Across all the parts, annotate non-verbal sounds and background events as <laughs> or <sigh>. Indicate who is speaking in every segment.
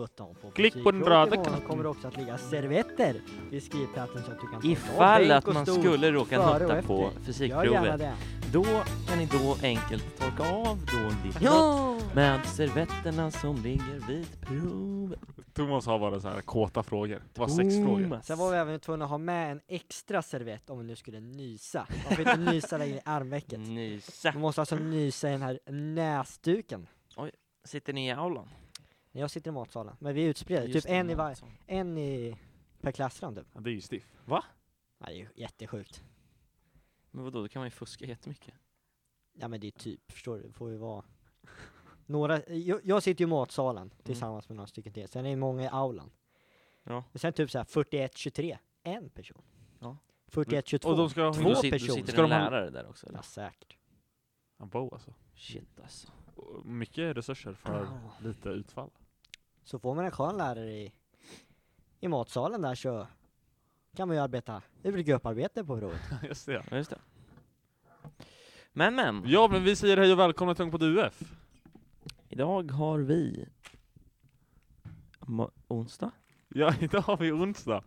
Speaker 1: 17 på
Speaker 2: Klick på den
Speaker 1: musikrådet
Speaker 2: röda
Speaker 1: imorgon
Speaker 2: knappen.
Speaker 1: kommer det också att ligga servetter vid skrivplatsen så att du kan ta en
Speaker 3: Ifall
Speaker 1: lång
Speaker 3: att
Speaker 1: bänk och
Speaker 3: man
Speaker 1: stol.
Speaker 3: skulle råka
Speaker 1: före och
Speaker 3: nöta
Speaker 1: efter.
Speaker 3: på
Speaker 1: Gör gärna
Speaker 3: fysikprovet,
Speaker 1: det.
Speaker 3: då kan ni då enkelt torka av då ditt nött med servetterna som ligger vid provet.
Speaker 2: Thomas har bara så här kåta frågor. Det var sex frågor.
Speaker 3: Thomas.
Speaker 1: Sen var vi även tvungna att ha med en extra servett om vi nu skulle nysa. Man får inte nysa längre i armvecket.
Speaker 3: Mm. Nysa.
Speaker 1: Man måste alltså nysa i den här näsduken.
Speaker 3: Sitter ni i aulan?
Speaker 1: När Jag sitter i matsalen, men vi är utspridda. Typ
Speaker 3: Just det,
Speaker 1: en i, var,
Speaker 3: Mattsson.
Speaker 1: en i per klassrum typ.
Speaker 2: Ja, Det är ju stiff.
Speaker 1: Nej, det är ju jättesjukt.
Speaker 3: Men vadå, då kan man ju fuska jättemycket.
Speaker 1: Ja men det är typ, förstår du, det får ju vara några, jag, jag sitter ju i matsalen tillsammans med några stycken till, sen är det många i aulan.
Speaker 3: Ja.
Speaker 1: Och sen typ såhär 41-23, en person.
Speaker 3: Ja.
Speaker 1: 41-22,
Speaker 2: Och de ska ha...
Speaker 1: Två
Speaker 3: Då sit- då
Speaker 1: personer.
Speaker 3: Sitter
Speaker 2: Ska
Speaker 3: en
Speaker 2: de ha-
Speaker 3: lärare där också eller?
Speaker 1: ja säkert.
Speaker 2: Ja, Bo alltså.
Speaker 3: Shit alltså.
Speaker 2: Och Mycket resurser för
Speaker 1: Ah.
Speaker 2: lite <laughs> utfall.
Speaker 1: Så får man en skön lärare i, i matsalen där så kan man ju arbeta, det blir grupparbete på provet.
Speaker 2: Just det.
Speaker 3: Ja, just det. Men men,
Speaker 2: Ja, men vi säger hej och välkomna till Ung på UF.
Speaker 3: idag har vi Mo- onsdag?
Speaker 2: Ja, <laughs> idag har vi onsdag.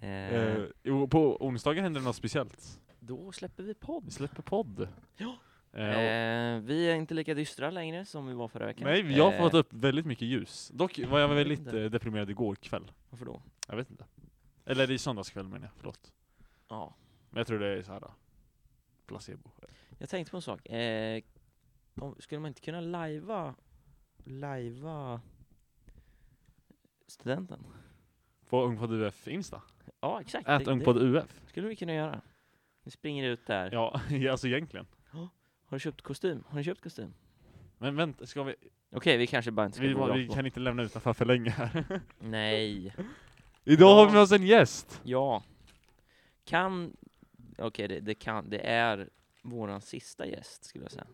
Speaker 3: Eh,
Speaker 2: Eh, jo, på onsdagen händer det något speciellt.
Speaker 3: Då släpper vi
Speaker 2: Vi
Speaker 3: podd.
Speaker 2: släpper podd.
Speaker 3: Ja.
Speaker 2: Eh, och-
Speaker 3: Eh, vi är inte lika dystra längre som vi var förra veckan.
Speaker 2: nej, jag har
Speaker 3: Eh,
Speaker 2: fått upp väldigt mycket ljus. Dock var jag väldigt
Speaker 3: inte.
Speaker 2: eh, deprimerad igår kväll.
Speaker 3: Varför då?
Speaker 2: Jag vet inte. Eller i söndagskväll menar jag, förlåt.
Speaker 3: Ja.
Speaker 2: Men jag tror det är så här. då. Placebo.
Speaker 3: Jag tänkte på en sak. Eh, om, skulle man inte kunna lajva, lajva studenten?
Speaker 2: På Ung på UF Insta.
Speaker 3: Ja, exakt.
Speaker 2: Ät
Speaker 3: det,
Speaker 2: Ung på
Speaker 3: det
Speaker 2: UF.
Speaker 3: skulle vi kunna göra. Vi springer ut där.
Speaker 2: Ja, <laughs> alltså egentligen.
Speaker 3: Har du köpt kostym? Har du köpt kostym?
Speaker 2: Men vänta, ska vi...
Speaker 3: Okej, vi kanske bara inte ska
Speaker 2: Vi,
Speaker 3: gå
Speaker 2: må- vi
Speaker 3: rakt på.
Speaker 2: kan inte lämna utanför för länge här.
Speaker 3: Nej.
Speaker 2: <laughs> Idag har vi med oss en gäst!
Speaker 3: Ja. Kan... Okej, det, det kan... Det är våran sista gäst, skulle jag säga.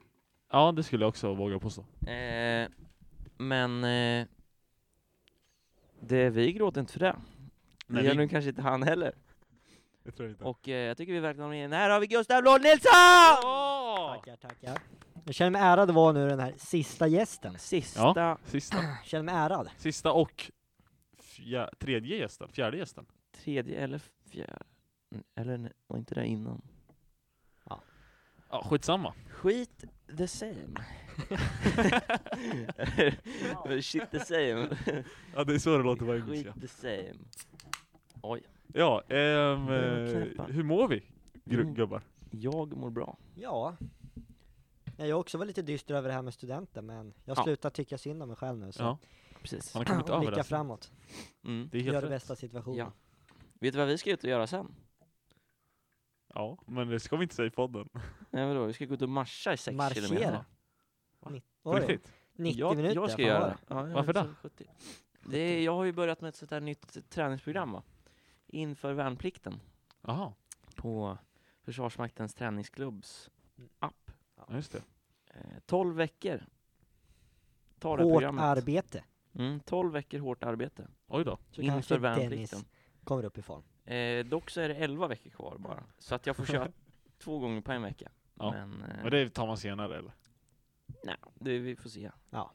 Speaker 2: Ja, det skulle jag också våga påstå.
Speaker 3: Eh, men... Eh, det, vi gråter inte för det. Det
Speaker 2: Nej,
Speaker 3: gör
Speaker 2: vi-
Speaker 3: nu kanske inte han heller.
Speaker 2: Jag tror inte.
Speaker 3: Och eh, jag tycker vi välkomnar in, här har vi Gustav Blom Nilsson!
Speaker 1: Tackar, tackar. Jag känner mig ärad att vara nu den här sista gästen.
Speaker 3: Sista,
Speaker 2: <clears throat> Sista,
Speaker 1: Jag känner mig ärad.
Speaker 2: sista och fjär, tredje gästen, fjärde gästen.
Speaker 3: tredje eller fjärde, eller ne- var inte det innan?
Speaker 2: Ja, skitsamma.
Speaker 3: Skit
Speaker 2: <laughs>
Speaker 3: the same. <laughs> Shit the same.
Speaker 2: Ja, det är så det låter på engelska.
Speaker 3: Skit the same. Oj,
Speaker 2: Ja, ehm,
Speaker 3: Mm,
Speaker 2: eh,
Speaker 3: knäppa.
Speaker 2: hur mår vi gru-
Speaker 3: Mm.
Speaker 2: gubbar?
Speaker 3: jag mår bra.
Speaker 1: Ja. Nej, Jag också var lite dyster över det här med studenter, men jag
Speaker 3: Ja.
Speaker 1: slutar tycka synd om mig själv nu. Så
Speaker 2: Ja,
Speaker 3: Precis.
Speaker 2: man har kommit
Speaker 1: och
Speaker 2: över det.
Speaker 1: blicka
Speaker 2: alltså.
Speaker 1: framåt.
Speaker 3: Mm.
Speaker 2: Det är
Speaker 1: Gör
Speaker 2: helt
Speaker 1: det
Speaker 2: rätt.
Speaker 1: bästa av situationen.
Speaker 3: Ja. Vet du vad vi ska ut och göra sen?
Speaker 2: Ja, men det ska vi inte säga i podden.
Speaker 3: Nej vadå, vi ska gå ut och marscha i sex
Speaker 1: Marschera.
Speaker 3: kilometer.
Speaker 2: Va?
Speaker 1: Nitt-
Speaker 2: På
Speaker 1: oj,
Speaker 2: Riktigt.
Speaker 1: 90
Speaker 3: jag,
Speaker 1: minuter.
Speaker 3: Jag
Speaker 1: fan
Speaker 3: ska
Speaker 1: vad
Speaker 3: göra
Speaker 1: var
Speaker 3: det. Ja, jag
Speaker 2: Varför
Speaker 3: är
Speaker 2: det?
Speaker 3: 70. det är, jag har ju börjat med ett sånt här nytt träningsprogram va? Inför värnplikten
Speaker 2: Jaha,
Speaker 3: på Försvarsmaktens träningsklubbs app.
Speaker 2: ja, just det.
Speaker 3: Eh, 12 veckor tar det här
Speaker 1: Hårt
Speaker 3: programmet.
Speaker 1: arbete.
Speaker 3: Mm, 12 veckor hårt arbete
Speaker 2: Oj då.
Speaker 1: Så
Speaker 3: inför
Speaker 1: kanske
Speaker 3: värnplikten.
Speaker 1: Dennis kommer upp i form.
Speaker 3: Eh, dock så är det 11 veckor kvar bara, så att jag
Speaker 1: <laughs>
Speaker 3: får köra två gånger på en vecka.
Speaker 2: Ja.
Speaker 3: Men, eh,
Speaker 2: Men det tar man senare eller?
Speaker 3: nej, det, vi får se.
Speaker 1: Ja.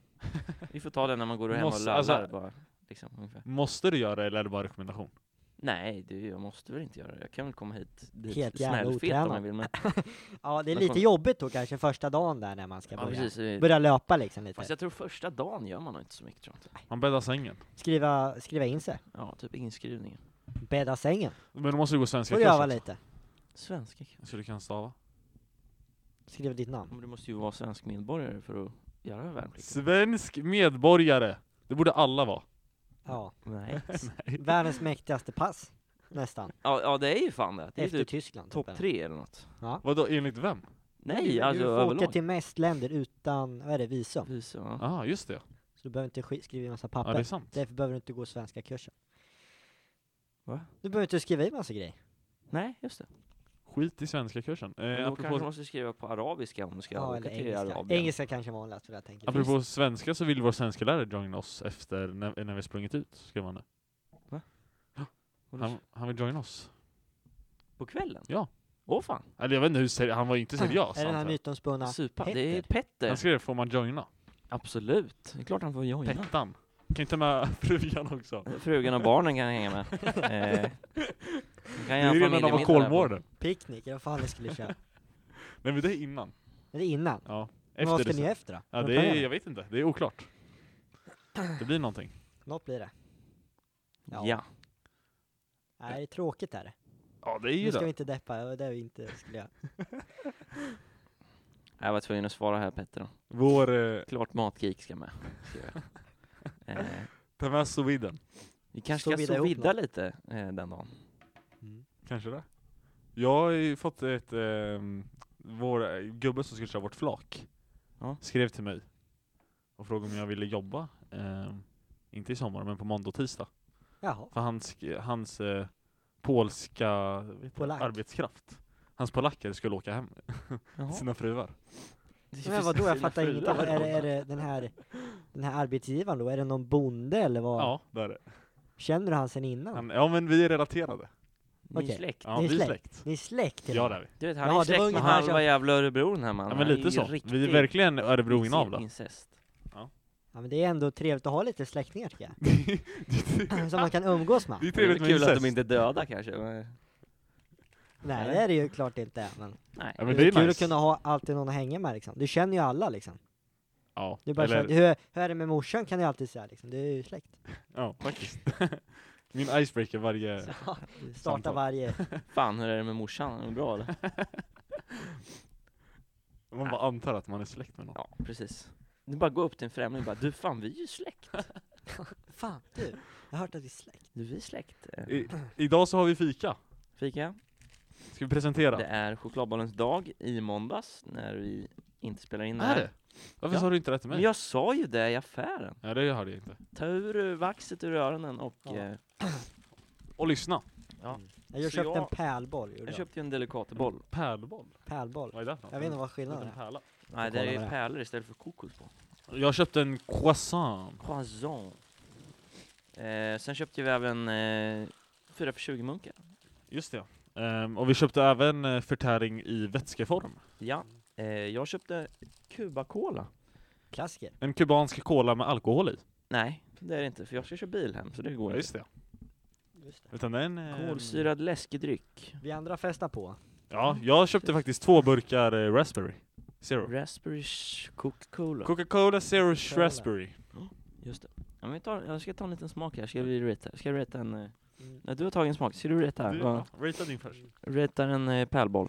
Speaker 3: Vi får ta det när man går hem och
Speaker 2: Måste-
Speaker 3: lallar
Speaker 2: alltså-
Speaker 3: bara. Liksom, ungefär.
Speaker 2: Måste du göra det eller är det bara rekommendation?
Speaker 3: Nej, det, jag måste väl inte göra det. Jag kan väl komma hit dit
Speaker 1: Helt jävla
Speaker 3: snällfet om
Speaker 1: otränad.
Speaker 3: jag vill.
Speaker 1: <laughs>
Speaker 3: Men,
Speaker 1: Ja, det är
Speaker 3: Men
Speaker 1: lite
Speaker 3: kom-
Speaker 1: jobbigt då kanske första dagen där när man ska
Speaker 3: ja,
Speaker 1: börja,
Speaker 3: precis, det-
Speaker 1: börja löpa liksom lite.
Speaker 3: Fast jag tror första dagen gör man nog inte så mycket tror jag inte.
Speaker 2: Man bäddar sängen.
Speaker 1: Skriva, skriva in sig.
Speaker 3: Ja, typ inskrivningen.
Speaker 1: Bädda sängen.
Speaker 2: Men då måste du gå svenska
Speaker 1: Får du öva
Speaker 2: också.
Speaker 1: lite.
Speaker 3: Svenska kan-
Speaker 2: Så du kan stava?
Speaker 1: Skriva ditt namn.
Speaker 3: Men du måste ju vara svensk medborgare för att göra värnplikten.
Speaker 2: Svensk medborgare! Det borde alla vara.
Speaker 1: Ja.
Speaker 3: Nej. <laughs>
Speaker 1: Världens mäktigaste pass. Nästan.
Speaker 3: Ja, ja, det är ju fan det. Det är
Speaker 1: Efter
Speaker 3: typ
Speaker 1: Tyskland. typ,
Speaker 3: topp
Speaker 1: eller?
Speaker 3: tre eller något.
Speaker 2: Vadå, enligt vem?
Speaker 3: Nej,
Speaker 1: du,
Speaker 3: alltså
Speaker 1: du får åka
Speaker 3: överlag.
Speaker 1: till mest länder utan, vad är det, visum?
Speaker 3: Visum,
Speaker 2: Ja,
Speaker 3: ja.
Speaker 2: ah, just det.
Speaker 1: Så du behöver inte sk- skriva i massa
Speaker 2: Ja,
Speaker 1: papper.
Speaker 2: det är sant.
Speaker 1: Därför behöver du inte gå svenska kursen.
Speaker 3: Va?
Speaker 1: Du behöver inte skriva i massa grejer.
Speaker 3: Nej, just det.
Speaker 2: Skit i svenska kursen.
Speaker 3: Men
Speaker 2: Eh,
Speaker 3: då kanske man
Speaker 2: apropå,
Speaker 3: måste skriva på arabiska om du ska
Speaker 1: Ja,
Speaker 3: åka
Speaker 1: eller
Speaker 3: till
Speaker 1: engelska.
Speaker 3: Arabien.
Speaker 1: Engelska kanske är vanligast för jag tänker.
Speaker 2: apropå svenska så vill vår svenska lärare joina oss efter när, när vi sprungit ut, skrev han det.
Speaker 3: Och då-
Speaker 2: Han, han vill joina oss.
Speaker 3: På kvällen?
Speaker 2: Ja.
Speaker 3: Åh fan.
Speaker 2: Eller jag vet inte hur seri- han var ju inte seriös.
Speaker 1: Ah, Är den här
Speaker 2: antar jag.
Speaker 1: mytomspunna
Speaker 3: Supa. Det
Speaker 1: Petter.
Speaker 3: är Petter.
Speaker 2: han skrev får man joina?
Speaker 3: Absolut. Det är klart han får joina.
Speaker 2: Pettan. Kan ju ta med <laughs> frugan också.
Speaker 3: Frugan och barnen kan hänga med. Eh, då kan
Speaker 2: Det
Speaker 3: jag ha
Speaker 2: är ju redan när de var
Speaker 3: familjemiddag där på.
Speaker 2: Kolmården.
Speaker 1: Picknick, jag fan det skulle
Speaker 2: <laughs>
Speaker 1: köra.
Speaker 2: Nej men det är innan.
Speaker 1: Men det är innan.
Speaker 2: Ja.
Speaker 1: Men vad ska ni
Speaker 2: Efter det sen.
Speaker 1: göra efter då?
Speaker 2: Ja,
Speaker 1: Vad
Speaker 2: det är,
Speaker 1: planerar ni?
Speaker 2: jag vet inte, det är oklart. Det blir någonting.
Speaker 1: Något blir det. Ja.
Speaker 3: Ja.
Speaker 1: Nej, det är tråkigt är det.
Speaker 2: Ja det är ju
Speaker 1: Nu ska vi
Speaker 2: det.
Speaker 1: inte deppa, det var det vi inte skulle göra.
Speaker 3: Jag var tvungen att svara här Petter då.
Speaker 2: Vår, eh,
Speaker 3: Klart
Speaker 1: <laughs>
Speaker 3: matgeek ska med. Ska jag. Eh,
Speaker 2: ta med sous-viden.
Speaker 3: vi kanske
Speaker 1: Sous
Speaker 3: ska
Speaker 1: vide
Speaker 3: sous
Speaker 1: ihop
Speaker 3: vida lite eh, den dagen.
Speaker 1: Mm.
Speaker 2: Kanske det. Jag har ju fått ett, eh, vår eh, gubbe som skulle köra vårt flak,
Speaker 3: Ja.
Speaker 2: skrev till mig och frågade om jag ville jobba, eh, inte i sommar men på måndag och tisdag.
Speaker 1: Jaha,
Speaker 2: För hans, hans eh, polska vet inte,
Speaker 1: Polack.
Speaker 2: arbetskraft, hans polacker skulle åka hem
Speaker 3: Jaha.
Speaker 2: till sina fruar.
Speaker 1: men vadå jag fattar inget.
Speaker 3: Fruar.
Speaker 1: Är det, är det den
Speaker 2: <laughs>
Speaker 1: här, den här arbetsgivaren då? Är det någon bonde eller vad?
Speaker 2: Ja, det är det.
Speaker 1: Känner du han sen innan?
Speaker 2: Han, ja men vi är relaterade.
Speaker 3: Ni är
Speaker 1: Okej.
Speaker 3: släkt.
Speaker 2: Ja,
Speaker 1: Ni är
Speaker 2: vi är
Speaker 1: släkt.
Speaker 2: släkt.
Speaker 1: Ni är släkt till
Speaker 2: Ja
Speaker 1: och
Speaker 2: det
Speaker 1: med?
Speaker 2: är vi.
Speaker 3: Du vet, han
Speaker 1: Jaha,
Speaker 3: är
Speaker 1: det var
Speaker 3: släkt med
Speaker 1: ungefär
Speaker 3: halva
Speaker 1: som-
Speaker 3: jävla Örebro den här mannen.
Speaker 2: Ja men lite så. Vi är verkligen <laughs> Örebroinavla.
Speaker 3: Incest.
Speaker 1: Ja, men det är ändå trevligt att ha lite släktingar tycker jag.
Speaker 2: det
Speaker 1: Som man kan umgås med.
Speaker 2: är
Speaker 3: Det är väl
Speaker 2: trevligt med
Speaker 3: kul att
Speaker 2: incest.
Speaker 3: de inte är döda kanske. men-
Speaker 1: Nej det är det ju klart inte. Men
Speaker 3: Nej.
Speaker 2: Ja men
Speaker 1: det är kul
Speaker 2: nice.
Speaker 1: att kunna ha alltid någon att hänga med liksom. Du känner ju alla liksom.
Speaker 2: Ja,
Speaker 1: Du bara
Speaker 2: eller-
Speaker 1: känner, hur, hur är det med morsan kan du alltid säga liksom. Du är ju släkt.
Speaker 2: Ja, faktiskt. <laughs> Min icebreaker varje...
Speaker 1: Så, starta
Speaker 2: samtal.
Speaker 1: varje.
Speaker 2: <laughs>
Speaker 3: Fan, hur är det med morsan? Är hon bra eller?
Speaker 2: Man bara antar att man är släkt med någon.
Speaker 3: Ja, precis. Du bara går upp till en främling och bara du fan vi är ju släkt.
Speaker 1: Fan du, jag har hört att vi är släkt.
Speaker 3: Du vi är släkt. Eh,
Speaker 2: I, idag så har vi fika.
Speaker 3: Fika.
Speaker 2: Ska vi presentera?
Speaker 3: Det är chokladbollens dag i måndags när vi inte spelar in det
Speaker 2: Är
Speaker 3: här.
Speaker 2: det? Varför
Speaker 3: Ja.
Speaker 2: sa du inte det till
Speaker 3: Men
Speaker 2: mig?
Speaker 3: jag sa ju det i affären.
Speaker 2: Ja, det hörde jag inte.
Speaker 3: Ta ur eh, vaxet ur öronen och
Speaker 1: Ja.
Speaker 3: eh,
Speaker 2: Och lyssna.
Speaker 1: Jag
Speaker 3: Så
Speaker 1: köpte
Speaker 3: jag-
Speaker 1: en pärlboll gjorde
Speaker 3: jag
Speaker 1: jag.
Speaker 3: köpte ju en delikatboll.
Speaker 2: Mm. Pärlboll?
Speaker 1: Pärlboll.
Speaker 2: Vad är det för något?
Speaker 1: Jag vet inte vad
Speaker 2: En
Speaker 1: skillnaden
Speaker 2: liten
Speaker 1: är.
Speaker 2: pärla.
Speaker 3: Nej, det
Speaker 1: kolla
Speaker 3: är
Speaker 1: vad det är.
Speaker 3: pärlor istället för kokos på.
Speaker 2: Jag köpte en croissant.
Speaker 3: Croissant. Eh, sen köpte vi även eh, 4 för 20 munkar.
Speaker 2: Just det. Ehm, och vi köpte även eh, förtäring i vätskeform.
Speaker 3: Ja, eh, jag köpte Cuba Cola.
Speaker 1: Klassiker.
Speaker 2: En kubansk cola med alkohol i.
Speaker 3: Nej, det är det inte för jag ska köra bil hem så det går
Speaker 2: Ja,
Speaker 3: inte.
Speaker 2: just det.
Speaker 1: Just det.
Speaker 2: Utan den... ehm,
Speaker 3: Kolsyrad läskedryck.
Speaker 1: Vi andra festar på.
Speaker 2: Ja, jag köpte faktiskt två burkar eh, raspberry. Zero.
Speaker 3: Raspberry sh- Coca-Cola.
Speaker 2: Coca-Cola Zero sh- Raspberry.
Speaker 3: Just det. Ja, men vi tar, jag ska ta en liten smak här, ska vi reta? Ska vi reta en... eh,
Speaker 1: Mm.
Speaker 3: Nej, du har tagit en smak, ska du reta?
Speaker 2: Du,
Speaker 3: här?
Speaker 2: ja,
Speaker 3: Ja.
Speaker 2: ratea din först.
Speaker 3: Retar en eh, pärlboll.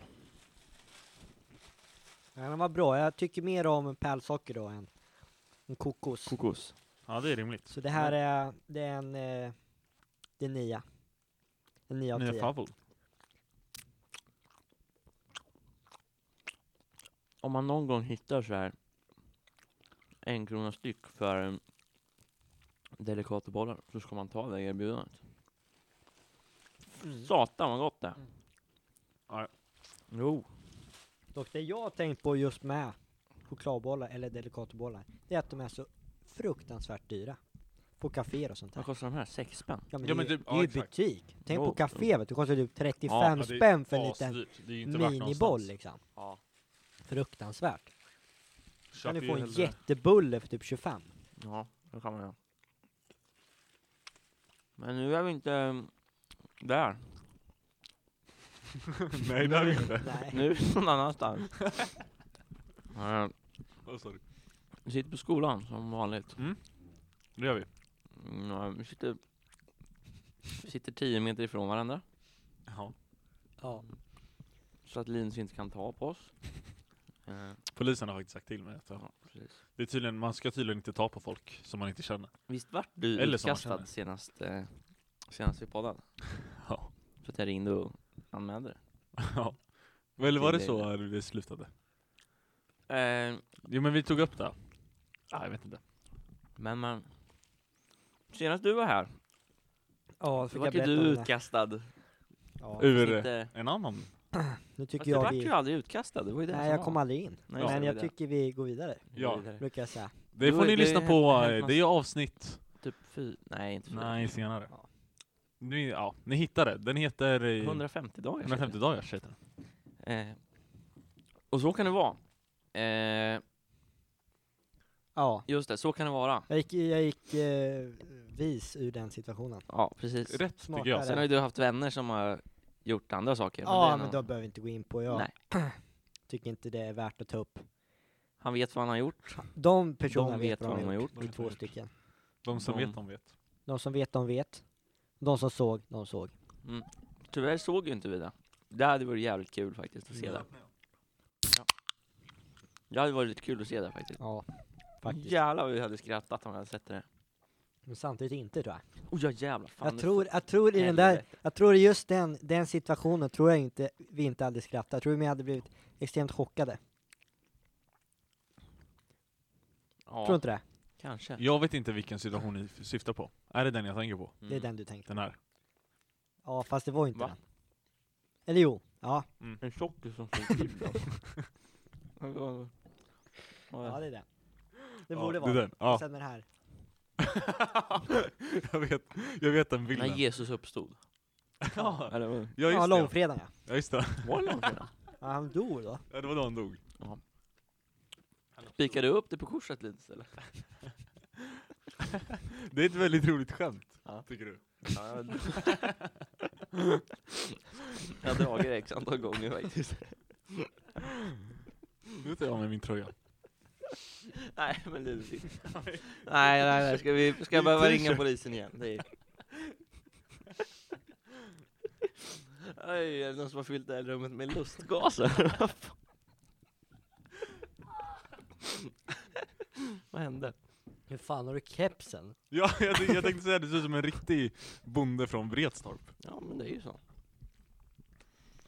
Speaker 1: Ja, den var bra. Jag tycker mer om pärlsocker då än, än kokos.
Speaker 3: Kokos.
Speaker 2: Ja, det är rimligt.
Speaker 1: Så det här är, det är en, eh, det är nia. En nia av
Speaker 2: Nya
Speaker 1: tio.
Speaker 2: favor.
Speaker 3: Om man någon gång hittar så här en krona styck för um, delikata bollar så ska man ta det erbjudandet.
Speaker 1: Mm.
Speaker 3: Satan vad gott det är.
Speaker 2: Mm. Ja.
Speaker 3: Jo.
Speaker 1: Och det jag har tänkt på just med chokladbollar eller delikatobollar, det är att de är så fruktansvärt dyra. På kaféer och sånt
Speaker 3: Vad
Speaker 1: där.
Speaker 3: kostar de här? Sex spänn?
Speaker 1: Ja men,
Speaker 2: Ja, men
Speaker 1: det, är-
Speaker 2: typ-
Speaker 1: det
Speaker 2: ja,
Speaker 1: är ju
Speaker 2: exakt.
Speaker 1: butik. Tänk
Speaker 3: Jo,
Speaker 1: på kafé vet du, kostar typ 35
Speaker 3: Ja,
Speaker 2: det är
Speaker 1: spänn för en liten
Speaker 2: Asdyrt. Det är ju inte värt
Speaker 1: miniboll
Speaker 2: någonstans.
Speaker 1: liksom.
Speaker 3: Ja.
Speaker 1: Fruktansvärt. Kan
Speaker 2: Köper
Speaker 1: du
Speaker 2: ju
Speaker 1: få en
Speaker 2: hellre-
Speaker 1: jättebulle för typ 25?
Speaker 3: Ja, det kan man göra. Men nu är vi inte um, där.
Speaker 2: <laughs> Nej, det är det
Speaker 1: <laughs>
Speaker 2: inte.
Speaker 1: Nej.
Speaker 3: Nu är vi
Speaker 2: <laughs>
Speaker 3: någon annanstans. Eh,
Speaker 2: Oh, sorry.
Speaker 3: Vi sitter på skolan som vanligt.
Speaker 2: Det gör vi.
Speaker 3: Mm, ja, vi sitter, vi sitter tio meter ifrån varandra.
Speaker 2: Ja.
Speaker 1: Ja.
Speaker 3: Så att Linus inte kan ta på
Speaker 2: <laughs>
Speaker 3: oss. Eh,
Speaker 2: Polisen har faktiskt sagt till mig att ja.
Speaker 3: ja, precis.
Speaker 2: det är tydligen, man ska tydligen inte ta på folk som man inte känner.
Speaker 3: Visst vart du
Speaker 2: Eller som man
Speaker 3: utkastad
Speaker 2: känner.
Speaker 3: senast, eh, senast vi poddade?
Speaker 2: Ja. <laughs>
Speaker 3: För att jag ringde och anmälde det.
Speaker 2: ja. Eller var det
Speaker 3: Det-
Speaker 2: så det slutade?
Speaker 3: Eh,
Speaker 2: Jo men vi tog upp det. Ja, jag vet inte.
Speaker 3: men man... Senast du var här,
Speaker 1: Ja,
Speaker 3: så
Speaker 1: fick jag
Speaker 3: vart ju
Speaker 1: berätta
Speaker 3: du
Speaker 1: om det.
Speaker 3: utkastad.
Speaker 1: Ja.
Speaker 2: Ur
Speaker 3: Inte...
Speaker 2: en annan.
Speaker 1: Nu
Speaker 3: Fast
Speaker 1: tycker
Speaker 3: du
Speaker 1: jag
Speaker 3: vart
Speaker 1: vi...
Speaker 3: ju aldrig utkastad, det var ju det
Speaker 1: Nej
Speaker 3: typ som
Speaker 1: jag
Speaker 3: var.
Speaker 1: kom aldrig in.
Speaker 3: Nej,
Speaker 1: Men
Speaker 3: det
Speaker 1: jag
Speaker 3: var det.
Speaker 1: tycker vi går vidare,
Speaker 2: Ja.
Speaker 3: Vidare.
Speaker 1: brukar jag säga.
Speaker 2: Det
Speaker 3: Då
Speaker 2: får
Speaker 3: är
Speaker 2: ni
Speaker 3: det
Speaker 2: lyssna
Speaker 3: hänt-
Speaker 2: på,
Speaker 3: hänt
Speaker 2: eh,
Speaker 3: massa-
Speaker 2: det är avsnitt...
Speaker 3: Typ fy... Nej, inte fy.
Speaker 2: Nej, senare.
Speaker 1: Ja.
Speaker 2: Ni, ja, ni hittar det. Den heter... eh,
Speaker 3: 150 dagar. säger
Speaker 2: 150 dagars heter den.
Speaker 3: Eh, och så kan det vara. Eh,
Speaker 1: Ja,
Speaker 3: Just det, så kan det vara.
Speaker 1: jag gick, jag gick eh, vis ur den situationen.
Speaker 3: Ja,
Speaker 2: Rätt
Speaker 3: precis.
Speaker 2: tycker jag.
Speaker 1: Smartare.
Speaker 3: Sen har ju du haft vänner som har gjort andra saker. men det är
Speaker 1: Ja,
Speaker 3: en
Speaker 1: men
Speaker 3: annan-
Speaker 1: då behöver vi inte gå in på. Jag
Speaker 3: Nej.
Speaker 1: tycker inte det är värt att ta upp.
Speaker 3: Han vet vad han har gjort.
Speaker 1: De personerna
Speaker 3: De
Speaker 1: vet vad de har gjort.
Speaker 2: De
Speaker 1: Det är
Speaker 2: vet vad
Speaker 1: två
Speaker 2: de har gjort.
Speaker 1: stycken.
Speaker 2: De som
Speaker 3: De-
Speaker 2: vet, de vet.
Speaker 1: De som vet, de vet. De som såg, de såg.
Speaker 3: Tyvärr såg ju inte vi det. Det hade varit jävligt kul faktiskt att se det. Det hade varit lite kul att se det faktiskt.
Speaker 1: Ja, faktiskt.
Speaker 3: Jävlar vad vi hade skrattat om vi hade sett det.
Speaker 1: Men samtidigt inte tror jag.
Speaker 3: Oh ja jävlar. Fan,
Speaker 1: Jag
Speaker 3: nu-
Speaker 1: tror, jag tror i den där,
Speaker 3: Helvete.
Speaker 1: jag tror i just den, den situationen tror jag inte vi inte hade skrattat. Jag tror vi hade blivit extremt chockade.
Speaker 3: Ja,
Speaker 1: Tror du inte det?
Speaker 3: kanske.
Speaker 2: Jag vet inte vilken situation ni f- syftar på. Är det den jag tänker på?
Speaker 1: Det är
Speaker 3: Mm.
Speaker 1: den du tänkte.
Speaker 2: Den här?
Speaker 1: Ja, fast det var ju inte
Speaker 3: Va?
Speaker 1: den. Eller jo, ja.
Speaker 3: En tjockis som slog till dem.
Speaker 1: Ja, det är den. Det
Speaker 2: Ja,
Speaker 1: borde
Speaker 2: Det är
Speaker 1: vara
Speaker 2: den. Ja.
Speaker 1: Och Sen den här.
Speaker 2: <laughs> jag, vet, jag vet den bilden.
Speaker 3: <laughs> När Jesus uppstod.
Speaker 2: ja,
Speaker 3: Eller vad?
Speaker 2: ja,
Speaker 1: Ja,
Speaker 2: just det.
Speaker 1: långfredagen ja.
Speaker 2: Ja, just det.
Speaker 3: Var det någon kvinna?
Speaker 1: ja. Han dog då.
Speaker 2: Ja, det var då han dog.
Speaker 3: Spikade du upp det på korset lite eller?
Speaker 2: Det är ett väldigt roligt skämt,
Speaker 3: Ja.
Speaker 2: tycker du?
Speaker 3: Ja, <laughs> jag har dragit det x antal gånger faktiskt.
Speaker 2: Nu tar jag av mig min tröja.
Speaker 3: Nej men Ludvig. <laughs> Nej nej nej, ska, vi, ska jag behöva ringa polisen igen? Det är... Oj, är det någon som har fyllt det här rummet med <laughs> lustgaser? Vad hände?
Speaker 1: Hur fan har du kepsen?
Speaker 2: Ja, <laughs> jag, ty- jag tänkte säga det ser ut som en riktig bonde från Vretstorp.
Speaker 3: Ja men det är ju så.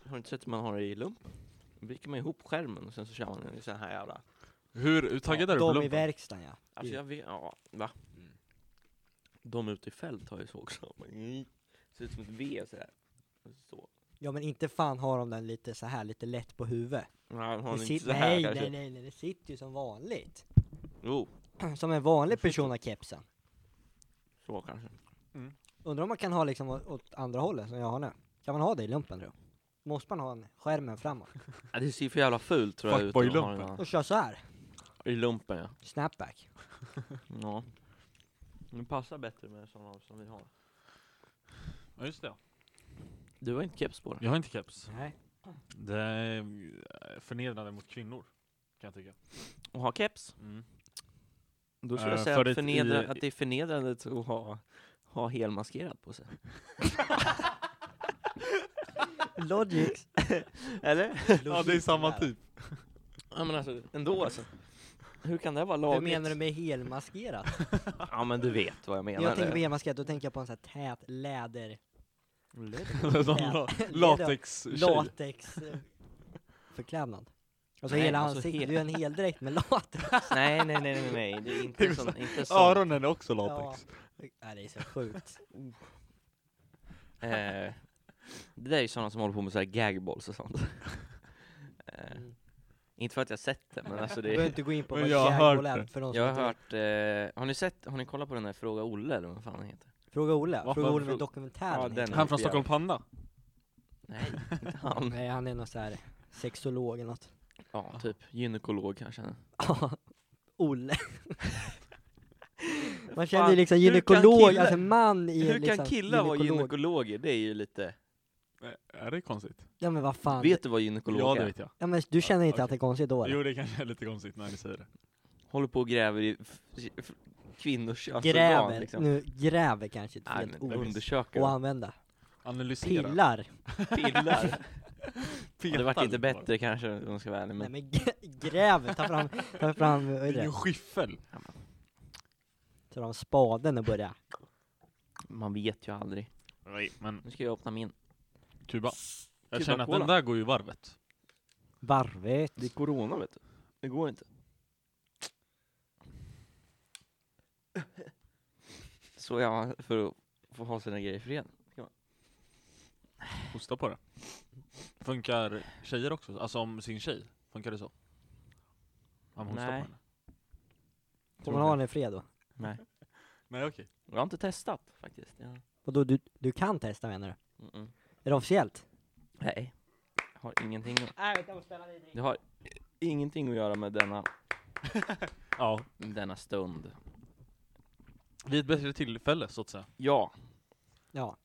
Speaker 3: Har du inte sett hur man har det i lumpen? Då viker man ihop skärmen och sen så kör man en sån här jävla...
Speaker 2: Hur, hur taggad är du på
Speaker 1: De i
Speaker 2: lumpen?
Speaker 1: verkstaden ja.
Speaker 3: Alltså jag vet, ja, va? Mm. De ute i fält har ju så också. <laughs> Mm. Ser ut som ett V sådär. Så.
Speaker 1: Ja men inte fan har de den lite så här lite lätt på huvudet.
Speaker 3: Nej, har
Speaker 1: Det
Speaker 3: ni inte
Speaker 1: sit-
Speaker 3: så här
Speaker 1: nej,
Speaker 3: kanske?
Speaker 1: nej nej nej, det sitter ju som vanligt. <clears throat>
Speaker 3: Jo,
Speaker 1: Som en vanlig person har kepsen.
Speaker 3: så kanske.
Speaker 1: Undrar om man kan ha liksom å- åt andra hållet som jag har nu? Kan man ha det i lumpen tror du? Måste man ha en skärmen framåt?
Speaker 3: Ja, det ser ju för jävla fult tror jag ut.
Speaker 2: Fuckboy
Speaker 3: att ha den
Speaker 2: lumpen.
Speaker 1: Och kör så här.
Speaker 3: här. I lumpen ja.
Speaker 1: Snapback.
Speaker 3: ja. Det passar bättre med sådana som vi har.
Speaker 2: Ja, just det.
Speaker 3: Du har inte keps på dig.
Speaker 2: Jag har inte keps.
Speaker 1: Nej.
Speaker 2: Det är eh, förnedrande mot kvinnor, kan jag tycka.
Speaker 3: Och ha keps? Då skulle
Speaker 2: Eh,
Speaker 3: jag säga
Speaker 2: för
Speaker 3: att,
Speaker 2: ett
Speaker 3: förnedra,
Speaker 2: i-
Speaker 3: att det är förnedrande att ha, ha helmaskerat på sig.
Speaker 1: <laughs> Logic.
Speaker 3: Eller?
Speaker 2: <laughs> Ja, det är samma typ.
Speaker 3: Ja men alltså, ändå alltså. Hur kan det vara
Speaker 1: Vad
Speaker 3: lagligt?
Speaker 1: menar du med helmaskerat?
Speaker 3: Ja men du vet vad jag menar.
Speaker 1: När jag tänker på helmaskerat, då tänker jag på en sån här tät
Speaker 3: <laughs>
Speaker 1: läder, <laughs>
Speaker 2: Någon
Speaker 1: Ja.
Speaker 2: la- Latex-tjej.
Speaker 1: latex eh, förklädnad. Alltså
Speaker 3: Nej,
Speaker 1: hela
Speaker 3: alltså
Speaker 1: ansiktet,
Speaker 3: hel-
Speaker 1: du är en heldräkt med <laughs> latex.
Speaker 3: <laughs> nej, nej, nej, nej, nej, det är inte sån, inte sån.
Speaker 2: Öronen är också latex.
Speaker 1: Nej det är så
Speaker 3: <laughs>
Speaker 1: sjukt.
Speaker 3: Eh, det där är ju sådana som håller på med så här gagballs och sånt. <laughs> Eh,
Speaker 1: Mm.
Speaker 3: inte för att jag sett det, men alltså
Speaker 1: Du
Speaker 3: det
Speaker 1: behöver
Speaker 3: är,
Speaker 1: inte gå in på
Speaker 2: Men
Speaker 1: vad
Speaker 2: jag har
Speaker 1: gagboll
Speaker 2: hört
Speaker 1: är
Speaker 2: det.
Speaker 1: för de som
Speaker 3: Jag har
Speaker 1: inte vet.
Speaker 3: hört, eh, har ni sett, har ni kollat på den där Fråga Olle eller vad fan han heter?
Speaker 1: Fråga Olle,
Speaker 2: Vad
Speaker 1: Fråga
Speaker 2: fan
Speaker 1: Olle med
Speaker 3: frå-
Speaker 1: dokumentären. liksom.
Speaker 3: Ja,
Speaker 1: heter
Speaker 3: den.
Speaker 1: det.
Speaker 2: Han från Stockholm Panda.
Speaker 3: Nej, inte han.
Speaker 1: Nej han är någon så här sexolog eller något. <laughs>
Speaker 3: Ja, typ gynekolog kanske.
Speaker 1: Ja,
Speaker 3: <laughs>
Speaker 1: Olle. Man känner ju liksom
Speaker 3: hur kan
Speaker 1: gynekolog,
Speaker 3: killar-
Speaker 1: alltså man i
Speaker 3: Hur
Speaker 1: liksom
Speaker 3: kan killar vara
Speaker 1: gynekolog.
Speaker 3: gynekologer? Det är ju lite,
Speaker 2: Eh, Är det konstigt?
Speaker 1: Ja men vad fan.
Speaker 3: vet du vad gynekolog
Speaker 2: Ja,
Speaker 3: är?
Speaker 2: det vet jag.
Speaker 1: Ja men du känner inte
Speaker 2: okej.
Speaker 1: att det är konstigt då? eller?
Speaker 2: Jo, det kanske är lite konstigt när ni säger det.
Speaker 3: Håller på och gräver i f- f- kvinnors
Speaker 1: Gräver,
Speaker 3: könsorgan liksom.
Speaker 1: nu gräver kanske ett
Speaker 3: Nej,
Speaker 1: fel
Speaker 3: men
Speaker 1: ord.
Speaker 3: undersöker.
Speaker 1: Och använda.
Speaker 2: Analysera.
Speaker 3: Mm.
Speaker 1: Pillar.
Speaker 3: Pillar.
Speaker 2: Peta
Speaker 3: Det vart inte
Speaker 2: lite bara.
Speaker 3: bättre kanske om jag ska vara ärlig.
Speaker 1: Nej
Speaker 3: Men...
Speaker 1: men gr- gräver, ta fram, ta fram, vad
Speaker 2: Det
Speaker 1: är
Speaker 2: är ju en
Speaker 1: det?
Speaker 2: skiffel.
Speaker 1: Ta fram spaden och börja.
Speaker 3: Man vet ju aldrig.
Speaker 2: Nej, men
Speaker 3: Nu ska jag öppna min.
Speaker 2: Kuba. Jag
Speaker 3: Kuba
Speaker 2: känner att den
Speaker 3: Cola.
Speaker 2: där går ju i varvet.
Speaker 1: Varvet.
Speaker 3: Det är corona vet du. Det går inte. Så gör man för att få ha sina grejer i fred.
Speaker 2: Hosta på det. Funkar tjejer också? Alltså om sin tjej? Funkar det så? Om hon
Speaker 3: Nej.
Speaker 2: Nej. på henne?
Speaker 1: Får man ha den i fred då?
Speaker 3: Nej.
Speaker 2: Nej okej.
Speaker 3: Jag har inte testat faktiskt. Jag...
Speaker 1: Vadå, du, du kan testa menar du?
Speaker 3: Mm-mm.
Speaker 1: Är det officiellt?
Speaker 3: Nej. Jag har ingenting, att-
Speaker 1: Nej, jag måste ställa dig
Speaker 3: jag har ingenting att göra med denna
Speaker 2: Ja.
Speaker 3: denna stund.
Speaker 2: Vid ett bättre tillfälle, så att säga.
Speaker 3: Ja,
Speaker 1: Ja,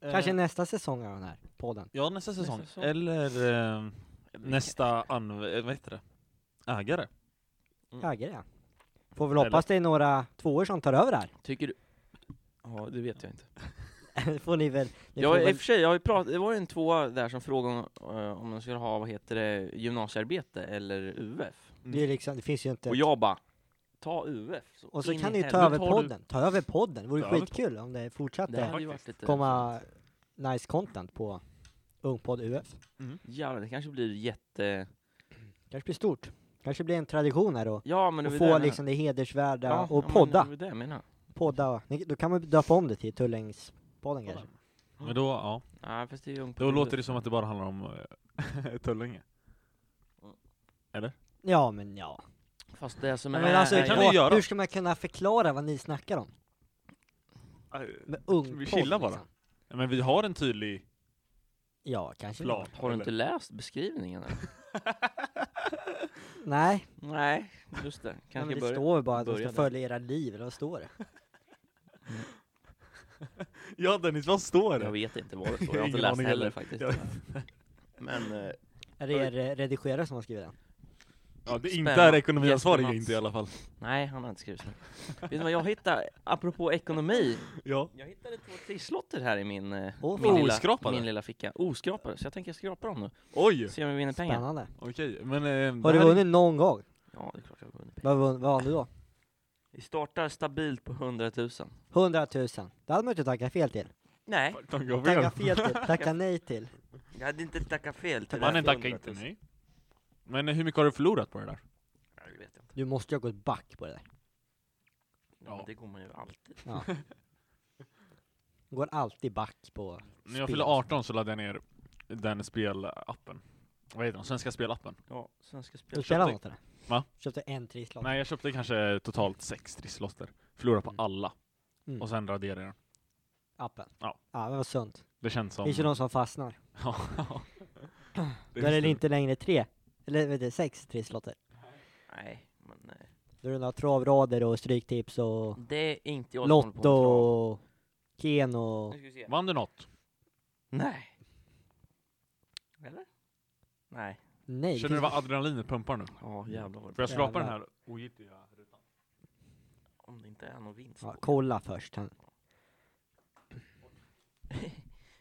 Speaker 1: kanske
Speaker 2: Eh,
Speaker 1: nästa säsong av den här podden.
Speaker 2: Ja, nästa säsong.
Speaker 3: säsong.
Speaker 2: Eller eh, nästa anv- eh, vad heter det? ägare.
Speaker 3: Mm.
Speaker 1: Äger det. Får väl
Speaker 2: Eller-
Speaker 1: hoppas det är några tvåor som tar över där.
Speaker 3: tycker du? Ja, det vet jag inte.
Speaker 1: Det <laughs> får ni väl... Ni får
Speaker 3: Ja, i
Speaker 1: väl
Speaker 3: och för sig, jag har ju pratat, det var ju en tvåa där som frågade om, eh, om de skulle ha, vad heter det, gymnasiearbete eller UF.
Speaker 2: Mm.
Speaker 1: det, är liksom, det finns ju inte...
Speaker 3: Och jag bara, ta UF.
Speaker 1: Och så
Speaker 3: in
Speaker 1: kan
Speaker 3: i
Speaker 1: ni ju ta
Speaker 3: helvete.
Speaker 1: över
Speaker 2: tar du-
Speaker 1: podden. Ta över podden. Det vore
Speaker 2: Ta över
Speaker 1: skitkul om det
Speaker 3: Det
Speaker 1: fortsatte
Speaker 3: hade ju varit lite...
Speaker 1: komma nice content på Ungpodd UF.
Speaker 3: Jävlar, det kanske blir jätte...
Speaker 1: Kanske blir stort. Kanske blir en tradition här då.
Speaker 3: Ja, men det
Speaker 1: Och
Speaker 3: var
Speaker 1: få
Speaker 3: jag
Speaker 1: liksom det hedersvärda
Speaker 3: menade.
Speaker 1: och
Speaker 3: men
Speaker 1: podda.
Speaker 3: Det var det jag menade.
Speaker 1: podda. Ni- Då kan man döpa om det till Tullingspodden kanske.
Speaker 2: Men då, ja.
Speaker 3: Nej, fast det är ju ungt.
Speaker 2: Då låter det som att det bara handlar om eh, <laughs> Tullinge.
Speaker 1: Ja men ja.
Speaker 3: Fast det som är...
Speaker 1: Men, alltså,
Speaker 3: är
Speaker 2: kan
Speaker 3: ju-
Speaker 2: vi
Speaker 1: vad-
Speaker 2: göra?
Speaker 1: hur ska man kunna förklara vad ni snackar om? Med ungpodd
Speaker 2: Vi chillar bara.
Speaker 1: Liksom.
Speaker 2: Men vi har en tydlig
Speaker 1: Ja, kanske.
Speaker 2: plan.
Speaker 3: Har du
Speaker 2: eller?
Speaker 3: inte läst beskrivningen? Eller?
Speaker 1: <laughs> Nej,
Speaker 3: Nej, just det.
Speaker 1: men
Speaker 3: Kanske
Speaker 1: det
Speaker 3: börja.
Speaker 1: står bara att de
Speaker 3: börja
Speaker 1: ska
Speaker 3: där.
Speaker 1: följa era liv, eller vad står det?
Speaker 2: <laughs> Ja Dennis, vad står
Speaker 3: Jag
Speaker 2: det?
Speaker 3: vet inte vad det
Speaker 1: <laughs>
Speaker 3: står. Jag har
Speaker 2: Ingen
Speaker 3: inte läst
Speaker 2: aning heller.
Speaker 3: heller faktiskt.
Speaker 2: Jag-
Speaker 3: Men... eh,
Speaker 1: Är det er eh, redigerare som har skrivit den?
Speaker 2: Ja, det är inte
Speaker 3: Spännande.
Speaker 2: är ekonomiansvarig
Speaker 3: Jättebra.
Speaker 2: inte i alla fall. <laughs>
Speaker 3: Nej, han har inte skrivit så. Vet du vad jag hittade? Apropå ekonomi.
Speaker 2: Ja.
Speaker 3: Jag hittade två trisslotter här i min, eh,
Speaker 1: Åh,
Speaker 3: min,
Speaker 1: fan.
Speaker 3: lilla,
Speaker 2: Oskrapade?
Speaker 3: min lilla ficka. Oskrapade. Så jag tänker skrapa dem nu.
Speaker 2: Oj!
Speaker 3: Se om vi vinner pengar.
Speaker 1: Spännande.
Speaker 2: Okej, men... Eh,
Speaker 1: Har
Speaker 2: det
Speaker 1: du
Speaker 2: här är-
Speaker 1: vunnit någon gång?
Speaker 3: Ja, det är klart jag har vunnit pengar.
Speaker 1: Vad vun- vad vann du då?
Speaker 3: Vi startar stabilt på 100 000.
Speaker 1: 100 000. Det hade man inte tackat fel till.
Speaker 3: Nej,
Speaker 2: Fuck, de går fel.
Speaker 1: Tacka fel till,
Speaker 2: <laughs>
Speaker 1: tacka nej till.
Speaker 3: jag hade inte tackat fel till det
Speaker 2: Mannen
Speaker 3: här
Speaker 2: tackar inte
Speaker 3: 100 000.
Speaker 2: nej. Men eh, hur mycket har du förlorat på det där?
Speaker 3: Nej, det vet jag inte.
Speaker 1: Du måste ju ha gått back på det där.
Speaker 3: Ja.
Speaker 2: Ja.
Speaker 3: men Det går man ju alltid.
Speaker 1: Ja. Går alltid back på
Speaker 2: När jag
Speaker 1: spel.
Speaker 2: fyllde 18 så laddade jag ner den spelappen. Vad heter den? Svenska spelappen.
Speaker 3: Ja, svenska
Speaker 1: Du
Speaker 3: spel.
Speaker 1: spelar något eller?
Speaker 2: Va?
Speaker 1: Köpte en trisslott.
Speaker 2: Nej, jag köpte kanske totalt sex trisslotter. Förlorade på
Speaker 3: Mm.
Speaker 2: alla.
Speaker 1: Mm.
Speaker 2: Och sen raderade jag den.
Speaker 1: Appen.
Speaker 2: Ja.
Speaker 1: Ja, det var sunt.
Speaker 2: Det känns som...
Speaker 1: Finns ju de som fastnar.
Speaker 2: <laughs> Ja.
Speaker 1: Då är det inte längre tre, eller vet du, sex trisslotter.
Speaker 3: Nej, men eh,
Speaker 1: Då är det några travrader och stryktips och
Speaker 3: det är inte jag som håller på med
Speaker 1: Lotto
Speaker 3: trav.
Speaker 1: och Ken och...
Speaker 3: Nu ska vi se.
Speaker 2: Vann du något?
Speaker 3: Nej. Eller? Nej.
Speaker 1: Nej,
Speaker 2: Känner du
Speaker 1: finns-
Speaker 2: vad adrenalinet pumpar nu?
Speaker 3: Ja, jävlar vad
Speaker 2: Får
Speaker 3: det
Speaker 2: jag skrapa den
Speaker 1: Jävlar.
Speaker 2: här Oh, ogiltiga rutan?
Speaker 3: Om det inte är någon vinst.
Speaker 1: ja,
Speaker 3: på.
Speaker 1: kolla först. Han-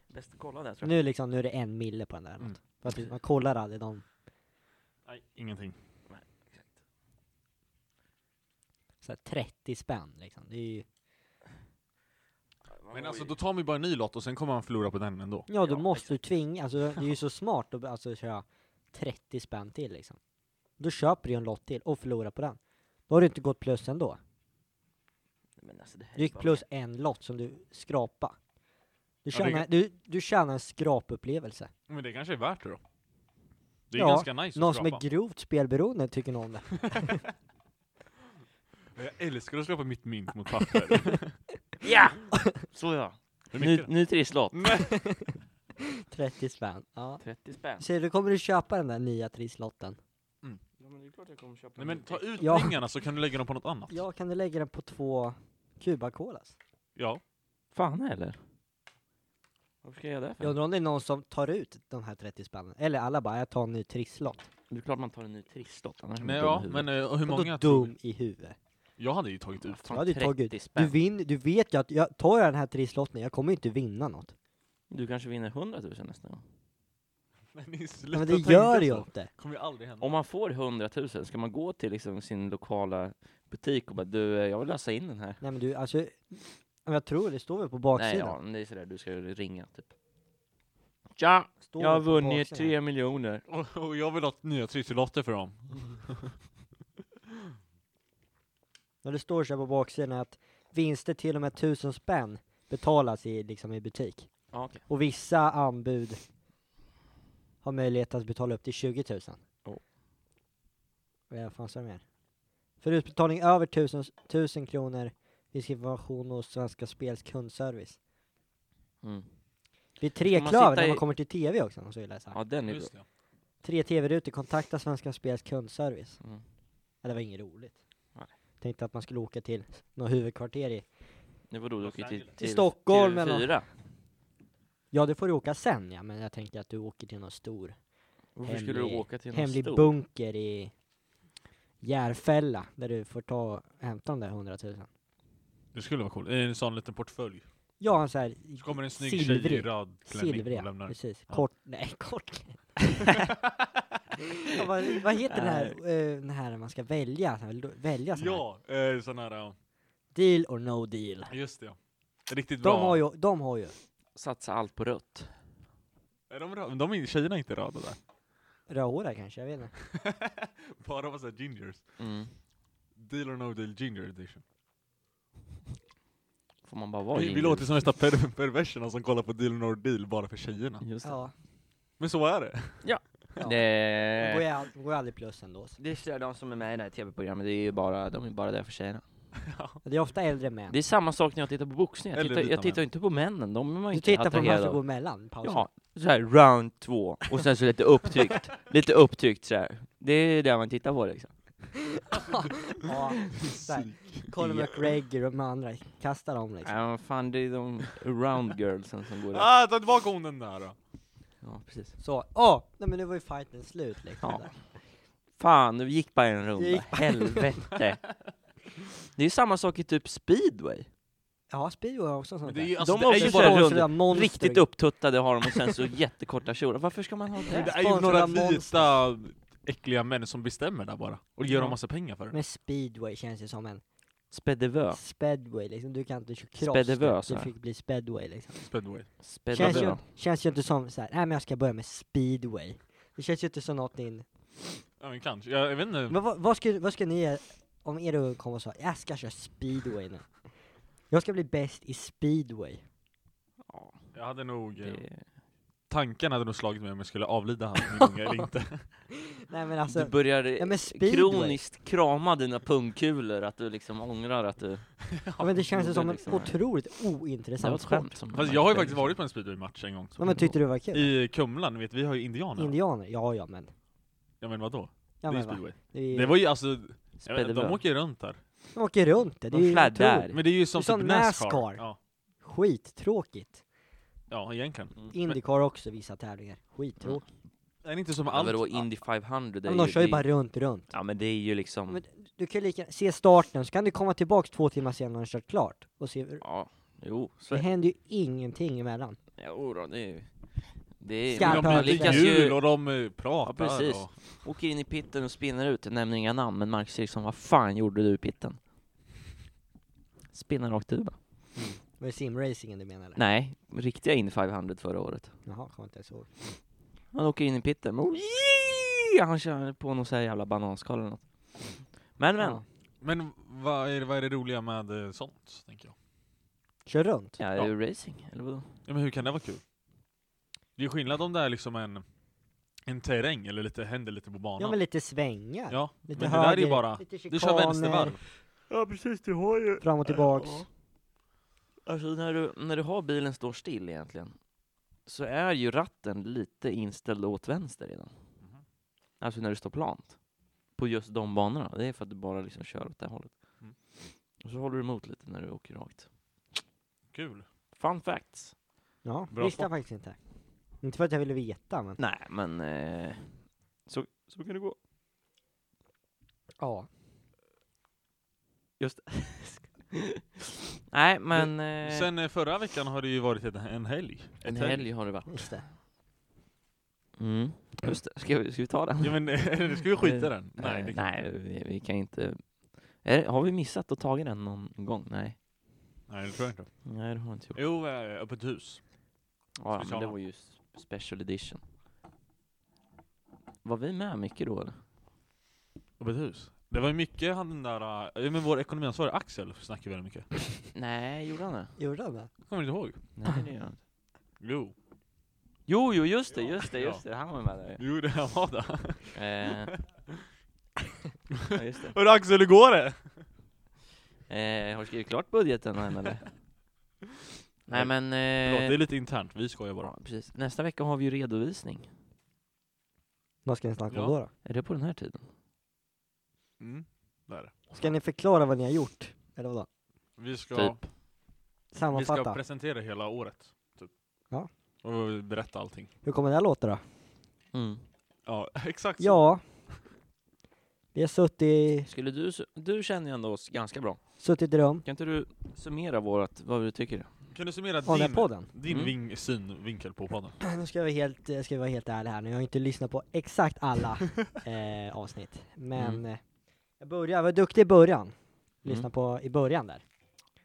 Speaker 3: Bäst att kolla där tror jag.
Speaker 1: Nu liksom, nu är det en mille på den där. eller
Speaker 2: Mm.
Speaker 1: något. För att man kollar aldrig de...
Speaker 2: Nej, ingenting.
Speaker 3: Exakt.
Speaker 1: Så här 30 spänn liksom. Det är ju...
Speaker 3: Man
Speaker 2: Men
Speaker 3: har
Speaker 2: alltså
Speaker 3: ju-
Speaker 2: då tar man ju bara en ny lott och sen kommer man förlora på den ändå.
Speaker 1: Ja, du
Speaker 3: Ja,
Speaker 1: måste du tvinga, alltså det är ju
Speaker 3: <laughs>
Speaker 1: så smart att alltså, köra 30 spänn till liksom. Då köper du ju en lott till och förlorar på den. Då har du inte gått plus ändå.
Speaker 3: Men alltså, det här
Speaker 1: Du
Speaker 3: är
Speaker 1: gick
Speaker 3: bara-
Speaker 1: plus en lott som du skrapa. Du
Speaker 2: Ja, det-
Speaker 1: tjänar, du, du tjänar en skrapupplevelse.
Speaker 2: Men det kanske är värt det då? Det är
Speaker 1: Ja,
Speaker 2: ganska nice
Speaker 1: Någon
Speaker 2: att
Speaker 1: som är
Speaker 2: skrapa.
Speaker 1: grovt spelberoende tycker nog om det.
Speaker 2: Jag älskar att skrapa mitt mynt mot papper.
Speaker 1: <laughs>
Speaker 3: Ja! Så ja.
Speaker 2: Hur
Speaker 3: Ny,
Speaker 2: mycket?
Speaker 3: ny trisslott.
Speaker 2: Nej.
Speaker 1: 30 spänn. Ja.
Speaker 3: 30 spänn.
Speaker 1: Så du kommer du köpa den där nya trisslotten?
Speaker 3: Ja, men det är klart jag kommer köpa
Speaker 2: <laughs> Nej men ta ut
Speaker 1: Ja.
Speaker 2: pengarna så kan du lägga dem på något annat.
Speaker 1: Ja, kan du lägga den på två Cuba Colas?
Speaker 2: Ja.
Speaker 3: Fan eller? Varför ska jag göra det
Speaker 1: Jag
Speaker 3: för?
Speaker 1: undrar om det är någon som tar ut de här 30 spännen. Eller alla bara, jag tar en ny trisslott.
Speaker 3: Det är klart man tar en ny trisslott, annars är man
Speaker 2: Nej,
Speaker 3: dum i
Speaker 2: ja,
Speaker 3: huvudet.
Speaker 2: men eh, och hur
Speaker 1: Vadå
Speaker 2: många tror
Speaker 1: dum i huvudet?
Speaker 2: du? Jag hade ju tagit ut.
Speaker 1: Jag hade ju tagit-
Speaker 3: 30
Speaker 1: Du,
Speaker 3: spänn.
Speaker 1: vin, du vet ju att jag tar jag den här trisslotten, jag kommer ju inte vinna något.
Speaker 3: Du kanske vinner 100 000 nästa gång.
Speaker 2: Mm. Men, ni
Speaker 1: Ja,
Speaker 2: slutar
Speaker 1: men det
Speaker 2: tänka
Speaker 1: gör
Speaker 2: så.
Speaker 1: jag inte.
Speaker 2: kommer ju aldrig hända.
Speaker 3: Om man får 100 000, ska man gå till liksom sin lokala butik och bara du, eh, jag vill lösa in den här?
Speaker 1: Nej men du, alltså, ja, men jag tror det står väl på
Speaker 3: Nej,
Speaker 1: baksidan?
Speaker 3: ja, men det är sådär, du ska ringa typ. Tja!
Speaker 1: Står
Speaker 3: jag har
Speaker 1: väl på
Speaker 3: vunnit
Speaker 1: baksidan.
Speaker 3: 3 miljoner.
Speaker 2: Och, och jag vill ha nya trisslotter för dem.
Speaker 1: Ja, det står så här på baksidan att vinster till och med 1000 spänn betalas i, liksom, i butik.
Speaker 3: Ja, okej.
Speaker 1: Och vissa anbud har möjlighet att betala upp till 20 000.
Speaker 3: Oh.
Speaker 1: Vad fan står det mer? För utbetalning över 1000, 1000 kronor finns information hos Svenska Spels kundservice.
Speaker 3: Mm.
Speaker 1: Vid
Speaker 3: man
Speaker 1: treklöver,
Speaker 3: sitta
Speaker 1: när
Speaker 3: i-
Speaker 1: man kommer till TV också, måste vi läsa.
Speaker 3: Ja, den är bra.
Speaker 2: Just det.
Speaker 1: Tre TV-rutor, kontakta Svenska Spels kundservice.
Speaker 3: Mm.
Speaker 1: Ja, det var inget roligt. tänkte att man skulle åka till något huvudkvarter i.
Speaker 3: Det var då du
Speaker 2: Los
Speaker 3: åker till,
Speaker 2: Angeles.
Speaker 1: Till Stockholm
Speaker 3: TV4.
Speaker 1: eller nåt. Ja, det får du åka sen ja, men jag tänker att du åker till någon stor
Speaker 3: Varför skulle du
Speaker 1: Hemlig-
Speaker 3: åka till någon
Speaker 1: hemlig
Speaker 3: stor?
Speaker 1: bunker i Järfälla, där du får ta hämta de där hundratusen.
Speaker 2: Det skulle vara coolt. En sån liten portfölj.
Speaker 1: Ja, han såhär,
Speaker 2: Så kommer en snygg
Speaker 1: silvrig,
Speaker 2: tjej i röd klänning
Speaker 1: silvriga,
Speaker 2: och lämnar.
Speaker 1: precis.
Speaker 2: Ja.
Speaker 1: Kort, nej <laughs> kort. ja, vad, vad heter den här, eh, den här man ska välja, så här, lo- välja sån här.
Speaker 2: Ja, eh, sån här, ja.
Speaker 1: Deal or no deal.
Speaker 2: just det. ja. Riktigt bra.
Speaker 1: De har ju, de har ju
Speaker 3: Satsa allt på rött.
Speaker 2: Är de, röda? Men de är, tjejerna är inte röda där. <laughs>
Speaker 1: rödhåriga kanske, jag vet inte.
Speaker 2: Bara massa gingers.
Speaker 3: Mm.
Speaker 2: Deal or no deal ginger edition.
Speaker 3: Får man bara vara
Speaker 2: vi, vi
Speaker 3: ginger?
Speaker 2: låter som värsta per perverserna som kollar på deal or no deal bara för tjejerna.
Speaker 3: Just det.
Speaker 1: Ja.
Speaker 2: Men så är det.
Speaker 1: ja. De går, ju
Speaker 3: Det,
Speaker 1: all, de går ju aldrig plus ändå. Så.
Speaker 3: det är så- de som är med i det här tv-programmet, det är ju bara, de är bara där för tjejerna.
Speaker 1: Det är ofta äldre män.
Speaker 3: Det är samma sak när jag tittar på boxning, jag
Speaker 2: Eller
Speaker 3: tittar,
Speaker 2: vita
Speaker 3: jag tittar
Speaker 2: män.
Speaker 3: inte på männen, de är man
Speaker 1: Du
Speaker 3: inte
Speaker 1: tittar på de här
Speaker 3: attraherad
Speaker 1: som
Speaker 3: av.
Speaker 1: går alltså. mellan pausen?
Speaker 3: Ja, så här round två, och sen så
Speaker 1: <laughs>
Speaker 3: lite upptryckt, lite upptryckt så här. Det är det man tittar på liksom.
Speaker 1: ja. Där. Conor McGregor och de andra, kasta dem liksom.
Speaker 3: Ja, men fan det är de round girlsen som går där.
Speaker 2: Ah, ta tillbaka hon den där då.
Speaker 3: Ja, precis.
Speaker 1: Så, åh! nej men nu var ju fighten slut liksom.
Speaker 3: Ja.
Speaker 1: där.
Speaker 3: Fan, det gick bara en
Speaker 1: Det
Speaker 3: runda,
Speaker 1: gick
Speaker 3: helvete. Det är samma sak i typ speedway.
Speaker 1: Ja, speedway har också sånt
Speaker 2: Men det är ju-
Speaker 1: där.
Speaker 2: alltså,
Speaker 3: de
Speaker 2: det
Speaker 3: har
Speaker 2: är ju
Speaker 3: också
Speaker 2: bara
Speaker 3: bara
Speaker 1: Sponsrade
Speaker 3: runder.
Speaker 1: monster.
Speaker 3: Riktigt upptuttade har de och sen så jättekorta kjolar. Varför ska man ha
Speaker 2: Men det
Speaker 3: det?
Speaker 2: är ju några
Speaker 1: Sponsrade
Speaker 2: vita äckliga män som bestämmer där bara. Och ger
Speaker 3: Ja.
Speaker 2: dem massa pengar för det.
Speaker 1: Men speedway känns ju som en
Speaker 3: Spedevö.
Speaker 1: speedway liksom, du kan inte köra cross.
Speaker 3: Spedevö,
Speaker 1: typ.
Speaker 3: så
Speaker 1: Du
Speaker 3: här.
Speaker 1: fick bli speedway liksom.
Speaker 2: Spendway.
Speaker 1: Känns ju,
Speaker 3: Spedevö.
Speaker 1: känns ju inte som såhär, nej men jag ska börja med speedway. Det känns ju inte som något din...
Speaker 2: Ja men kanske. Jag, jag vet inte.
Speaker 1: Men vad, vad, skulle, vad skulle ni göra om er unge kom och sa, jag ska köra speedway nu. Jag ska bli bäst i speedway.
Speaker 3: Ja,
Speaker 2: Jag hade nog... eh,
Speaker 3: det...
Speaker 2: Tanken hade nog slagit mig om jag skulle avlida han
Speaker 1: <laughs>
Speaker 2: en gång eller inte.
Speaker 1: Nej men alltså,
Speaker 3: Du börjar
Speaker 1: nej men speedway.
Speaker 3: kroniskt krama dina pungkulor, att du liksom ångrar att du...
Speaker 1: Ja, men det känns ju som en
Speaker 3: liksom.
Speaker 1: otroligt
Speaker 3: Det var
Speaker 1: ointressant
Speaker 3: ett
Speaker 1: sport.
Speaker 3: skämt som...
Speaker 2: Fast jag har ju faktiskt varit på en speedway-match en gång.
Speaker 1: Ja, men tyckte du det var kul?
Speaker 2: I Kumlan, vet vi har ju indianer.
Speaker 1: Indianer? Ja, ja men.
Speaker 2: ja men vadå?
Speaker 1: Ja,
Speaker 2: det är
Speaker 1: men
Speaker 2: ju
Speaker 1: va?
Speaker 2: speedway.
Speaker 1: Det är,
Speaker 2: Det var ju alltså, jag vet, inte,
Speaker 3: Spedevö.
Speaker 2: de åker ju runt där.
Speaker 1: De åker runt det, det är
Speaker 3: De
Speaker 1: ju
Speaker 3: fladdrar.
Speaker 1: otroligt.
Speaker 2: Men det är ju som,
Speaker 1: som
Speaker 2: typ Nascar.
Speaker 1: NASCAR.
Speaker 2: Ja,
Speaker 1: Skittråkigt.
Speaker 2: ja, egentligen.
Speaker 1: Indycar också, vissa tävlingar. Skittråkigt.
Speaker 2: Är det inte som
Speaker 3: Ja,
Speaker 2: allt?
Speaker 3: vadå, Indy 500? Det är
Speaker 1: men de kör ju
Speaker 3: det är-
Speaker 1: bara runt, runt.
Speaker 3: Ja men det är ju
Speaker 2: Mm.
Speaker 3: liksom...
Speaker 1: Men du kan ju lika se starten, så kan du komma tillbaks två timmar senare när du kört klart. Och se, hur-
Speaker 3: Ja, jo. Så...
Speaker 1: det händer ju ingenting emellan.
Speaker 3: Jo då, det är ju... Det är...
Speaker 1: Skarpa
Speaker 2: Men
Speaker 3: man
Speaker 2: de byter
Speaker 3: lyckas
Speaker 2: hjul
Speaker 3: ju...
Speaker 2: och de eh, pratar
Speaker 3: Ja, precis.
Speaker 2: och...
Speaker 3: Åker in i pitten och spinner ut, jag nämner inga namn, men Marcus Eriksson, vad fan gjorde du i pitten? Spinna rakt ut bara.
Speaker 1: Var det simracingen du menar eller?
Speaker 3: Nej, riktiga Indy 500 förra året.
Speaker 1: Jaha, kommer inte ens ihåg.
Speaker 3: Han åker in i pitten, och han kör på någon sån här jävla bananskal eller något. Men men,
Speaker 1: Ja.
Speaker 2: Men vad är, det- vad är det roliga med eh, sånt, tänker jag?
Speaker 1: Kör runt.
Speaker 3: ja, är det racing, eller vadå?
Speaker 2: Ja, men hur kan det vara kul? Det är ju skillnad om det är liksom en, en terräng eller lite, händer lite på banan.
Speaker 1: Ja men lite svängar.
Speaker 2: Ja,
Speaker 1: Lite
Speaker 2: men det
Speaker 1: höger,
Speaker 2: där är ju bara...
Speaker 1: lite
Speaker 2: Du kör
Speaker 1: chikaner,
Speaker 2: vänstervarv.
Speaker 3: Ja precis, du har ju...
Speaker 1: Fram och tillbaks.
Speaker 3: Alltså när du, när du har bilen står still egentligen, så är ju ratten lite inställd åt vänster redan.
Speaker 2: Mhm.
Speaker 3: Alltså när du står plant. På just de banorna. Det är för att du bara liksom kör åt det hållet.
Speaker 2: Mm.
Speaker 3: Och så håller du emot lite när du åker rakt.
Speaker 2: Kul.
Speaker 3: Fun facts!
Speaker 1: Ja,
Speaker 2: Bra
Speaker 1: visste
Speaker 2: sport.
Speaker 1: jag faktiskt inte. Inte för att jag ville veta men.
Speaker 3: Nej men, eh, så, så kan det gå.
Speaker 1: Ja.
Speaker 3: Just <laughs> Nej men, eh,
Speaker 2: Sen eh, förra veckan har det ju varit ett, en helg.
Speaker 3: en
Speaker 2: Ett
Speaker 3: helg har det varit.
Speaker 1: Just det.
Speaker 3: Mm. Just det. Ska, vi, ska vi ta den?
Speaker 2: Ja men <laughs> nu ska vi skita i den. Nej,
Speaker 3: Eh,
Speaker 2: det kan-
Speaker 3: nej vi, vi kan inte. Är, det- har vi missat att ta den någon gång? Nej.
Speaker 2: nej det tror jag inte.
Speaker 3: Nej, det har vi inte gjort.
Speaker 2: Jo, eh, öppet hus.
Speaker 3: Ja, men det
Speaker 2: special.
Speaker 3: var ju s- special edition. Var vi med mycket då eller?
Speaker 2: Öppet hus. Det var ju mycket han den där, eh, men vår ekonomiansvarig Axel snackade väldigt mycket.
Speaker 3: Nej, gjorde han det?
Speaker 1: Gjorde han det?
Speaker 2: Kommer du inte ihåg?
Speaker 3: Nej, det gör han inte.
Speaker 2: Jo.
Speaker 3: Jo, jo, just det,
Speaker 2: Ja.
Speaker 3: just det, just det. Han var med där
Speaker 2: Jo, det här var det.
Speaker 3: <laughs> ju. eh, <laughs> Ja, just det.
Speaker 2: Hörru Axel, hur går det?
Speaker 3: Eh, har du skrivit klart budgeten än eller?
Speaker 2: Nej,
Speaker 3: Nej men...
Speaker 2: Förlåt, det är
Speaker 3: Eh,
Speaker 2: lite internt. Vi skojar bara.
Speaker 3: ja, precis. Nästa vecka har vi ju redovisning.
Speaker 1: Vad ska ni snacka om
Speaker 2: Ja.
Speaker 1: då? då?
Speaker 3: Är det på den här tiden?
Speaker 2: Mm. Där.
Speaker 1: Ska ni förklara vad ni har gjort? Eller vadå?
Speaker 2: Vi ska,
Speaker 3: Typ.
Speaker 2: vi ska
Speaker 1: Sammanfatta.
Speaker 2: presentera hela året. Typ.
Speaker 1: Ja.
Speaker 2: Och berätta allting.
Speaker 1: Hur kommer det här låta då?
Speaker 3: Mm.
Speaker 2: Ja, <laughs> exakt så.
Speaker 1: Ja. Vi har suttit,
Speaker 3: Skulle du, su- du känner ju ändå oss ganska bra.
Speaker 1: suttit i rum.
Speaker 3: Kan inte du summera vårat, vad du tycker?
Speaker 2: Kan du summera
Speaker 1: Av den här
Speaker 2: din,
Speaker 1: podden.
Speaker 2: din
Speaker 3: Mm.
Speaker 2: ving, syn, vinkel på podden?
Speaker 1: Nu ska vi, helt, eh, ska vi vara helt ärliga här nu, jag har inte lyssnat på exakt
Speaker 2: <laughs>
Speaker 1: alla eh, avsnitt. Men
Speaker 3: Mm.
Speaker 1: eh, jag började, jag var duktig i början. Lyssna
Speaker 3: Mm.
Speaker 1: på i början där.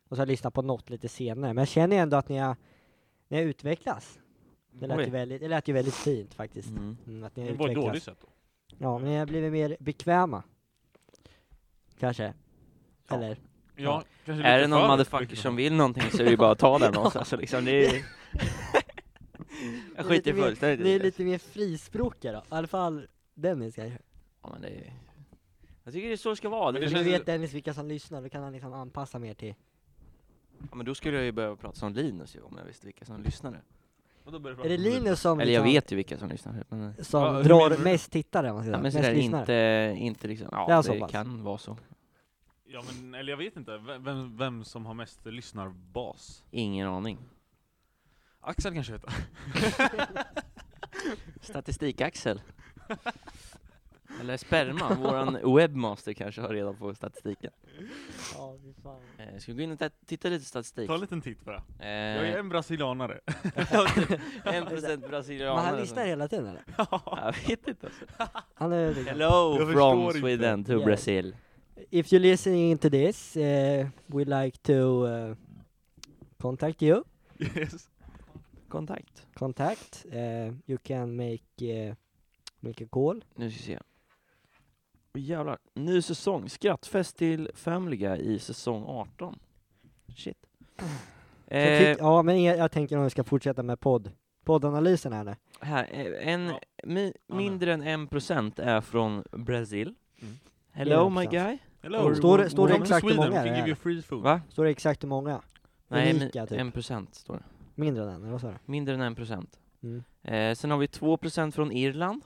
Speaker 1: Och så har jag lyssnat på något lite senare. Men jag känner ju ändå att ni har, ni har utvecklats. Det lät,
Speaker 3: Oj.
Speaker 1: ju väldigt, det lät ju väldigt fint faktiskt.
Speaker 3: Mm.
Speaker 1: Mm, att ni har
Speaker 2: Det var ett dåligt
Speaker 1: utvecklats.
Speaker 2: sätt då.
Speaker 1: Ja, men ni har blivit mer bekväma. Kanske.
Speaker 3: Ja.
Speaker 1: Eller?
Speaker 2: Ja,
Speaker 1: Ja.
Speaker 2: kanske
Speaker 3: Är
Speaker 2: lite
Speaker 3: det någon
Speaker 2: för
Speaker 3: motherfucker
Speaker 2: mycket.
Speaker 3: som vill någonting så är det ju bara att ta <laughs> den oss. Alltså, liksom, det är... Jag
Speaker 1: Ni är lite
Speaker 3: skiter
Speaker 1: mer-
Speaker 3: fullständigt
Speaker 1: Ni
Speaker 3: i
Speaker 1: är
Speaker 3: det.
Speaker 1: lite mer frispråkiga då. I alla fall Dennis kanske.
Speaker 3: Ja, men det är... Jag tycker det är så det ska vara.
Speaker 2: Men
Speaker 3: Det
Speaker 2: det
Speaker 1: Men
Speaker 3: är...
Speaker 1: nu
Speaker 2: känns-
Speaker 1: vet Dennis vilka som lyssnar, då kan han liksom anpassa mer till
Speaker 3: ja, men då skulle jag ju behöva prata som Linus ju, om jag visste vilka som lyssnade.
Speaker 2: Och då börjar det
Speaker 1: Är det
Speaker 2: prata om
Speaker 1: Linus som,
Speaker 3: Eller jag
Speaker 1: liksom-
Speaker 3: vet ju vilka som lyssnar. Men,
Speaker 1: som
Speaker 2: Ja, hur menar
Speaker 1: drar
Speaker 2: du?
Speaker 1: mest tittare? om Man ska
Speaker 3: ja,
Speaker 1: säga.
Speaker 3: men
Speaker 1: mest
Speaker 3: sådär,
Speaker 1: lyssnare?
Speaker 3: inte, inte liksom... Ja,
Speaker 1: Det är
Speaker 3: det,
Speaker 1: så pass.
Speaker 3: kan vara så.
Speaker 2: Ja, men, eller jag vet inte, vem, vem, vem som har mest lyssnarbas?
Speaker 3: Ingen aning.
Speaker 2: Axel kanske heter.
Speaker 1: <laughs>
Speaker 3: Statistik-Axel. Eller sperma, våran webbmaster kanske har reda på statistiken.
Speaker 1: Ja, fy fan.
Speaker 3: Eh, ska vi gå in och t- titta lite statistik?
Speaker 2: Ta en liten titt på det.
Speaker 3: Eh,
Speaker 2: Jag är en brasilianare.
Speaker 3: en procent brasilianer.
Speaker 1: Men han lyssnar hela tiden eller?
Speaker 3: Jag vet inte. Alltså.
Speaker 1: Han är, liksom,
Speaker 3: Hello
Speaker 2: Jag
Speaker 3: from
Speaker 2: förstår inte.
Speaker 3: Sweden to
Speaker 1: Yeah.
Speaker 3: Brazil.
Speaker 1: If you're listening to this, eh, we like to eh, contact you.
Speaker 2: <laughs> yes.
Speaker 3: Kontakt.
Speaker 1: Contact. eh, you can make, eh, make a call.
Speaker 3: Nu ska vi se. Åh, jävlar. Ny säsong. Skrattfest till Family Guy i säsong 18. Shit.
Speaker 1: Så
Speaker 3: Eh,
Speaker 1: tyck- ja, men jag, jag tänker om vi ska fortsätta med podd, poddanalysen här nu.
Speaker 3: här, eh, en,
Speaker 2: Ja.
Speaker 3: mi,
Speaker 2: men.
Speaker 3: mindre än en procent är från Brasil.
Speaker 2: Mm.
Speaker 3: Hello
Speaker 1: En
Speaker 3: my
Speaker 1: procent.
Speaker 3: guy.
Speaker 2: Hello.
Speaker 1: Står det- står det
Speaker 2: Welcome to
Speaker 1: exakt hur
Speaker 2: Sweden,
Speaker 1: många
Speaker 2: we
Speaker 1: det
Speaker 2: can
Speaker 1: är?
Speaker 2: give you free food.
Speaker 3: Va?
Speaker 1: Står det exakt hur många?
Speaker 3: Nej, mi-
Speaker 1: Unika, typ.
Speaker 3: en procent står det.
Speaker 1: Mindre än en, eller vad sa du?
Speaker 3: Mindre än en procent.
Speaker 1: Mm.
Speaker 3: Eh, sen har vi två procent från Irland.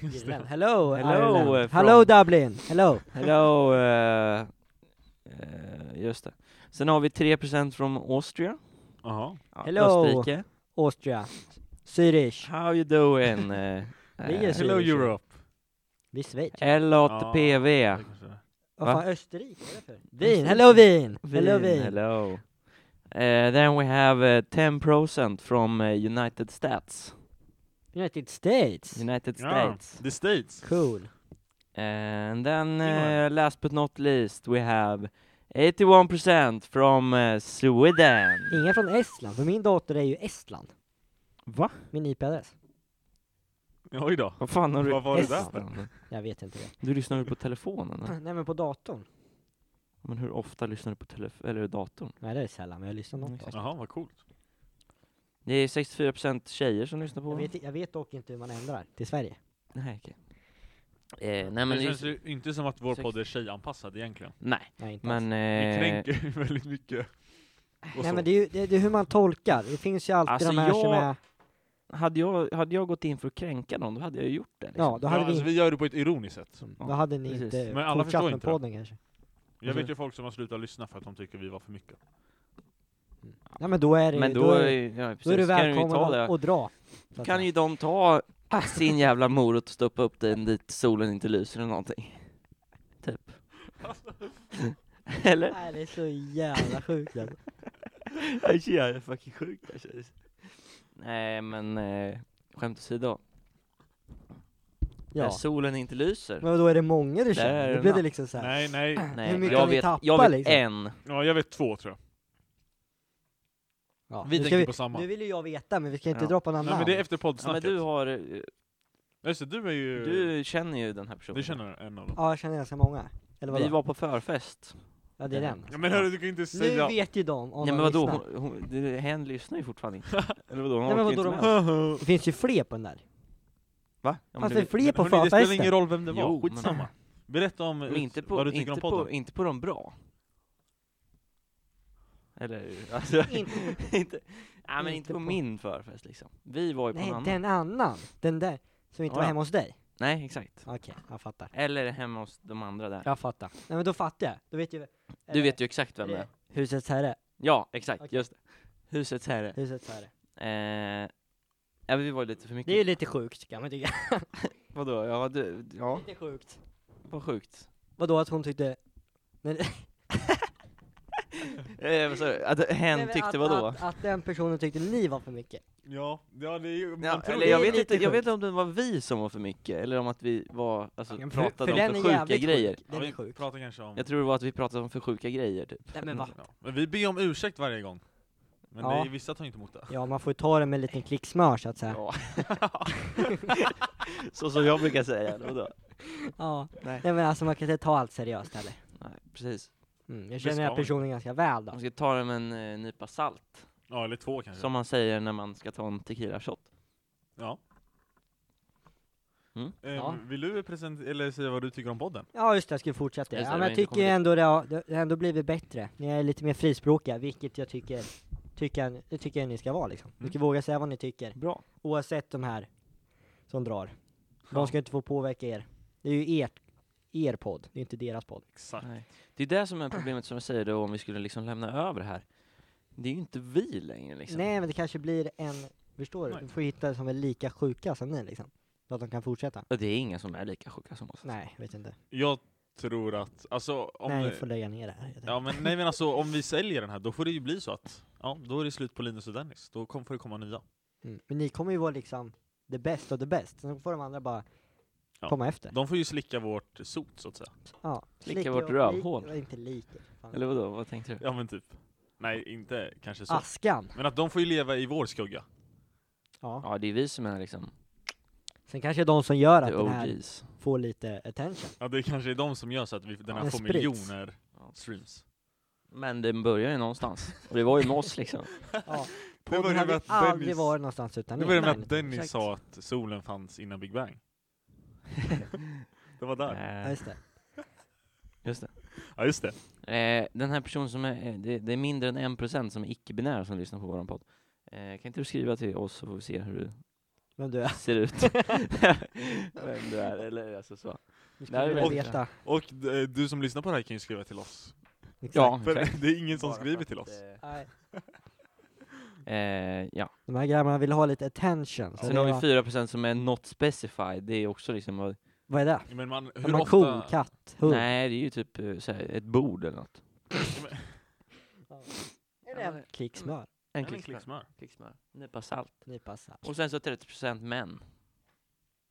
Speaker 2: Just det.
Speaker 1: Irland. Hello,
Speaker 3: Hello,
Speaker 1: Ireland.
Speaker 3: eh,
Speaker 1: Hello
Speaker 3: from-
Speaker 1: Dublin! Hello!
Speaker 3: <laughs> Hello, eh, eh, just det. Sen har vi 3% från Austria.
Speaker 2: Jaha.
Speaker 3: Ja,
Speaker 1: Hello.
Speaker 3: Österrike.
Speaker 1: Austria. Swedish.
Speaker 3: How you doing?
Speaker 1: Ligger
Speaker 3: eh, eh,
Speaker 1: Sweden.
Speaker 2: Hello Europe.
Speaker 1: Vi är Schweiz.
Speaker 3: LATPV.
Speaker 2: Det kanske är.
Speaker 1: Vad
Speaker 3: Va?
Speaker 1: fan, Österrike? Vad är det för?
Speaker 3: Precis.
Speaker 1: Vin! Hello vin! Hello
Speaker 3: Vin,
Speaker 1: vin!
Speaker 3: Hello. Eh, then we have eh, 10% from eh, United States.
Speaker 1: United States!
Speaker 3: United
Speaker 2: Ja,
Speaker 3: States.
Speaker 2: The States.
Speaker 1: Cool!
Speaker 3: And then
Speaker 2: Finland.
Speaker 3: eh, last but not least we have 81% from eh, Sweden.
Speaker 1: Ingen från Estland, för min dator är ju Estland.
Speaker 3: Va?
Speaker 1: Min IP-adress.
Speaker 2: Oj då.
Speaker 3: Vad fan har du?
Speaker 2: Vad var det där för?
Speaker 3: Estland?
Speaker 1: Jag vet inte det.
Speaker 3: Du lyssnar väl på telefonen? eller?
Speaker 1: Nej men på datorn.
Speaker 3: Men hur ofta lyssnar du på telef- eller datorn?
Speaker 1: Nej det är sällan, men jag lyssnar något.
Speaker 3: Exakt.
Speaker 1: Exakt.
Speaker 2: Jaha, vad coolt.
Speaker 3: Det är 64% tjejer som lyssnar på
Speaker 1: Jag vet, jag vet dock inte hur man ändrar till Sverige.
Speaker 3: Nej, okej. Eh, nej, men
Speaker 2: Men
Speaker 3: det
Speaker 2: det känns
Speaker 3: är,
Speaker 2: ju inte som att vår
Speaker 3: sex-
Speaker 2: podd är tjejanpassad egentligen.
Speaker 3: nej,
Speaker 1: Nej inte alls.
Speaker 3: men...
Speaker 2: Vi
Speaker 3: Eh,
Speaker 2: kränker <laughs> ju väldigt mycket. Och
Speaker 1: Nej
Speaker 2: så.
Speaker 1: men det är ju det, det är hur man tolkar. Det finns ju alltid
Speaker 3: Alltså,
Speaker 1: de här som
Speaker 3: jag-
Speaker 1: är...
Speaker 3: hade, jag, hade jag gått in för att kränka någon, då hade jag ju gjort det.
Speaker 1: Ja,
Speaker 3: Liksom.
Speaker 1: då
Speaker 2: ja,
Speaker 1: hade vi,
Speaker 2: alltså, vi gör det på ett ironiskt sätt.
Speaker 1: då hade ni
Speaker 3: precis.
Speaker 1: inte
Speaker 2: Men
Speaker 1: fortsatt
Speaker 2: alla förstår
Speaker 1: med
Speaker 2: inte det.
Speaker 1: podden kanske.
Speaker 2: Jag vet ju folk som har slutat lyssna för att de tycker vi var för mycket.
Speaker 1: Nej men då är det
Speaker 3: men
Speaker 1: då,
Speaker 3: då,
Speaker 1: är,
Speaker 3: ja, precis,
Speaker 1: då är du
Speaker 3: kan de ju
Speaker 1: välkommen
Speaker 3: ta det.
Speaker 1: att- att dra. så att
Speaker 3: kan
Speaker 1: säga.
Speaker 3: ju de ta sin jävla morot och stoppa upp den dit solen inte lyser eller någonting. Typ. eller?
Speaker 1: Nej det är så jävla sjukt alltså.
Speaker 3: Jag är så jävla fucking sjuk alltså. Nej men, eh, skämt åsido. När
Speaker 1: Ja.
Speaker 3: solen inte lyser.
Speaker 1: Men då är det många du
Speaker 3: Där
Speaker 1: känner?
Speaker 3: är
Speaker 1: Då
Speaker 3: den
Speaker 1: blir det
Speaker 3: då.
Speaker 1: liksom såhär,
Speaker 2: Nej, nej.
Speaker 1: hur
Speaker 3: Nej,
Speaker 1: mycket
Speaker 3: jag
Speaker 1: ni
Speaker 3: vet,
Speaker 1: tappar,
Speaker 3: jag vet
Speaker 1: liksom?
Speaker 3: en.
Speaker 2: Ja, jag vet två tror jag.
Speaker 1: ja,
Speaker 2: Vi
Speaker 1: nu ska
Speaker 2: tänker på samma.
Speaker 1: Nu vill ju jag veta men vi ska inte
Speaker 3: Ja.
Speaker 1: dra på någon
Speaker 2: Nej
Speaker 1: namn.
Speaker 2: men det är efter
Speaker 3: Ja, men
Speaker 2: poddsnacket.
Speaker 3: du
Speaker 2: Ja,
Speaker 3: har, eh,
Speaker 2: Just det, du är ju...
Speaker 3: du känner ju den här personen.
Speaker 2: Du känner en av dem.
Speaker 1: Ja jag känner ganska många. Eller vadå?
Speaker 3: Vi var på förfest.
Speaker 1: Ja det är den.
Speaker 2: Ja, men hörru, du kan ju inte
Speaker 1: Nu
Speaker 2: <laughs> säga...
Speaker 1: vet ju de om
Speaker 3: Nej
Speaker 1: de
Speaker 3: men vadå,
Speaker 1: lyssnar.
Speaker 3: hon, hon, det- hen lyssnar ju fortfarande inte. <laughs> Eller vadå, hon
Speaker 1: Nej, men
Speaker 3: orkar
Speaker 1: vadå,
Speaker 3: inte
Speaker 1: de-
Speaker 3: med.
Speaker 1: Det finns ju fler på den
Speaker 3: <laughs>
Speaker 1: där.
Speaker 3: Va? Ja, men
Speaker 1: Fanns
Speaker 3: du
Speaker 1: det
Speaker 3: vet-
Speaker 1: fler på
Speaker 2: hörni, det spelar
Speaker 1: förfesten?
Speaker 2: ingen roll vem det var,
Speaker 3: Jo, men-
Speaker 2: skitsamma. Berätta om
Speaker 3: men inte på,
Speaker 2: vad du tycker
Speaker 3: inte,
Speaker 2: om
Speaker 3: på,
Speaker 2: podden.
Speaker 3: inte på de bra. Eller
Speaker 1: <laughs>
Speaker 3: alltså,
Speaker 1: Inte-
Speaker 3: <laughs> inte, nej men
Speaker 1: inte
Speaker 3: inte på,
Speaker 1: på-
Speaker 3: min förfest liksom. Vi var ju på en
Speaker 1: Nej
Speaker 3: annan.
Speaker 1: den annan, den där som inte
Speaker 3: Ja,
Speaker 1: var
Speaker 3: ja.
Speaker 1: hemma hos dig.
Speaker 3: Nej, exakt.
Speaker 1: Okej, jag fattar.
Speaker 3: Eller hemma hos de andra där.
Speaker 1: Jag fattar. Nej men då fattar jag. Då vet ju...
Speaker 3: Du vet ju exakt vem det är.
Speaker 1: det Husets herre.
Speaker 3: Ja, exakt.
Speaker 1: Okej.
Speaker 3: Just det. Husets herre.
Speaker 1: Husets herre.
Speaker 3: Eh, ja, vi var ju lite för mycket.
Speaker 1: Det är ju lite sjukt kan man tycka.
Speaker 3: Vadå? Ja, du, ja.
Speaker 1: Lite sjukt.
Speaker 3: Vad sjukt.
Speaker 1: Vadå att hon tyckte...
Speaker 3: Eh, vad sa du? Att
Speaker 1: Nej,
Speaker 3: hen
Speaker 1: men
Speaker 3: tyckte
Speaker 1: att,
Speaker 3: vadå? Alltså,
Speaker 1: Att, att den personen tyckte ni var för mycket.
Speaker 2: Ja, ja det är ju...
Speaker 3: Ja,
Speaker 1: tror
Speaker 3: eller
Speaker 1: det
Speaker 3: jag
Speaker 1: är
Speaker 3: vet,
Speaker 1: lite
Speaker 3: inte, jag vet
Speaker 1: sjukt.
Speaker 3: inte om det var vi som var för mycket, eller om att vi var, alltså,
Speaker 1: Ja, men
Speaker 3: pratade om för
Speaker 1: är
Speaker 3: sjuka
Speaker 1: jävligt
Speaker 3: grejer.
Speaker 1: Sjuk. Den är
Speaker 2: vi
Speaker 1: sjuk.
Speaker 2: pratar kanske om...
Speaker 3: Jag tror det var att vi pratade om för sjuka grejer, typ.
Speaker 1: Nej men va?
Speaker 2: Ja. Men vi ber om ursäkt varje gång. Men
Speaker 1: Ja.
Speaker 2: det är, vissa tar inte emot det.
Speaker 1: Ja man får ju ta det med en liten klick smör så att säga.
Speaker 3: Ja. Så som jag brukar säga, eller vadå?
Speaker 1: Ja.
Speaker 3: Nej.
Speaker 1: Nej men alltså man kan inte ta allt seriöst heller.
Speaker 3: Nej, precis.
Speaker 1: Mm, jag
Speaker 2: ska
Speaker 1: känner den här
Speaker 2: man.
Speaker 1: personen ganska väl då.
Speaker 3: Man ska ta det med en eh, nypa salt,
Speaker 2: Ja, eller två kanske.
Speaker 3: som man säger när man ska ta en tequila shot.
Speaker 2: Ja.
Speaker 3: Mm.
Speaker 2: Eh,
Speaker 1: Ja.
Speaker 2: Vill du present- eller säga vad du tycker om podden?
Speaker 1: Ja just det, jag skulle fortsätta.
Speaker 3: Just det,
Speaker 1: Ja,
Speaker 3: det
Speaker 1: men
Speaker 3: var
Speaker 1: jag
Speaker 3: inte
Speaker 1: tycker ju
Speaker 3: kommit
Speaker 1: ändå det har, det har ändå blivit bättre. Ni är lite mer frispråkiga, vilket jag tycker, tycker, det tycker jag ni ska vara liksom. Ni
Speaker 2: Mm.
Speaker 1: ska våga säga vad ni tycker,
Speaker 3: Bra.
Speaker 1: oavsett de här som drar.
Speaker 2: Ja.
Speaker 1: De ska inte få påverka er. Det är ju ert, er podd, det är inte deras podd.
Speaker 2: Exakt.
Speaker 3: Nej. Det är det som är problemet som jag säger då, om vi skulle liksom lämna över det här. Det är ju inte vi längre liksom.
Speaker 1: Nej men det kanske blir en, förstår du?
Speaker 2: Nej.
Speaker 1: Du får hitta som är lika sjuka som ni liksom. Så att de kan fortsätta.
Speaker 3: Och det är inga som är lika sjuka som oss.
Speaker 1: Nej, vet inte.
Speaker 2: Jag tror att, alltså om...
Speaker 1: Nej, ni får lägga ner det här. helt
Speaker 2: ja, men, nej men alltså om vi säljer den här, då får det ju bli så att, ja, då är det slut på Linus och Dennis. Då kom, får det komma nya.
Speaker 1: Mm. Men ni kommer ju vara liksom the best of the best, sen får de andra bara
Speaker 2: Ja.
Speaker 1: komma efter.
Speaker 2: De får ju slicka vårt sot så att säga.
Speaker 1: Ja.
Speaker 3: Slicka vårt
Speaker 1: och-
Speaker 3: rövhål.
Speaker 1: lik- Inte liker.
Speaker 3: Eller vadå, vad tänkte du?
Speaker 2: Ja men typ. Nej, inte kanske
Speaker 1: Ah.
Speaker 2: så.
Speaker 1: Askan.
Speaker 2: Men att de får ju leva i vår skugga.
Speaker 1: Ja.
Speaker 3: Ja, det är vi som är liksom
Speaker 1: Sen kanske de som gör att
Speaker 3: the
Speaker 1: den här
Speaker 3: OGs.
Speaker 1: får lite <laughs> attention.
Speaker 2: Ja, det kanske är de som gör så att vi, den här
Speaker 1: Den
Speaker 2: får
Speaker 1: sprids.
Speaker 2: miljoner
Speaker 3: Ja.
Speaker 2: streams.
Speaker 3: Men den börjar ju någonstans. Och det var ju med oss liksom.
Speaker 1: Ja.
Speaker 2: Nu
Speaker 1: Podden
Speaker 2: börjar
Speaker 1: hade
Speaker 2: med att
Speaker 1: aldrig
Speaker 2: Dennis-
Speaker 1: varit någonstans utan
Speaker 2: Det började med
Speaker 1: Nej.
Speaker 2: att Dennis
Speaker 3: exakt.
Speaker 2: sa att solen fanns innan Big Bang. det var där.
Speaker 1: Ja,
Speaker 3: Eh,
Speaker 1: just det.
Speaker 3: Just det.
Speaker 2: Ja just det.
Speaker 3: Eh, den här personen som är, eh, det, det är mindre än 1% som är icke-binär som lyssnar på våran podd. Eh, kan inte du skriva till oss så får vi se hur <laughs> du
Speaker 1: Men du,
Speaker 3: ser ut? <laughs> Vem du är, eller alltså så.
Speaker 1: <laughs> nu
Speaker 3: Nej,
Speaker 1: skulle vilja
Speaker 2: och-
Speaker 1: veta.
Speaker 2: Och eh, du som lyssnar på det här kan ju skriva till oss.
Speaker 3: Ja,
Speaker 2: För <laughs>
Speaker 3: exakt.
Speaker 2: det är ingen som
Speaker 3: Bara för
Speaker 2: skriver
Speaker 3: att,
Speaker 2: till oss.
Speaker 3: eh,
Speaker 1: Nej.
Speaker 3: Eh, ja.
Speaker 1: De här grabbarna vill ha lite attention. Så
Speaker 3: Sen
Speaker 1: det
Speaker 3: har vi
Speaker 1: var-
Speaker 3: 4% som är not specified, det är också liksom, vad-
Speaker 1: Vad är det?
Speaker 2: Men man,
Speaker 1: Hur
Speaker 2: hur
Speaker 1: man
Speaker 2: ofta...
Speaker 1: ko, katt, hund?
Speaker 3: nej det är ju typ eh, såhär, ett bord eller något.
Speaker 1: Är det en klick smör?
Speaker 3: En
Speaker 2: Ja, men
Speaker 3: klick smör.
Speaker 2: klicksmör.
Speaker 3: Klick smör. Nypa salt.
Speaker 1: Nypa salt.
Speaker 3: Och sen så 30% män.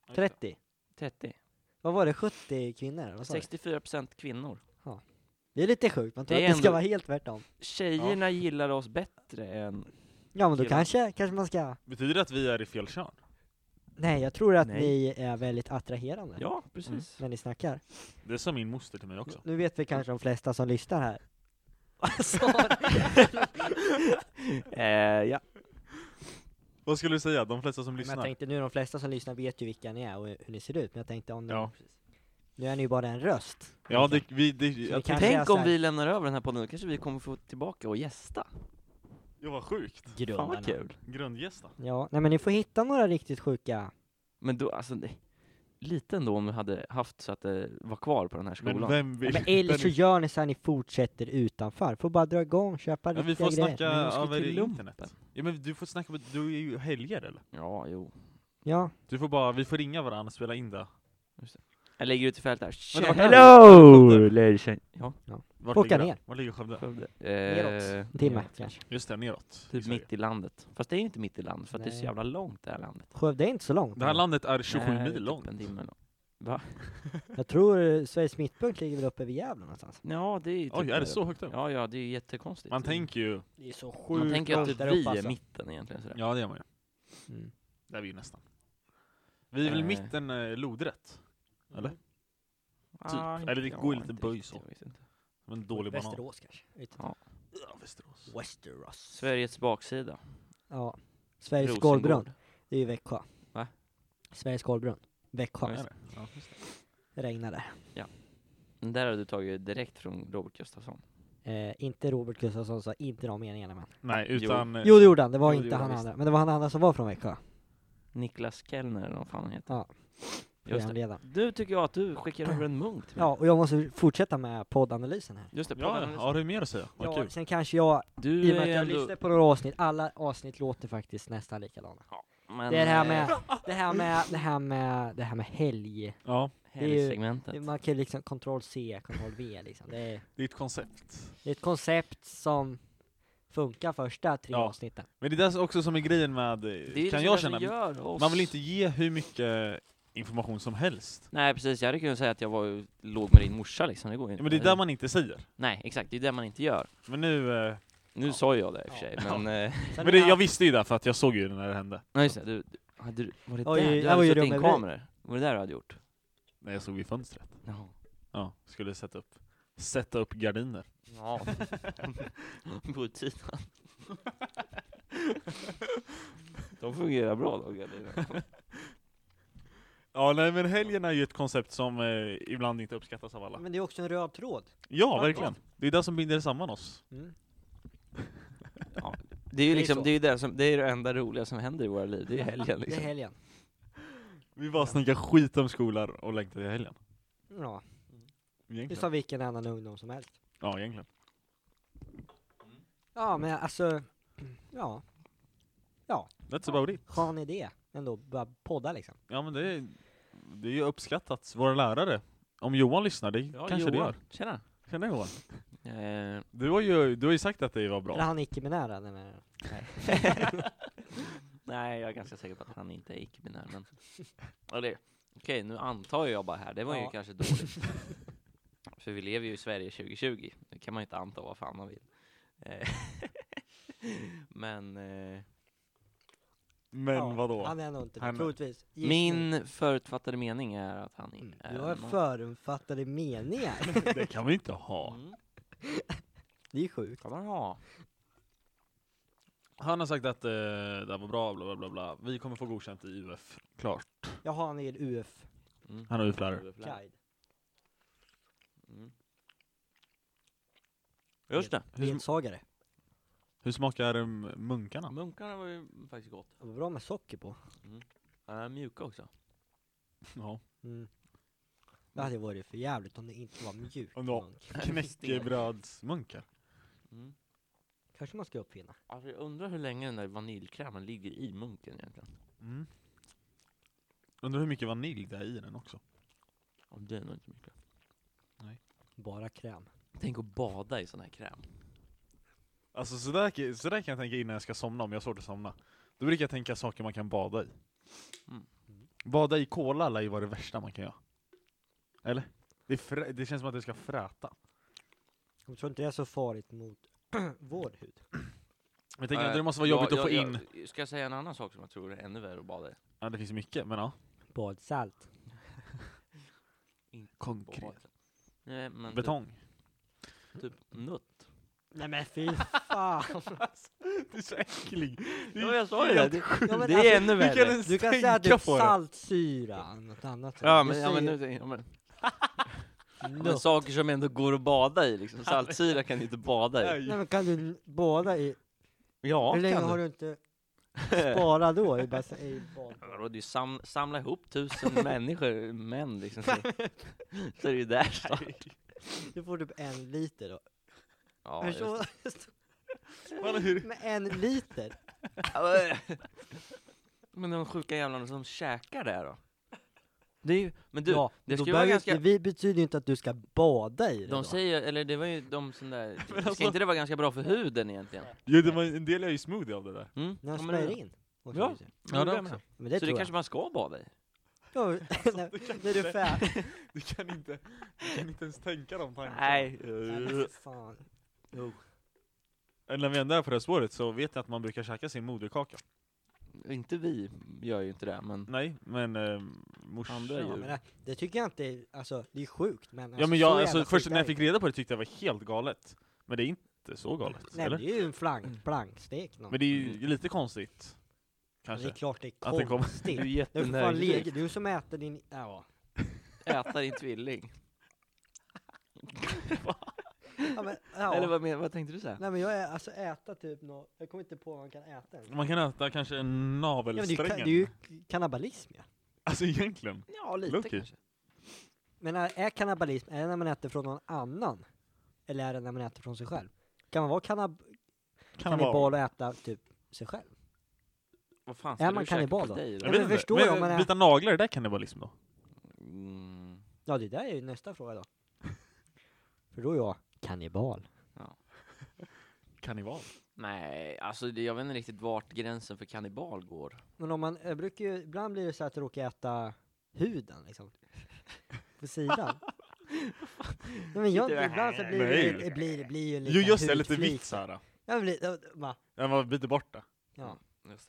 Speaker 2: Ja, just det.
Speaker 1: 30?
Speaker 3: 30.
Speaker 1: Vad var det? 70 kvinnor? Vad sa du?
Speaker 3: 64% kvinnor.
Speaker 1: Det är lite sjukt, man tror
Speaker 3: Det
Speaker 1: att
Speaker 3: är
Speaker 1: det ska
Speaker 3: ändå-
Speaker 1: vara helt tvärtom.
Speaker 3: Tjejerna gillar oss bättre än...
Speaker 1: Ja men då
Speaker 3: Killar.
Speaker 1: kanske, kanske man ska...
Speaker 2: Betyder det att vi är i fel kön?
Speaker 1: Nej, jag tror att
Speaker 3: Nej.
Speaker 1: ni är väldigt attraherande
Speaker 3: Ja, precis. <laughs>
Speaker 1: när ni snackar.
Speaker 2: Det sa min moster till mig också.
Speaker 1: Nu vet vi kanske de flesta som lyssnar här.
Speaker 3: Alltså. eh, ja.
Speaker 2: Vad skulle du säga? De flesta som
Speaker 1: Men jag
Speaker 2: lyssnar?
Speaker 1: tänkte nu, de flesta som lyssnar vet ju vilka ni är och hur ni ser ut, men jag tänkte om de...
Speaker 2: Ja.
Speaker 1: Nu är ni ju bara en röst.
Speaker 2: Ja, det, vi, det,
Speaker 1: vi kan-
Speaker 2: jag, kan...
Speaker 1: Kanske jag
Speaker 3: Tänk
Speaker 1: så
Speaker 3: om
Speaker 1: här-
Speaker 3: vi lämnar över den här podden, då kanske vi kommer få tillbaka och gästa.
Speaker 2: jag var sjukt.
Speaker 3: Fan
Speaker 1: Grundarna.
Speaker 3: vad kul.
Speaker 2: Grundgästa.
Speaker 1: Ja, nej men ni får hitta några riktigt sjuka.
Speaker 3: Men då, alltså, det... lite ändå om vi hade haft så att det var kvar på den här skolan.
Speaker 2: Men vem
Speaker 1: Ja,
Speaker 2: vill...
Speaker 1: men eller så
Speaker 2: Dennis-
Speaker 1: gör ni så här, ni fortsätter utanför. Får bara dra igång, köpa
Speaker 2: ja,
Speaker 1: riktiga
Speaker 2: vi får
Speaker 1: grejer.
Speaker 2: snacka
Speaker 3: Men jag ska
Speaker 2: över
Speaker 3: till lumpen.
Speaker 2: internet. Ja, men du får snacka på... Du är ju helger eller?
Speaker 3: Ja, jo.
Speaker 1: Ja.
Speaker 2: Du får bara... Vi får ringa varandra och spela in det.
Speaker 3: Jag lägger ut i fält här.
Speaker 2: Men det var
Speaker 3: Hello! ladies and- Ja,
Speaker 2: Vart
Speaker 1: Åka
Speaker 2: ligger det?
Speaker 1: ner.
Speaker 2: Var ligger Skövde?
Speaker 3: Skövde.
Speaker 1: Neråt. En timme kanske.
Speaker 2: Just det, neråt.
Speaker 3: Typ
Speaker 2: i Sverige.
Speaker 3: Eh, mitt i landet. Fast det är ju inte mitt i landet, för att det är
Speaker 1: Nej.
Speaker 3: så jävla långt det här landet.
Speaker 1: Skövde är inte så långt.
Speaker 2: Det här landet är 27
Speaker 3: Nej,
Speaker 2: mil
Speaker 3: typ
Speaker 2: långt.
Speaker 3: En timme långt.
Speaker 1: Jag tror eh, Sveriges mittpunkt ligger väl uppe vid Gävle någonstans.
Speaker 3: Ja, det är ju typ
Speaker 2: Oj, är
Speaker 3: där
Speaker 2: det
Speaker 3: uppe.
Speaker 2: så högt upp?
Speaker 3: Ja, ja, det är ju jättekonstigt.
Speaker 2: Man tänker ju...
Speaker 1: Det är så sjukt
Speaker 3: Man tänker att
Speaker 1: långt
Speaker 3: typ
Speaker 1: där
Speaker 3: vi
Speaker 1: uppe,
Speaker 3: är
Speaker 1: alltså.
Speaker 3: mitten egentligen sådär.
Speaker 2: Ja, det gör man ju.
Speaker 1: Mm.
Speaker 2: Det är vi ju nästan. Vi är väl
Speaker 3: Eh.
Speaker 2: mitten eh, lodrätt?
Speaker 1: Mm.
Speaker 2: Eller?
Speaker 3: Ah,
Speaker 2: typ. Eller det
Speaker 3: inte-
Speaker 2: går
Speaker 3: ja,
Speaker 2: lite
Speaker 3: inte
Speaker 2: böj
Speaker 3: riktigt,
Speaker 2: så.
Speaker 3: jag vet inte.
Speaker 2: Som en dålig banan.
Speaker 1: Västerås kanske? Jag vet inte.
Speaker 3: Ja.
Speaker 2: Ja, Västerås.
Speaker 1: Westeros.
Speaker 3: Sveriges baksida.
Speaker 1: Ja. Sveriges
Speaker 3: Rosengård.
Speaker 1: golvbrunn. Det är ju Växjö.
Speaker 3: Va?
Speaker 1: Sveriges golvbrunn.
Speaker 2: Ja,
Speaker 1: Växjö.
Speaker 2: just det. Ja, just det.
Speaker 1: Det regnade.
Speaker 3: Den Mm, där har du tagit direkt från Robert Gustafsson.
Speaker 1: Eh, inte Robert Gustafsson sa inte de meningarna men.
Speaker 2: Nej,
Speaker 3: Jo.
Speaker 2: utan... eh,
Speaker 1: Jo det gjorde han, det var
Speaker 3: Jo, det
Speaker 1: inte
Speaker 3: gjorde
Speaker 1: han
Speaker 3: han visst.
Speaker 1: andra. Men det var han andra som var från Växjö.
Speaker 3: Niklas Kellner eller vad fan han heter.
Speaker 1: Ja.
Speaker 3: Just det.
Speaker 1: programledaren.
Speaker 3: Nu tycker jag att du skickar över en munk till mig.
Speaker 1: Ja, och jag måste fortsätta med poddanalysen här.
Speaker 3: Just det,
Speaker 2: Ja,
Speaker 3: podden-
Speaker 2: har du mer att säga? Vad
Speaker 1: Ja,
Speaker 2: kul.
Speaker 1: sen kanske jag, i
Speaker 3: Du
Speaker 1: och med
Speaker 3: är
Speaker 1: att jag
Speaker 3: ändå...
Speaker 1: lyssnar på några avsnitt, alla avsnitt låter faktiskt nästan likadana.
Speaker 3: Men,
Speaker 1: Det är det här med,
Speaker 3: eh,
Speaker 1: det här med, det här med, det här med helg.
Speaker 2: Ja,
Speaker 1: är ju-
Speaker 3: helgsegmentet.
Speaker 1: Man kan ju liksom kontroll C, kontroll V liksom. Det är,
Speaker 2: det är ett koncept.
Speaker 1: det är ett koncept som funkar första tre
Speaker 2: Ja.
Speaker 1: avsnitten.
Speaker 2: Men det är det också som är grejen med, eh,
Speaker 3: Det är
Speaker 2: kan
Speaker 3: liksom
Speaker 2: jag
Speaker 3: det som
Speaker 2: känna,
Speaker 3: gör oss.
Speaker 2: man vill inte ge hur mycket information som helst.
Speaker 3: Nej precis, jag hade kunnat säga att jag var, ju- låg med din morsa liksom, det går ju
Speaker 2: Ja,
Speaker 3: inte.
Speaker 2: men det är där man inte säger.
Speaker 3: Nej exakt, det är det man inte gör.
Speaker 2: Men nu, eh,
Speaker 3: Nu
Speaker 1: Ja.
Speaker 3: sa jag det i och för
Speaker 1: Ja.
Speaker 3: sig, men... eh,
Speaker 1: Sen
Speaker 2: men det,
Speaker 1: är-
Speaker 2: jag visste ju det för att jag såg ju det när det hände.
Speaker 3: Nej just det, du, du- hade du, var det
Speaker 1: Oj,
Speaker 3: där?
Speaker 1: jag
Speaker 3: Du
Speaker 1: var
Speaker 3: hade
Speaker 1: ju
Speaker 3: satt in
Speaker 1: rum med
Speaker 3: kameror? Var det där du hade gjort?
Speaker 2: När jag såg i fönstret.
Speaker 3: Jaha.
Speaker 2: Ja, skulle sätta upp, sätta upp gardiner.
Speaker 3: Ja. <laughs> På tiden. De fungerar bra då, gardinerna.
Speaker 2: Ja, nej men helgen är ju ett koncept som eh, ibland inte uppskattas av alla.
Speaker 1: Men det är också en röd tråd.
Speaker 2: Ja, verkligen. Det är det som binder samman oss.
Speaker 1: Mm.
Speaker 3: Det är
Speaker 1: Det
Speaker 3: ju
Speaker 1: är
Speaker 3: liksom,
Speaker 1: så.
Speaker 3: det är ju det som, det är det enda roliga som händer i våra liv, det är helgen
Speaker 1: Det är
Speaker 3: liksom.
Speaker 1: helgen.
Speaker 2: Vi bara snackar skit om skolor och längtar till helgen.
Speaker 1: Ja, det är
Speaker 2: Egentligen.
Speaker 1: som vilken annan ungdom som helst.
Speaker 2: Ja, egentligen.
Speaker 1: Ja, men alltså, ja,
Speaker 2: That's about it.
Speaker 1: skön idé ändå, bara podda liksom.
Speaker 2: Ja men det är, det är ju uppskattat, våra lärare. Om Johan lyssnar, det kanske det gör.
Speaker 3: Tjena.
Speaker 2: Känner Johan?
Speaker 3: Eh,
Speaker 2: Du har, ju, du har ju sagt att det var
Speaker 1: Eller
Speaker 2: bra.
Speaker 1: han icke-binära, den här.
Speaker 3: <laughs> Nej, jag är ganska säker på att han inte är icke-binär, <laughs> men... Eller, okej, nu antar jag bara här, det var ju
Speaker 1: Ja.
Speaker 3: kanske <laughs> dåligt. För vi lever ju i Sverige 2020, nu kan man ju inte anta vad fan man vill. Eh, <laughs> men eh,
Speaker 2: Men
Speaker 1: ja,
Speaker 2: vadå?
Speaker 1: Han är nog inte
Speaker 2: Han-
Speaker 1: det, troligtvis. Gissning.
Speaker 3: min förutfattade mening är att han
Speaker 1: Mm.
Speaker 3: inte
Speaker 1: Du har
Speaker 3: man.
Speaker 1: förutfattade
Speaker 2: <laughs>
Speaker 1: meningar.
Speaker 2: Det kan vi inte ha.
Speaker 3: Mm,
Speaker 1: Det är sjukt.
Speaker 3: kan man ha.
Speaker 2: Han har sagt att eh, det här var bra, bla bla bla bla. Vi kommer få godkänt i UF. Klart.
Speaker 1: Jag har en hel UF-guide.
Speaker 3: Mm.
Speaker 2: Han är UF-lärare.
Speaker 3: Mm. Just det,
Speaker 2: Hur, sm-
Speaker 1: Ledsagare.
Speaker 2: hur smakar eh, munkarna?
Speaker 3: munkarna var ju faktiskt gott.
Speaker 1: Det var bra med socker på.
Speaker 3: Uh, mjuka också.
Speaker 2: Ja.
Speaker 1: Mm. Det hade varit för jävligt om det inte var mjukt.
Speaker 2: Om det var-
Speaker 1: munk.
Speaker 2: Knäckebrödsmunkar.
Speaker 3: Mm.
Speaker 1: Kanske man ska uppfinna.
Speaker 3: Alltså, jag undrar hur länge den där vaniljkrämen ligger i munken egentligen.
Speaker 2: Mm. Undrar hur mycket vanilj det är i den också.
Speaker 3: Ja, det är nog inte mycket.
Speaker 1: Bara kräm.
Speaker 3: Tänk att bada i sån här kräm.
Speaker 2: Alltså sådär, sådär kan jag tänka innan jag ska somna om jag har svårt att somna. Då brukar jag tänka saker man kan bada i.
Speaker 3: Mm.
Speaker 2: Bada i kola lär ju vara det värsta man kan göra. Eller? Det, är frä- det känns som att det ska fräta.
Speaker 1: Jag tror inte det är så farligt mot <clears throat> vår hud.
Speaker 2: Men jag tänker att
Speaker 3: Eh,
Speaker 2: det måste vara
Speaker 3: ja,
Speaker 2: jobbigt
Speaker 3: ja,
Speaker 2: att få
Speaker 3: ja.
Speaker 2: in...
Speaker 3: Ska jag säga en annan sak som jag tror är ännu värre att bada i?
Speaker 2: Ja, det finns mycket, men ja.
Speaker 1: Badsalt.
Speaker 3: Inte
Speaker 2: Konkret.
Speaker 3: bada. Nej, men
Speaker 2: Betong.
Speaker 3: <laughs> Typ, typ nött.
Speaker 1: Nej men fy fan.
Speaker 2: Du är så äcklig. Det
Speaker 3: <laughs> Ja, jag sa ju det.
Speaker 1: Ja, men
Speaker 3: det är
Speaker 1: alltså,
Speaker 3: ännu
Speaker 2: hur kan
Speaker 3: värre.
Speaker 2: en-
Speaker 1: Du kan säga
Speaker 2: Tänka
Speaker 1: typ
Speaker 2: på det.
Speaker 1: saltsyra, något annat.
Speaker 3: Ja
Speaker 1: Du
Speaker 3: men, alltså, ja, men,
Speaker 1: säger
Speaker 3: nu, ja, men, men
Speaker 1: nöt.
Speaker 3: saker som ändå går att bada i liksom. Saltsyra kan du inte bada i.
Speaker 1: Nej men kan du bada i?
Speaker 2: <laughs>
Speaker 3: Ja,
Speaker 1: Hur länge
Speaker 3: kan
Speaker 1: har
Speaker 3: du.
Speaker 1: du
Speaker 3: <laughs>
Speaker 1: inte sparat då? I bass- i bad?
Speaker 3: Vadå, du sam, samla
Speaker 2: <laughs>
Speaker 3: ihop tusen människor, män liksom. Så, så är det ju där snart.
Speaker 1: Du får typ en liter då.
Speaker 3: Ja, just
Speaker 1: Förstår <laughs>
Speaker 2: Fan, hur-
Speaker 1: Med en liter?
Speaker 3: Men de sjuka jävlarna som käkar det här då? Det är ju, men du,
Speaker 1: ja,
Speaker 3: det
Speaker 1: då
Speaker 3: ska ju vara
Speaker 1: behöver
Speaker 3: ganska...
Speaker 1: inte, vi betyder ju inte att du ska bada i det
Speaker 3: De
Speaker 1: då.
Speaker 3: säger, eller det var ju de som där,
Speaker 2: <laughs> Men
Speaker 3: ska
Speaker 2: alltså-
Speaker 3: inte det vara ganska bra för huden egentligen?
Speaker 2: Jo, det var, en del är ju smoothie av det där.
Speaker 3: Mm?
Speaker 1: När de
Speaker 3: men det-
Speaker 1: smörjer in. och så
Speaker 3: Ja,
Speaker 1: vidare.
Speaker 3: men
Speaker 2: Ja,
Speaker 3: det
Speaker 2: det
Speaker 3: också.
Speaker 2: med.
Speaker 1: Men det
Speaker 3: Så
Speaker 1: tror
Speaker 3: det
Speaker 1: jag.
Speaker 3: kanske man ska bada i?
Speaker 1: Ja, när, <laughs> när du är färdig.
Speaker 2: <laughs> Du kan inte, du kan inte ens tänka de tankarna. Eh,
Speaker 3: Nej.
Speaker 1: Nej, men för fan. Oh,
Speaker 2: Eller När vi ändå är på det här spåret så vet jag att man brukar käka sin moderkaka.
Speaker 3: Inte vi gör ju inte det, men
Speaker 2: Nej, men eh, morsan...
Speaker 3: Andra
Speaker 1: Ja,
Speaker 3: djur.
Speaker 1: men det, det tycker jag inte är, alltså det är sjukt men
Speaker 2: Ja men
Speaker 1: så
Speaker 2: jag,
Speaker 1: jävla
Speaker 2: alltså,
Speaker 1: sjukt
Speaker 2: först
Speaker 1: är
Speaker 2: när jag
Speaker 1: det
Speaker 2: fick reda på det tyckte jag var helt galet. Men det är inte så galet,
Speaker 1: Nej men
Speaker 2: eller?
Speaker 1: det är ju en flank, plankstek någon.
Speaker 2: Men det är ju lite konstigt.
Speaker 1: Men det
Speaker 2: Kanske.
Speaker 1: är klart det
Speaker 2: Att det
Speaker 1: är
Speaker 2: kommer-
Speaker 3: <laughs> du är
Speaker 1: konstigt. Det är för fan
Speaker 3: jättenöjd.
Speaker 1: leg- du som äter din, ja.
Speaker 3: <laughs> Äta din tvilling.
Speaker 1: ja, men, ja.
Speaker 3: Eller vad, men, vad tänkte du säga?
Speaker 1: Nej men jag är, alltså äta typ nå, jag kommer inte på vad man kan äta ens.
Speaker 2: Man kan äta kanske en
Speaker 1: Ja, men det, är ju ka-
Speaker 2: navelsträngen.
Speaker 1: det är ju kannibalism ja.
Speaker 2: <laughs> Alltså egentligen.
Speaker 3: Ja, lite
Speaker 2: Lucky.
Speaker 3: kanske.
Speaker 1: Men är, är kannibalism, är det när man äter från någon annan? Eller är det när man äter från sig själv? Kan man vara kannab- kannibal och äta typ sig själv?
Speaker 3: Vad fan
Speaker 1: Är
Speaker 3: ska
Speaker 1: man
Speaker 3: du käka
Speaker 1: kannibal
Speaker 3: på
Speaker 1: då?
Speaker 3: dig då?
Speaker 1: Jag vet inte. förstår jag om man är-
Speaker 2: Byta naglar, är det där kannibalism då?
Speaker 3: Mm.
Speaker 1: Ja, det där är ju nästa fråga då. För då är jag kannibal.
Speaker 2: Kannibal?
Speaker 3: Nej, alltså det- jag vet inte riktigt vart gränsen för kannibal går.
Speaker 1: Men om man, jag brukar ju, ibland blir det så att jag råkar äta huden liksom. På sidan. Nej, men jag,
Speaker 3: Sitter du-
Speaker 1: ibland så blir det, ju-
Speaker 2: Nej.
Speaker 1: det blir, det blir ju en
Speaker 2: Jo
Speaker 1: liten
Speaker 2: just det, lite
Speaker 1: hudflik.
Speaker 2: vitt såhär.
Speaker 1: Ja, men lite, va?
Speaker 2: Ja, man byter bort det.
Speaker 1: Ja.
Speaker 3: Just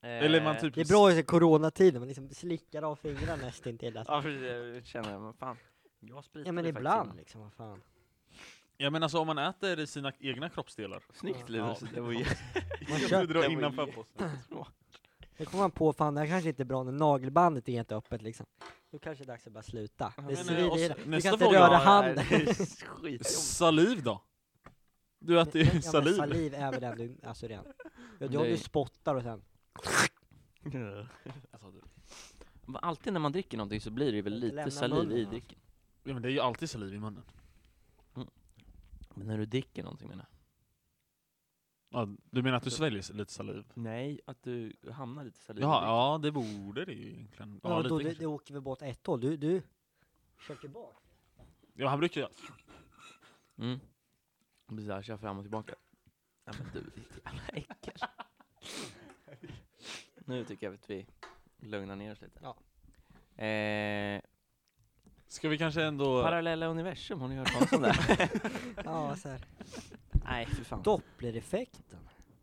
Speaker 3: det.
Speaker 2: Eller man
Speaker 3: Eh.
Speaker 2: typ...
Speaker 1: Eh, Det är bra i coronatiden, man liksom slickar av fingrarna nästintill. Alltså.
Speaker 3: Ja, för det känner jag, men fan. Jag spritar
Speaker 1: Ja men
Speaker 3: det faktiskt
Speaker 1: ibland
Speaker 3: innan.
Speaker 1: liksom, vad fan.
Speaker 2: Ja men alltså om man äter sina egna kroppsdelar.
Speaker 3: Snyggt
Speaker 1: Ja.
Speaker 3: Linus,
Speaker 2: Ja.
Speaker 3: det <laughs> var ju
Speaker 2: <laughs>
Speaker 1: Man
Speaker 2: Jag
Speaker 1: kör-
Speaker 2: trodde det var
Speaker 3: det var
Speaker 2: innanför
Speaker 3: ju-
Speaker 2: på
Speaker 3: <laughs> jättebra.
Speaker 1: Det kommer man på, fan det här kanske inte är bra när nagelbandet är helt öppet liksom. Då kanske det är dags att bara sluta. Det
Speaker 3: Ja, men,
Speaker 1: svider
Speaker 2: eh, och
Speaker 1: i
Speaker 2: så-
Speaker 1: det. Du
Speaker 2: nästa
Speaker 1: kan inte
Speaker 2: fråga
Speaker 1: röra
Speaker 2: var-
Speaker 1: handen.
Speaker 3: Skitjobbigt.
Speaker 2: Saliv då? Du äter
Speaker 1: Ja,
Speaker 2: ju
Speaker 1: men
Speaker 2: saliv.
Speaker 1: saliv är väl ändå, alltså rent. Ja, du,
Speaker 3: Nej.
Speaker 1: du spottar och sen,
Speaker 2: Alltså, du-
Speaker 3: Men Alltid när man dricker någonting så blir det väl lite
Speaker 1: Lämna
Speaker 3: saliv
Speaker 1: munnen, alltså.
Speaker 3: i
Speaker 1: va?
Speaker 3: drycken.
Speaker 2: Ja men det är ju alltid saliv i munnen.
Speaker 3: Men när du dricker någonting menar jag?
Speaker 2: Ja, du menar att du sväljer lite saliv?
Speaker 3: Nej, att du hamnar lite saliv
Speaker 2: Jaha, ja det borde det ju egentligen.
Speaker 1: ja, då,
Speaker 2: Ja, lite
Speaker 1: det, det
Speaker 2: kanske.
Speaker 1: åker väl bort ett håll, du, du kör tillbaka.
Speaker 2: ja han brukar ju...
Speaker 3: ja. Mm. Det blir såhär, kör fram och tillbaka. Ja men du, ditt jävla äckel. nu tycker jag att vi lugnar ner oss lite.
Speaker 1: Ja.
Speaker 3: Eh,
Speaker 2: Ska vi kanske ändå...
Speaker 3: parallella universum, har ni hört talas om <laughs> det?
Speaker 1: Ja, så här.
Speaker 3: Nej, för fan.
Speaker 1: Dopplereffekten.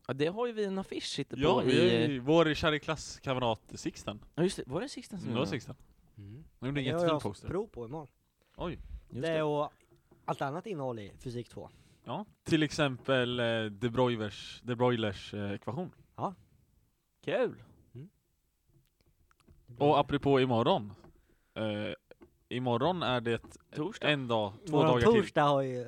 Speaker 3: Ja, det har ju vi en affisch sitter på
Speaker 2: Ja, vi är
Speaker 3: i...
Speaker 2: ju vår kära klass kamrat Sixten.
Speaker 3: Ja just det, var det Sixten som
Speaker 2: Mm, det var Sixten.
Speaker 1: Mm.
Speaker 2: Han gjorde en
Speaker 1: har
Speaker 2: jättefin
Speaker 1: jag
Speaker 2: poster.
Speaker 1: prov på imorgon.
Speaker 2: Oj.
Speaker 3: Just
Speaker 1: det
Speaker 3: det.
Speaker 1: och allt annat innehåll i fysik 2.
Speaker 2: Ja, till exempel eh, De Broilers, De Broilers eh, ekvation.
Speaker 3: Kul!
Speaker 2: Och apropå imorgon. Eh, imorgon är det
Speaker 3: Torsdag.
Speaker 2: en dag, två
Speaker 1: Imorgon
Speaker 2: dagar till. Eh,
Speaker 1: torsdag har ju,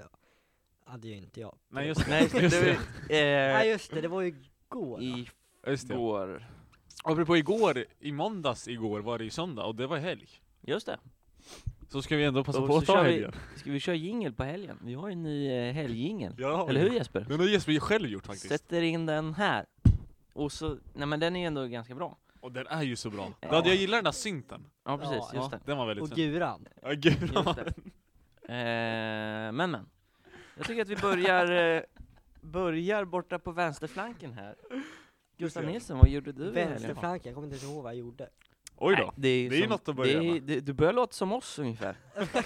Speaker 1: hade ju inte jag.
Speaker 2: Nej just
Speaker 3: Nej,
Speaker 2: det. <laughs> Just det.
Speaker 1: Nej
Speaker 3: Eh,
Speaker 1: just det, det var ju igår.
Speaker 3: I
Speaker 2: Just det.
Speaker 3: går.
Speaker 2: Apropå igår, i måndags igår var det ju söndag och det var helg.
Speaker 3: Just det.
Speaker 2: Så ska vi ändå passa
Speaker 3: Och
Speaker 2: på
Speaker 3: så
Speaker 2: att ta
Speaker 3: kör vi-
Speaker 2: helgen.
Speaker 3: Ska vi köra jingel på helgen? Vi har ju en ny eh, helgjingel.
Speaker 2: Ja,
Speaker 3: Eller hur Jesper?
Speaker 2: Den har Jesper ju själv gjort faktiskt.
Speaker 3: Sätter in den här. Och så, nej men den är ju ändå ganska bra.
Speaker 2: Och den är ju så bra.
Speaker 3: Ja.
Speaker 2: Ja, jag gillar den där synten.
Speaker 3: Ja precis,
Speaker 1: Ja,
Speaker 3: just
Speaker 2: ja,
Speaker 3: det.
Speaker 2: den var väldigt
Speaker 1: Och
Speaker 2: fin.
Speaker 1: guran.
Speaker 2: Ja, gud.
Speaker 3: Just det. Eh, men men. Jag tycker att vi börjar, eh, börjar borta på vänsterflanken här. Gustav
Speaker 2: det.
Speaker 3: Nilsson, vad gjorde du i helgen?
Speaker 1: Vänsterflanken, jag kommer inte ens ihåg vad jag gjorde.
Speaker 2: <laughs> Oj då.
Speaker 3: Nej, det är ju
Speaker 2: Det är ju
Speaker 3: som-
Speaker 2: något att börja
Speaker 3: det är-
Speaker 2: med.
Speaker 3: det- Du börjar låta som oss ungefär.
Speaker 1: Jag, <laughs> jag,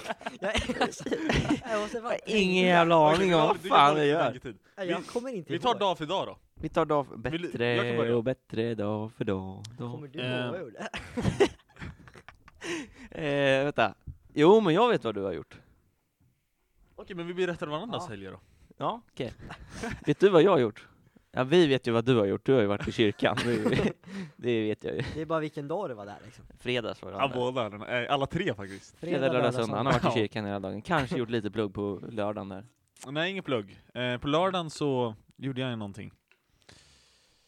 Speaker 1: måste bara,
Speaker 3: Ingen jävla aning om
Speaker 2: Okej,
Speaker 3: vad
Speaker 2: du kan ta
Speaker 3: fan vi
Speaker 2: lite
Speaker 3: gör.
Speaker 2: tanketid.
Speaker 1: Nej, jag kommer inte
Speaker 2: Vi tar
Speaker 1: ihåg.
Speaker 2: dag för dag då.
Speaker 3: Vi tar dag för,
Speaker 2: Vill- jag kan
Speaker 3: bättre
Speaker 2: börja.
Speaker 3: och bättre dag för dag. dag.
Speaker 1: Kommer du ihåg vad jag
Speaker 2: Eh.
Speaker 1: gjorde? <laughs>
Speaker 3: Eh, vänta. Jo, men jag vet vad du har gjort.
Speaker 2: Okej, men vi berättar varandras
Speaker 1: Ja.
Speaker 2: helger då.
Speaker 3: Ja, <laughs> okej. vet du vad jag har gjort? Ja, vi vet ju vad du har gjort. Du har ju varit i <laughs> kyrkan. Det- det vet jag ju.
Speaker 1: Det är bara vilken dag det var där liksom.
Speaker 3: Fredags var det.
Speaker 2: Ja,
Speaker 3: Anna.
Speaker 2: båda. den- eh, Alla tre faktiskt.
Speaker 3: Fredag, lördag, söndag. Han har varit i
Speaker 2: Ja.
Speaker 3: kyrkan hela dagen. Kanske gjort lite plugg på lördagen där.
Speaker 2: Nej, ingen plugg. Eh, På lördagen så gjorde jag någonting.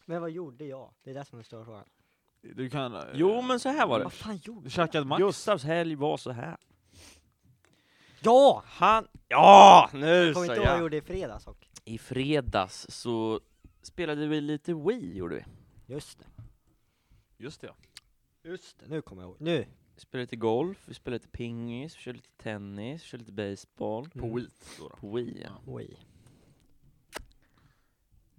Speaker 1: Men vad gjorde jag? Det är det som är den stora frågan.
Speaker 2: Du kan... eh,
Speaker 3: Jo, men så här var det.
Speaker 1: Vad fan gjorde
Speaker 2: Du
Speaker 1: jag?
Speaker 2: käkade Max.
Speaker 3: Gustavs helg var så här.
Speaker 1: Ja!
Speaker 3: Han... Ja! Nu
Speaker 1: Jag kommer
Speaker 3: sa
Speaker 1: inte ihåg vad jag
Speaker 3: jag!
Speaker 1: gjorde i fredags och.
Speaker 3: I fredags så spelade vi lite Wii, gjorde vi.
Speaker 1: Just det.
Speaker 2: Just det. ja.
Speaker 1: Just det, nu kommer jag ihåg. Nu! Mm.
Speaker 3: Vi spelade lite golf, vi spelade lite pingis, vi körde lite tennis, vi körde lite baseball.
Speaker 2: På Wheat då. då.
Speaker 3: På Wii, ja.
Speaker 1: Oj.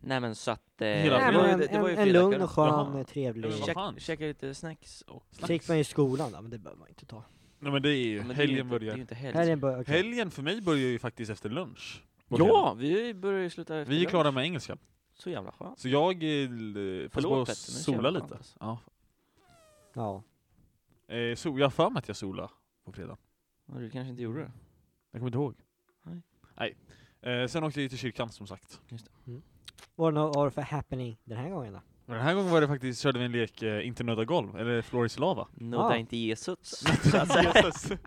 Speaker 3: Nej men så att... Eh,
Speaker 2: Hela
Speaker 1: Nej,
Speaker 2: fredag.
Speaker 3: det var
Speaker 1: men
Speaker 3: ju-
Speaker 1: en,
Speaker 3: det var ju
Speaker 1: en, en
Speaker 3: fredag
Speaker 1: lugn
Speaker 3: kväll.
Speaker 1: och
Speaker 3: Jaha.
Speaker 1: skön, eh,
Speaker 2: Ja,
Speaker 1: trevlig...
Speaker 2: men vad
Speaker 3: Käk-
Speaker 2: fan.
Speaker 3: Käkade lite snacks och...
Speaker 1: Så gick man ju i skolan då, men det behöver man inte ta.
Speaker 2: Nej men det är ju,
Speaker 3: Ja, men det är ju
Speaker 2: helgen
Speaker 3: inte- Det är
Speaker 2: börjar.
Speaker 3: ju inte helg.
Speaker 1: Här är en början. okej.
Speaker 2: Helgen för mig börjar ju faktiskt efter lunch.
Speaker 3: Ja! Vi börjar ju sluta efter
Speaker 2: Vi är ju
Speaker 3: lunch.
Speaker 2: klara med engelskan.
Speaker 3: Så jävla skönt.
Speaker 2: Så jag eh, l- passar på
Speaker 3: Förlåt,
Speaker 2: att
Speaker 3: Petter, men
Speaker 2: sola
Speaker 3: jävla
Speaker 2: lite.
Speaker 3: skönt.
Speaker 2: Ja.
Speaker 1: Ja.
Speaker 2: Eh, so, jag har för mig att jag sola på fredag.
Speaker 3: Ja, du kanske inte gjorde det.
Speaker 2: Jag kommer inte ihåg.
Speaker 3: Nej.
Speaker 2: Nej. Eh, sen åkte jag ju till kyrkan som sagt.
Speaker 1: Vad har- har du för happening den här gången då?
Speaker 2: Men den här gången var det faktiskt, körde vi en lek, eh, inte nöda golv, eller Floris lava.
Speaker 3: Nudda
Speaker 1: Ah. <laughs>
Speaker 3: inte Jesus.
Speaker 2: Jesus.
Speaker 3: <laughs>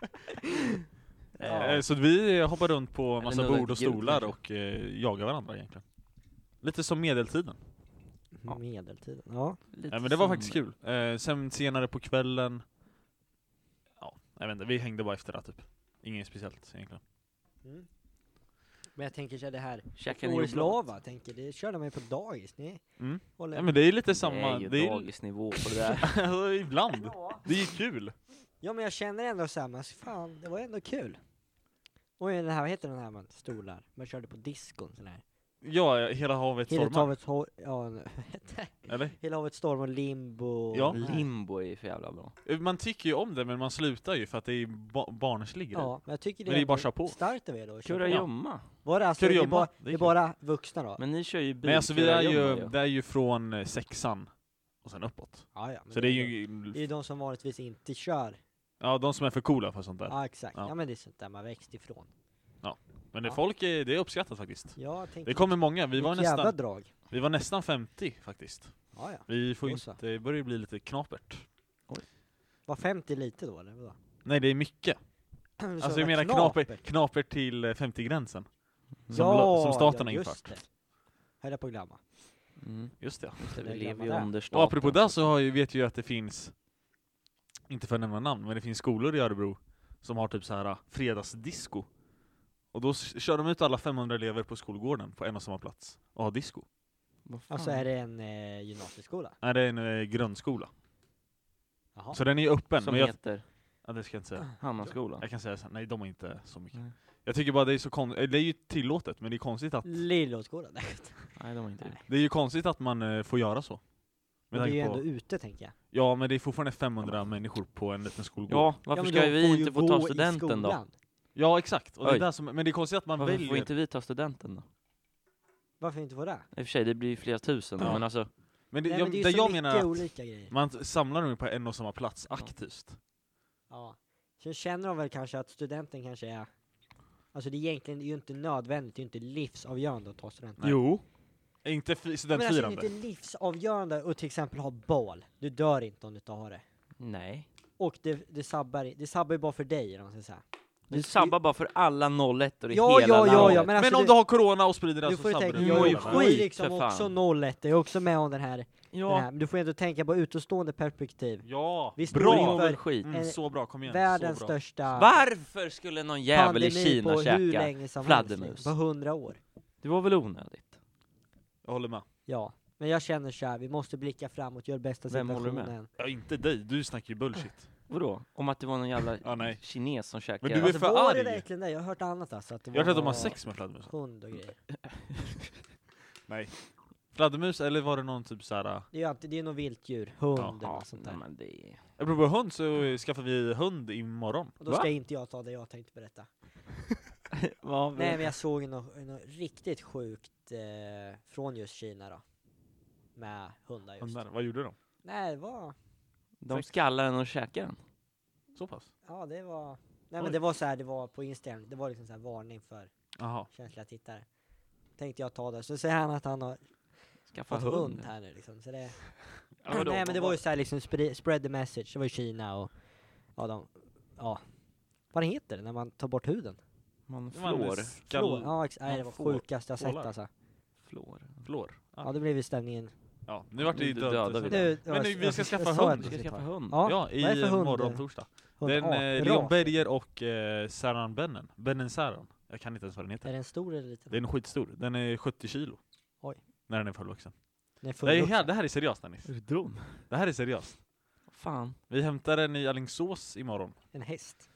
Speaker 3: Eh,
Speaker 2: Eh, så vi hoppar runt på
Speaker 3: Eller
Speaker 2: massa
Speaker 3: nudda
Speaker 2: bord och
Speaker 3: inte Gud,
Speaker 2: stolar
Speaker 3: kanske.
Speaker 2: och eh, jagar varandra egentligen. Lite som medeltiden.
Speaker 3: Ja.
Speaker 1: Medeltiden? Ja.
Speaker 3: lite
Speaker 2: Nej men det var Eh,
Speaker 3: som-
Speaker 2: faktiskt kul. Eh, sen senare på kvällen Jag vet inte, vi hängde bara efter det typ. Inget speciellt egentligen.
Speaker 1: Mm. Men jag tänker så här, det här,
Speaker 3: Käkar ni
Speaker 1: Oreslava, tänker, det körde man ju på dagis, ni
Speaker 2: Mm.
Speaker 1: håller
Speaker 2: Nej men det är lite samma,
Speaker 3: Samma,
Speaker 2: det är,
Speaker 3: det är ju dagisnivå på det där.
Speaker 2: alltså, <laughs> ibland. Det är ju kul.
Speaker 1: Ja men jag känner ändå såhär, men alltså, fan det var ändå kul. Och den här, vad heter den här man, stolar? Man körde på diskon sån här.
Speaker 2: Ja, ja, hela havet
Speaker 1: Hela
Speaker 2: stormar.
Speaker 1: havet, hår- ja, nu-
Speaker 2: Eller?
Speaker 1: hela havet storm och limbo.
Speaker 2: <laughs> Ja.
Speaker 1: och det här.
Speaker 3: Limbo är ju för jävla bra.
Speaker 2: Man tycker ju om det men man slutar ju för att det är ba barnslig grej.
Speaker 1: Ja, men jag tycker det
Speaker 2: Men det är
Speaker 1: ändå
Speaker 2: bara att köra på.
Speaker 1: starkt av er då. att köra på.
Speaker 3: Kurragömma.
Speaker 1: Var det alltså, det är,
Speaker 2: Kurragömma,
Speaker 1: bara,
Speaker 2: det är
Speaker 1: det är
Speaker 2: kul.
Speaker 1: bara vuxna då?
Speaker 3: Men ni kör ju bil.
Speaker 2: Men alltså vi är ju,
Speaker 3: kurragömma
Speaker 2: det är ju från eh, sexan och sen uppåt.
Speaker 1: ja, ja, men
Speaker 2: Så det är
Speaker 1: ändå-
Speaker 2: ju,
Speaker 1: Det är ju de som vanligtvis inte kör.
Speaker 2: ja de som är för coola för sånt där.
Speaker 1: Ja exakt, ja.
Speaker 2: Ja.
Speaker 1: men det är sånt där man växt ifrån.
Speaker 2: Men det
Speaker 1: Ja.
Speaker 2: folk är, det är uppskattat faktiskt.
Speaker 1: Ja, jag tänker,
Speaker 2: Det kommer många, vi var
Speaker 1: vilket jävla
Speaker 2: nästan,
Speaker 1: drag.
Speaker 2: vi var nästan 50 faktiskt.
Speaker 1: Ja, ja.
Speaker 2: Vi får ju
Speaker 1: Då så.
Speaker 2: inte, det börjar ju bli lite knapert.
Speaker 1: Var 50 lite då eller? vadå?
Speaker 2: Nej det är mycket.
Speaker 1: Så
Speaker 2: Alltså
Speaker 1: det
Speaker 2: jag
Speaker 1: var
Speaker 2: menar knapert, knapert till eh, 50-gränsen. Som, la- som staten har infört.
Speaker 1: det. Höll jag på att glömma.
Speaker 3: Mm.
Speaker 2: Just det.
Speaker 3: Just det,
Speaker 1: Det
Speaker 3: vi
Speaker 1: är
Speaker 3: lever ju
Speaker 1: gamla
Speaker 3: under staten.
Speaker 2: Och apropå det så har ju, vet ju att det finns, inte för att nämna namn, men det finns skolor i Örebro som har typ så här fredagsdisco. Och då s- kör de ut alla 500 elever på skolgården på en och samma plats och har disco.
Speaker 3: Vad fan?
Speaker 1: Alltså är det en eh, gymnasieskola?
Speaker 2: Nej det är en eh, grundskola.
Speaker 1: Jaha.
Speaker 2: Så den är öppen,
Speaker 3: Som
Speaker 2: men jag,
Speaker 3: heter
Speaker 2: ja, det ska jag inte säga.
Speaker 3: Hammarskolan.
Speaker 2: Jag kan säga sen, nej de är inte så mycket.
Speaker 3: Nej.
Speaker 2: Jag tycker bara det är så konstigt, det är ju tillåtet men det är konstigt att,
Speaker 1: Lillåsskolan. <laughs> Nej.
Speaker 3: Nej, de har inte det.
Speaker 2: det är ju konstigt att man eh, får göra så.
Speaker 1: Men
Speaker 2: Med
Speaker 1: det är ju
Speaker 2: tanke
Speaker 1: ändå
Speaker 2: på,
Speaker 1: ute tänker jag.
Speaker 2: ja men det är fortfarande 500 människor på en liten skolgård.
Speaker 3: Ja, varför
Speaker 1: men
Speaker 3: ska
Speaker 1: de får
Speaker 3: vi
Speaker 1: ju
Speaker 3: inte få ta
Speaker 1: gå i
Speaker 3: studenten då?
Speaker 1: skolan.
Speaker 2: Ja exakt, och det är
Speaker 3: Oj.
Speaker 2: där som, men det är konstigt att man
Speaker 3: Varför
Speaker 2: väljer.
Speaker 3: får inte vi ta studenten då?
Speaker 1: Varför inte få det?
Speaker 3: I och för sig, det blir ju flera tusen då,
Speaker 2: Ja.
Speaker 3: men alltså,
Speaker 2: Men det,
Speaker 1: Nej,
Speaker 2: jag,
Speaker 1: men det är
Speaker 2: det
Speaker 1: ju så
Speaker 2: jag
Speaker 1: mycket
Speaker 2: menar att
Speaker 1: olika grejer.
Speaker 2: man samlar dem ju på en och samma plats aktivt.
Speaker 1: Ja. Sen känner de väl kanske att studenten kanske är Alltså det är egentligen det är ju inte nödvändigt, det är ju inte livsavgörande att ta studenten.
Speaker 2: Jo. Inte fi-
Speaker 1: Men alltså det är ju
Speaker 2: studentfirande.
Speaker 1: inte livsavgörande att till exempel ha bal. Du dör inte om du inte har det.
Speaker 3: nej.
Speaker 1: Och det, det sabbar det sabbar ju bara för dig, eller vad man ska säga.
Speaker 3: Du sabbar bara för alla 01 och i
Speaker 1: Ja,
Speaker 3: hela
Speaker 1: ja, ja, ja,
Speaker 3: landet.
Speaker 1: men
Speaker 2: men
Speaker 1: alltså
Speaker 2: om
Speaker 1: det-
Speaker 2: du har corona och sprider det
Speaker 1: Du
Speaker 2: så
Speaker 1: får ju
Speaker 2: sabbar
Speaker 1: tänka,
Speaker 2: du
Speaker 3: du
Speaker 1: du
Speaker 3: mår
Speaker 1: har
Speaker 3: ju
Speaker 1: ju
Speaker 2: corona.
Speaker 3: skit,
Speaker 1: skit liksom
Speaker 3: för fan.
Speaker 1: också 01, jag är också med om den här, den
Speaker 3: Ja,
Speaker 1: här. Men du får ju ändå tänka på utomstående perspektiv.
Speaker 2: Ja!
Speaker 1: Vi står
Speaker 2: bra!
Speaker 1: inför
Speaker 3: väl skit.
Speaker 2: Mm, så bra, kom igen.
Speaker 1: Världens
Speaker 2: så bra.
Speaker 1: största
Speaker 3: Varför skulle någon jävel i
Speaker 1: pandemi
Speaker 3: Kina
Speaker 1: på hur
Speaker 3: käka?
Speaker 1: länge som
Speaker 3: fladdermus?
Speaker 1: helst. liksom. På hundra år.
Speaker 3: Det var väl onödigt?
Speaker 2: Jag håller med.
Speaker 1: Ja. Men jag känner så här, vi måste blicka framåt, göra det bästa
Speaker 3: Vem håller du med?
Speaker 1: situationen.
Speaker 2: Ja, inte dig, du snackar ju bullshit.
Speaker 3: Vadå? Om att det var någon jävla
Speaker 2: Ja, nej.
Speaker 3: kines som käkade?
Speaker 2: Men du är
Speaker 1: Alltså,
Speaker 2: för
Speaker 1: var det
Speaker 2: arg.
Speaker 1: verkligen det? Jag har hört annat alltså. Att det
Speaker 2: Jag har hört att de har
Speaker 1: var
Speaker 2: sex med fladdermus.
Speaker 1: Hund och grejer.
Speaker 2: Fladdermus, eller var det någon typ såhär...
Speaker 1: Det är ju alltid, det är något viltdjur. Hund
Speaker 2: Jaha,
Speaker 1: eller något sånt där.
Speaker 3: nej, men det är...
Speaker 2: Apropå hund så eh, skaffar vi hund imorgon.
Speaker 1: Och då
Speaker 3: Va?
Speaker 1: ska inte jag ta det jag tänkte berätta.
Speaker 3: Vad
Speaker 1: Nej men jag såg något, något riktigt sjukt eh, från just Kina då. Med hundar just.
Speaker 2: Hundar, vad gjorde de?
Speaker 1: Nej det var,
Speaker 3: De skallar den och käkar den.
Speaker 2: Så pass?
Speaker 1: ja det var, nej men
Speaker 2: Oj.
Speaker 1: det var så här, det var på Instagram, det var liksom så här varning för
Speaker 2: Jaha.
Speaker 1: känsliga tittare. Tänkte jag ta det, så säger han att han har
Speaker 3: Skaffa
Speaker 1: fått
Speaker 3: hund.
Speaker 1: hund här nu liksom. Så det, <clears throat>
Speaker 2: Ja, vadå?
Speaker 1: nej men det var ju så här liksom spread, spread the message, det var ju Kina och, ja de, ja. Vad heter det när man tar bort huden?
Speaker 3: Man
Speaker 2: Det var en
Speaker 3: flår.
Speaker 2: skall-
Speaker 1: Flår. Ja ex- nej,
Speaker 2: man
Speaker 1: det var
Speaker 2: får-
Speaker 1: sjukaste jag sett
Speaker 2: fålar.
Speaker 1: alltså.
Speaker 3: flår.
Speaker 2: Flår.
Speaker 1: Ja det blev ju stämningen.
Speaker 2: Ja, nu vart det ju
Speaker 3: Nu
Speaker 2: död.
Speaker 3: dödar vi
Speaker 1: Nu,
Speaker 2: Men nu, vi ska
Speaker 1: jag
Speaker 2: skaffa
Speaker 1: sa
Speaker 2: hund.
Speaker 1: att
Speaker 3: Vi
Speaker 1: vi
Speaker 3: ska
Speaker 1: skulle ta
Speaker 3: skaffa
Speaker 1: det.
Speaker 3: hund.
Speaker 2: Ja,
Speaker 1: vad är det
Speaker 2: i
Speaker 1: för hund?
Speaker 2: morgon torsdag. Den
Speaker 1: Hundart,
Speaker 2: eh,
Speaker 1: ras.
Speaker 2: Leon Berger och eh, Saran Bennen, Bennen Saran. Jag kan inte ens vad den
Speaker 1: Är
Speaker 2: heter.
Speaker 1: den stor eller liten?
Speaker 2: Den är skitstor, den är 70 kilo.
Speaker 1: Oj.
Speaker 2: När den är fullvuxen.
Speaker 1: Den är
Speaker 2: Det, är,
Speaker 1: fullvuxen.
Speaker 2: här- det här är seriöst Dennis.
Speaker 3: Är du dum?
Speaker 2: Det här är seriöst.
Speaker 3: Fan.
Speaker 2: Vi hämtar den i Alingsås imorgon.
Speaker 1: En häst.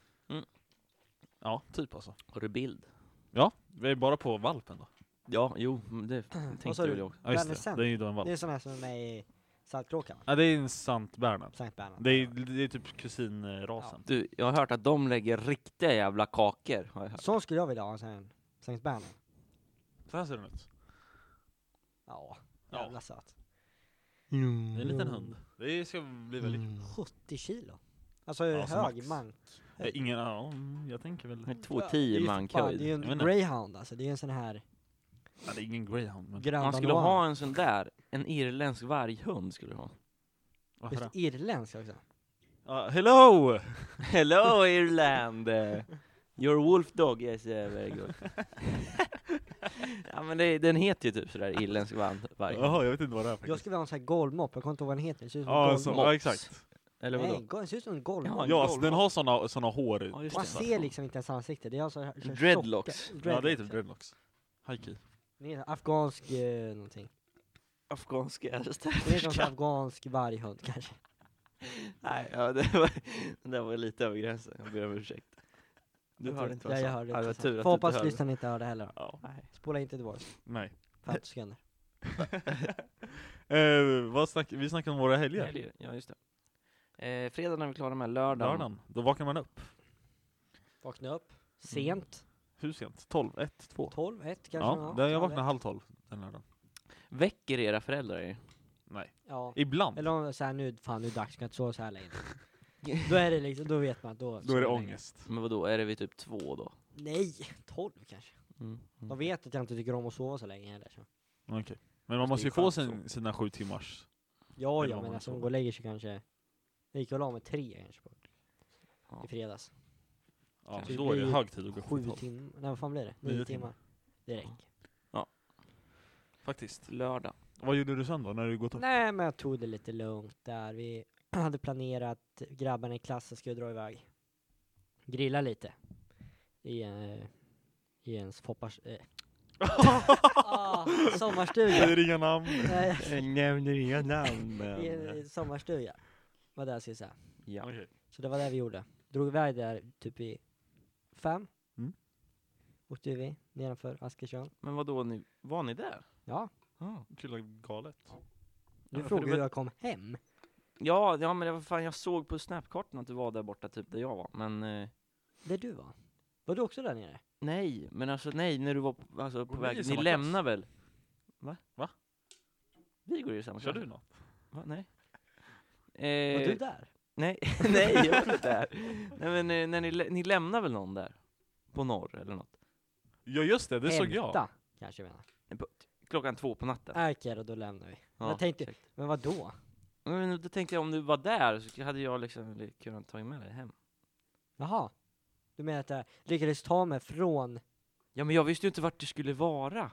Speaker 2: Ja, typ alltså.
Speaker 3: Har du bild?
Speaker 2: Ja, vi är bara på valpen då.
Speaker 3: Ja, jo, men det
Speaker 1: <clears throat>
Speaker 3: tänkte
Speaker 1: Vad sa
Speaker 3: väl
Speaker 1: du?
Speaker 3: jag också.
Speaker 2: Ja, just det.
Speaker 1: Bernesen.
Speaker 2: Den är ju då en valp.
Speaker 1: Det är sån här som är med i Saltkråkan va?
Speaker 2: Ja, det är en Sant Bernhard.
Speaker 1: Sankt Bernhard.
Speaker 2: Det är, det är typ kusinrasen.
Speaker 3: Du, jag har hört att de lägger riktiga jävla kakor. Har jag hört.
Speaker 1: Sån skulle jag vilja ha, en sån här Sankt Bernhard.
Speaker 2: Så här ser den ut.
Speaker 1: Ja,
Speaker 2: Ja.
Speaker 1: jävla söt. Mm.
Speaker 2: Det är en liten hund. Det ska bli väldigt...
Speaker 1: 70 kilo. Alltså
Speaker 2: Ja, som
Speaker 1: hög
Speaker 2: max.
Speaker 1: mank.
Speaker 2: Eh, Ingen, ja, jag tänker väl...
Speaker 1: Mm.
Speaker 3: Det är Två
Speaker 1: Det är
Speaker 3: tio
Speaker 1: ju
Speaker 3: man
Speaker 1: fan- Det är ju
Speaker 3: höjd.
Speaker 1: en
Speaker 2: Jag vet inte.
Speaker 1: greyhound alltså, det är ju en sån här
Speaker 2: Ja, det är ingen greyhound, men
Speaker 1: Grand
Speaker 3: Man skulle
Speaker 1: Danois.
Speaker 3: ha en sån där, en irländsk varghund skulle du ha.
Speaker 2: varför
Speaker 1: Just
Speaker 2: det?
Speaker 1: irländsk också.
Speaker 2: Ja, hello!
Speaker 3: <laughs> Hello Irland! <laughs> eh, Your wolf dog is eh, very good. <laughs> ja men det, den heter ju typ sådär irländsk varg.
Speaker 2: Jaha, jag vet inte vad det är
Speaker 1: Jag
Speaker 2: faktiskt.
Speaker 1: skulle vilja ha en sån här golvmopp, jag kommer inte ihåg vad den heter. Det ser ut som en
Speaker 2: Ja, alltså,
Speaker 1: golvmopp.
Speaker 2: så, ja, exakt.
Speaker 3: Eller vadå?
Speaker 1: Nej, go- det ser ut som en golv.
Speaker 3: Ja, en
Speaker 2: Ja,
Speaker 3: golv.
Speaker 2: alltså, den har såna, såna hår.
Speaker 3: Ja, just
Speaker 2: på
Speaker 1: Man
Speaker 3: det.
Speaker 2: sig.
Speaker 1: ser liksom inte ens ansikte. Det är alltså så här
Speaker 3: Dreadlocks.
Speaker 1: tjocka-
Speaker 2: Ja, det är typ
Speaker 1: dreadlocks.
Speaker 2: dreadlocks. Haiku.
Speaker 1: Det är afghansk eh, någonting.
Speaker 3: Afghanska
Speaker 1: Det är någon sån
Speaker 3: ärftärska.
Speaker 1: afghansk varghund kanske.
Speaker 3: <laughs> Nej, ja, det, var, det där var lite över gränsen. Jag ber om ursäkt. Du
Speaker 1: Jag
Speaker 3: hörde
Speaker 1: tror-
Speaker 3: inte vad
Speaker 1: Ja,
Speaker 3: jag
Speaker 1: jag
Speaker 3: sa.
Speaker 1: hörde
Speaker 3: Ja, det
Speaker 1: inte.
Speaker 3: var tur att
Speaker 1: Får
Speaker 3: du
Speaker 1: hoppas
Speaker 3: inte hörde.
Speaker 1: lyssnarna inte hörde heller.
Speaker 2: Ja.
Speaker 3: Nej.
Speaker 1: Spola inte tillbaka.
Speaker 2: Nej.
Speaker 1: 50 sekunder.
Speaker 2: <laughs> Eh, vad snack, vi snackade om våra helger.
Speaker 3: Helger, Ja, just det. Eh, fredagen är vi klara med, lördagen.
Speaker 2: Lördagen. Då vaknar man upp.
Speaker 1: Vakna upp. Sent.
Speaker 2: Hur sent? 12? 1? 2?
Speaker 1: 12, 1 kanske.
Speaker 2: Mm. Ja, där jag vaknade halv 12 den lördagen.
Speaker 3: Väcker era föräldrar er?
Speaker 2: Nej.
Speaker 1: Ja.
Speaker 2: Ibland.
Speaker 1: Eller om såhär nu, fan nu är det dags, jag kan inte sova såhär länge. Då är det liksom, då vet man att då...
Speaker 2: Då är det ångest.
Speaker 3: Men vadå, är det vid typ två då?
Speaker 1: Nej! 12 kanske.
Speaker 2: Mm.
Speaker 1: De vet att jag inte tycker om att sova så länge heller. Så.
Speaker 2: Okej. Men man
Speaker 3: Fast
Speaker 2: måste
Speaker 3: det
Speaker 2: ju få
Speaker 3: är skönt
Speaker 2: sin, sina sju timmars...
Speaker 1: Ja,
Speaker 2: Eller
Speaker 1: ja,
Speaker 2: om
Speaker 1: men
Speaker 2: man
Speaker 1: alltså de
Speaker 2: sover.
Speaker 1: går och lägger sig kanske... Jag gick och la mig tre kanske på,
Speaker 3: Ja.
Speaker 1: i fredags.
Speaker 2: Ja,
Speaker 3: Kanske
Speaker 2: då är det
Speaker 1: blir
Speaker 2: hög tid att gå upp
Speaker 1: Sju
Speaker 2: till tolv.
Speaker 1: timmar, nej vad fan blir det?
Speaker 2: Nio
Speaker 1: Nio
Speaker 2: timmar.
Speaker 1: timmar. Det räcker.
Speaker 2: Faktiskt.
Speaker 3: Lördag.
Speaker 2: Vad gjorde du sen då, när du gått upp?
Speaker 1: Nej, men jag tog det lite lugnt där. Vi <clears throat> hade planerat, grabbarna i klassen skulle dra iväg. Grilla lite. I, eh, i ens foppars... Eh. <laughs> ah, sommarstuga.
Speaker 2: Det är inga <laughs> namn.
Speaker 1: Nej,
Speaker 3: Nämner inga namn.
Speaker 1: i en sommarstuga. Vad det jag skulle säga.
Speaker 3: Ja.
Speaker 2: Okej.
Speaker 1: Så det var det vi gjorde. Drog iväg där typ i fem.
Speaker 2: Mm.
Speaker 1: Åkte vi nedanför Askersjön.
Speaker 3: Men vadå, ni, var ni där?
Speaker 1: Ja,
Speaker 3: Ja.
Speaker 2: Kul och galet.
Speaker 1: nu
Speaker 3: Ja, för
Speaker 1: frågar
Speaker 3: det
Speaker 1: du hur
Speaker 3: var-
Speaker 1: jag kom hem.
Speaker 3: Ja, ja men det var fan, jag såg på snapkartan att du var där borta, typ där jag var. Men eh,
Speaker 1: Där du var. Var du också där nere?
Speaker 3: nej, men alltså nej, när du var på, alltså, på
Speaker 2: ni i
Speaker 3: väg, ni
Speaker 2: samma klass?
Speaker 3: lämnar väl? Va?
Speaker 2: Va?
Speaker 3: Vi går i samma
Speaker 2: Kör
Speaker 3: klass.
Speaker 2: du något?
Speaker 3: Va? Nej.
Speaker 1: Var
Speaker 3: Eh,
Speaker 1: du där?
Speaker 3: Nej, <laughs> nej jag var inte
Speaker 2: <laughs>
Speaker 3: där. Nej men eh, när ni, lä- ni lämnar väl någon där? På norr eller något?
Speaker 2: Ja just det, det såg jag.
Speaker 1: Hämta, kanske jag menar.
Speaker 3: Eh, på- Klockan två på natten?
Speaker 1: Okej då, då lämnar vi.
Speaker 3: Ja,
Speaker 1: jag tänkte-
Speaker 3: exakt.
Speaker 1: Men vad då?
Speaker 3: Men då tänkte jag om du var där så hade jag liksom li- kunnat ta med dig hem.
Speaker 1: Jaha. Du menar att jag lyckades ta mig från...
Speaker 3: Ja men jag visste ju inte vart du skulle vara.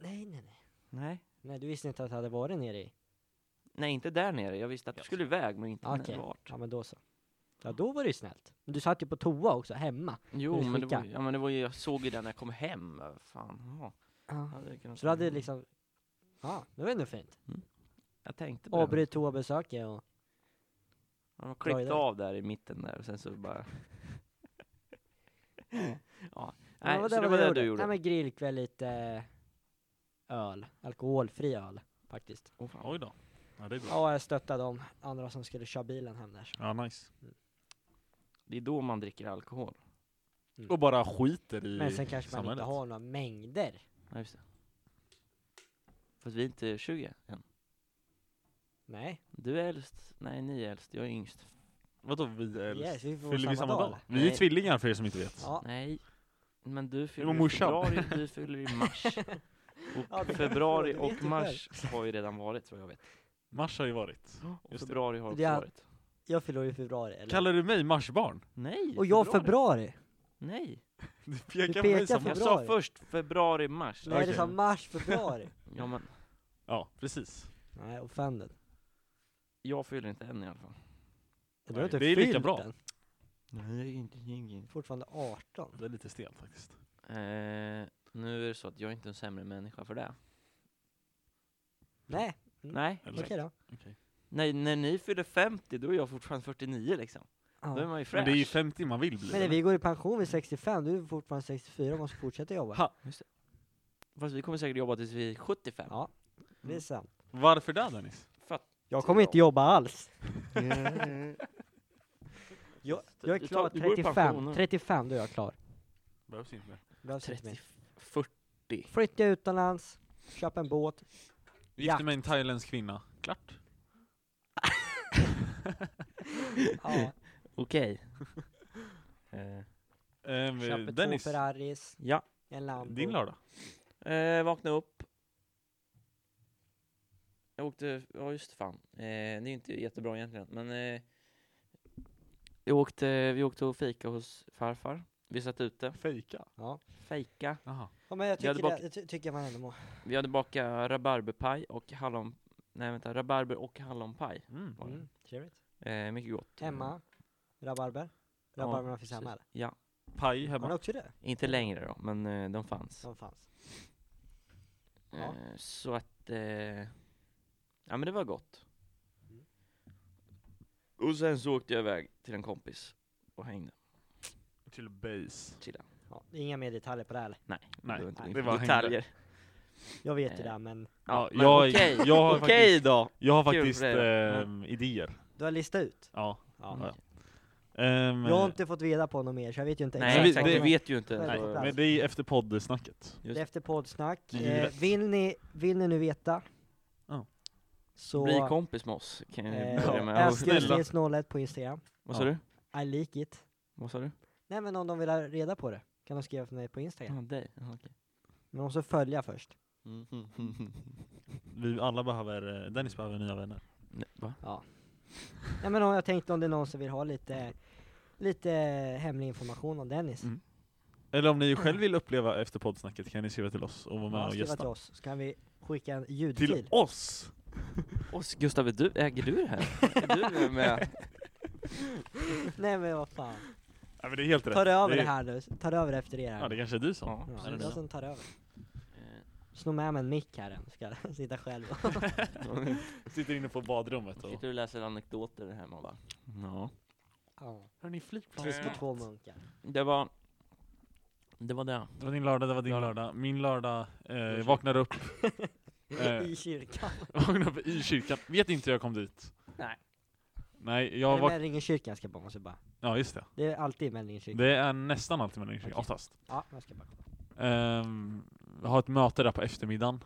Speaker 1: Nej, nej, nej.
Speaker 3: Nej.
Speaker 1: Nej, du visste inte att jag hade varit nere i...
Speaker 3: Nej inte där nere, jag visste att du
Speaker 2: Ja.
Speaker 3: skulle iväg men inte
Speaker 1: Okej.
Speaker 3: när vart.
Speaker 1: Ja, men då så. Ja, då var det ju snällt. Men du satt ju på toa också, hemma.
Speaker 3: Jo
Speaker 1: När du
Speaker 3: men det, var,
Speaker 1: skickar.
Speaker 3: ja, men det var ju, jag såg ju den när jag kom hem. Vad Fan. Ja,
Speaker 1: Ja.
Speaker 3: hade jag kunnat
Speaker 1: Så du
Speaker 3: ta
Speaker 1: hade
Speaker 3: med mig.
Speaker 1: liksom... Ja, det var ändå fint.
Speaker 3: Jag tänkte på det.
Speaker 1: Avbryt toabesöket och...
Speaker 3: Ja, De
Speaker 1: Bra
Speaker 3: klippte
Speaker 1: idé.
Speaker 3: av där i mitten där och sen så <laughs> bara... ja. Nej,
Speaker 1: ja,
Speaker 3: så det var det du gjorde?
Speaker 1: Nej, men grillkväll, lite... Öl. Alkoholfri öl, faktiskt.
Speaker 3: Åh, fan.
Speaker 2: Oj då. Ja, det är bra.
Speaker 1: Ja, jag stöttade de andra som skulle köra bilen hem där.
Speaker 2: Ja, nice.
Speaker 3: Det är då man dricker alkohol.
Speaker 2: Och bara skiter
Speaker 1: Men sen
Speaker 2: i
Speaker 1: kanske man inte
Speaker 2: samhället.
Speaker 1: har några mängder.
Speaker 3: Ja, just det. Fast vi är inte 20 än.
Speaker 1: Nej.
Speaker 3: Du är äldst, nej ni är äldst, jag är yngst.
Speaker 2: Vadå vi är
Speaker 1: Yes,
Speaker 2: äldst?
Speaker 1: vi får
Speaker 2: Fyller vi samma dag? Vi är
Speaker 3: Nej.
Speaker 2: tvillingar för er som inte vet.
Speaker 1: Ja.
Speaker 3: Nej, men du
Speaker 2: var
Speaker 3: fyller i
Speaker 2: morsan.
Speaker 3: februari, du fyller i mars. Och
Speaker 1: Ja, det-
Speaker 3: februari
Speaker 1: det vet
Speaker 3: och
Speaker 1: jag
Speaker 3: mars har ju redan varit vad jag vet.
Speaker 2: Mars har ju varit.
Speaker 3: Och
Speaker 2: Just det.
Speaker 3: februari har
Speaker 1: Det
Speaker 3: också
Speaker 1: är-
Speaker 3: varit.
Speaker 1: Jag fyller i februari, eller?
Speaker 2: Kallar du mig marsbarn?
Speaker 3: Nej!
Speaker 1: och jag februari?
Speaker 3: Nej!
Speaker 2: Du pekar,
Speaker 1: <laughs> Du
Speaker 2: på mig
Speaker 1: pekar
Speaker 2: som
Speaker 1: på-
Speaker 3: Jag
Speaker 2: mars.
Speaker 3: sa
Speaker 1: Februari.
Speaker 3: först februari, mars.
Speaker 1: Nej, det
Speaker 2: Okej.
Speaker 1: sa mars,
Speaker 3: <laughs>
Speaker 1: februari.
Speaker 3: Ja men,
Speaker 2: Ja, precis.
Speaker 1: Nej, offended.
Speaker 3: jag fyller inte än i alla fall.
Speaker 1: Du
Speaker 2: Nej,
Speaker 1: har inte
Speaker 2: det är lika
Speaker 1: fyllt
Speaker 2: bra.
Speaker 1: den.
Speaker 3: Nej, inte ingen.
Speaker 1: Fortfarande 18.
Speaker 2: Det är lite stelt faktiskt.
Speaker 3: Eh, nu är det så att jag är inte en sämre människa för
Speaker 1: Mm.
Speaker 3: det.
Speaker 1: Nej,
Speaker 3: Nej,
Speaker 2: Eller?
Speaker 1: okej då.
Speaker 3: Nej, när ni fyller 50 då är jag fortfarande 49 liksom.
Speaker 1: Ja.
Speaker 3: Då är man ju
Speaker 2: Men
Speaker 3: fräsch.
Speaker 2: det är ju 50 man vill bli.
Speaker 1: Men när vi går i pension vid 65, du är fortfarande 64 och måste fortsätta jobba.
Speaker 2: Ha.
Speaker 3: Fast vi kommer säkert jobba tills vi är 75.
Speaker 1: Ja. Det är sant.
Speaker 2: Varför det Dennis?
Speaker 3: För att
Speaker 1: Jag kommer inte jobba alls. Jag, jag är
Speaker 3: Du tar-
Speaker 1: klar
Speaker 3: du går i pension
Speaker 1: 35,
Speaker 3: nu.
Speaker 1: 35 då är jag klar.
Speaker 2: Behövs inte mer.
Speaker 1: Behövs inte
Speaker 3: 30,
Speaker 1: mer.
Speaker 3: <laughs> 40.
Speaker 1: Flytta utomlands, köpa en båt.
Speaker 2: Gifte mig med en thailändsk kvinna. Klart.
Speaker 3: <laughs>
Speaker 1: Ja,
Speaker 3: Okej. Eh,
Speaker 2: Ehm,
Speaker 1: köpa två
Speaker 2: Dennis,
Speaker 1: Ferraris,
Speaker 3: ja.
Speaker 1: en Lambo.
Speaker 2: din lördag?
Speaker 3: Eh, vakna upp. Jag åkte, ja just fan. Eh, det är ju inte jättebra egentligen, men eh, jag åkte, vi åkte och fika hos farfar. Vi satt ute,
Speaker 2: Fejka.
Speaker 1: Ja.
Speaker 3: fika.
Speaker 2: Jaha.
Speaker 1: ja, men jag
Speaker 3: Vi hade
Speaker 1: tycker,
Speaker 3: bak-
Speaker 1: det, jag ty- tycker man ändå må.
Speaker 3: Vi hade bakat rabarberpaj och hallon... Nej vänta, rabarber och hallonpaj.
Speaker 2: Mm.
Speaker 3: Var det.
Speaker 1: Mm, trevligt.
Speaker 3: Eh, mycket gott.
Speaker 1: Hemma, rabarber.
Speaker 3: Ja,
Speaker 1: Rabarberna finns hemma
Speaker 3: precis.
Speaker 1: eller?
Speaker 3: Ja,
Speaker 1: Har ni
Speaker 2: Paj hemma.
Speaker 1: också det?
Speaker 3: inte längre då, men eh, de fanns.
Speaker 1: Som fanns. Ja.
Speaker 3: Eh, så att, eh, ja men det var gott.
Speaker 1: Mm.
Speaker 3: Och sen så åkte jag iväg till en kompis och hängde,
Speaker 2: Till base.
Speaker 3: chillade.
Speaker 1: Ja, inga mer detaljer på det här eller?
Speaker 2: Nej,
Speaker 3: var inte min-
Speaker 2: det var
Speaker 3: detaljer.
Speaker 1: Jag vet ju
Speaker 3: Eh.
Speaker 1: det men
Speaker 2: Ja,
Speaker 3: Ja, men
Speaker 2: jag-
Speaker 3: okej,
Speaker 2: jag har
Speaker 3: okej
Speaker 2: faktiskt-
Speaker 3: då!
Speaker 2: Jag har
Speaker 3: Kul
Speaker 2: faktiskt
Speaker 3: för dig då.
Speaker 2: ehm, idéer.
Speaker 1: du har listat ut?
Speaker 2: Ja.
Speaker 1: Ja.
Speaker 3: Mm.
Speaker 2: Ja. Ehm,
Speaker 1: Jag har inte fått reda på något mer så jag vet ju inte
Speaker 3: Nej
Speaker 1: exakt.
Speaker 2: Men vi-
Speaker 3: exakt,
Speaker 2: det-
Speaker 3: du vet ju inte.
Speaker 1: Nej,
Speaker 2: nej,
Speaker 3: så-
Speaker 1: plats.
Speaker 2: men det är efter poddsnacket.
Speaker 1: Det är efter poddsnack. Eh,
Speaker 2: Givet.
Speaker 1: vill, ni, vill ni nu veta?
Speaker 2: Ja.
Speaker 1: Så...
Speaker 3: Bli kompis med oss, kan jag
Speaker 1: eh,
Speaker 3: börja med.
Speaker 2: ja,
Speaker 3: Och-
Speaker 2: snälla.
Speaker 1: Eskilsnils01 på Instagram.
Speaker 3: Vad sa du?
Speaker 1: I like it.
Speaker 3: Vad sa du?
Speaker 1: Nej men om de vill ha reda på det kan de skriva för mig på
Speaker 3: Ja,
Speaker 1: Instagram.
Speaker 3: Ah, dig. Mm. Jaha, okej.
Speaker 1: Men de måste följa först.
Speaker 2: Vi alla behöver, eh, Dennis behöver nya vänner.
Speaker 3: Nej, Va?
Speaker 1: Nej men om jag tänkte om det är någon som vill ha lite, lite hemlig information om Dennis.
Speaker 2: Mm. Eller om ni själv vill uppleva efter poddsnacket kan ni skriva till oss och vara med
Speaker 1: Mm. Ja,
Speaker 2: och
Speaker 1: skriva till
Speaker 2: gästa.
Speaker 1: oss så kan vi skicka en
Speaker 2: Till
Speaker 1: ljudfil.
Speaker 2: oss!
Speaker 3: Och s- Gustav, är du, äger du det här? Är du <laughs> med?
Speaker 1: <laughs> Nej men vad fan.
Speaker 2: Ja, men det är helt rätt.
Speaker 1: Tar över
Speaker 2: är-
Speaker 1: det här nu. Tar över efter er här.
Speaker 2: Ja, det kanske är du som.
Speaker 3: Ja, Eh,
Speaker 1: Ja,
Speaker 2: är det
Speaker 1: det är jag
Speaker 2: det?
Speaker 3: precis.
Speaker 1: som tar över. Snå med mig en mick här än, ska jag <laughs> sitta själv och
Speaker 2: Sitter inne på badrummet och...
Speaker 3: Sitter du och läser anekdoter hemma och bara? Ja.
Speaker 1: ja.
Speaker 2: Hörni, flygplan.
Speaker 1: Tysker två munkar.
Speaker 3: Det var, det var det.
Speaker 2: Det var din lördag, det var din
Speaker 3: Lördag.
Speaker 2: lördag. Min lördag, eh, jag vaknade
Speaker 3: <laughs>
Speaker 2: upp, Eh.
Speaker 1: <laughs> I kyrkan.
Speaker 2: vaknade upp i kyrkan. Vet inte hur jag kom dit.
Speaker 3: Nej.
Speaker 2: Nej,
Speaker 1: Ja,
Speaker 2: jag
Speaker 1: var...
Speaker 2: vak-
Speaker 1: Mellingen kyrkan ska jag bara, måste bara.
Speaker 2: Ja, just det.
Speaker 1: Det är alltid Mellingen kyrkan.
Speaker 2: Det är nästan alltid mellan kyrkan,
Speaker 1: Okej.
Speaker 2: oftast.
Speaker 1: Ja, jag ska bara kolla.
Speaker 2: Ehm, jag har ett möte där på eftermiddagen.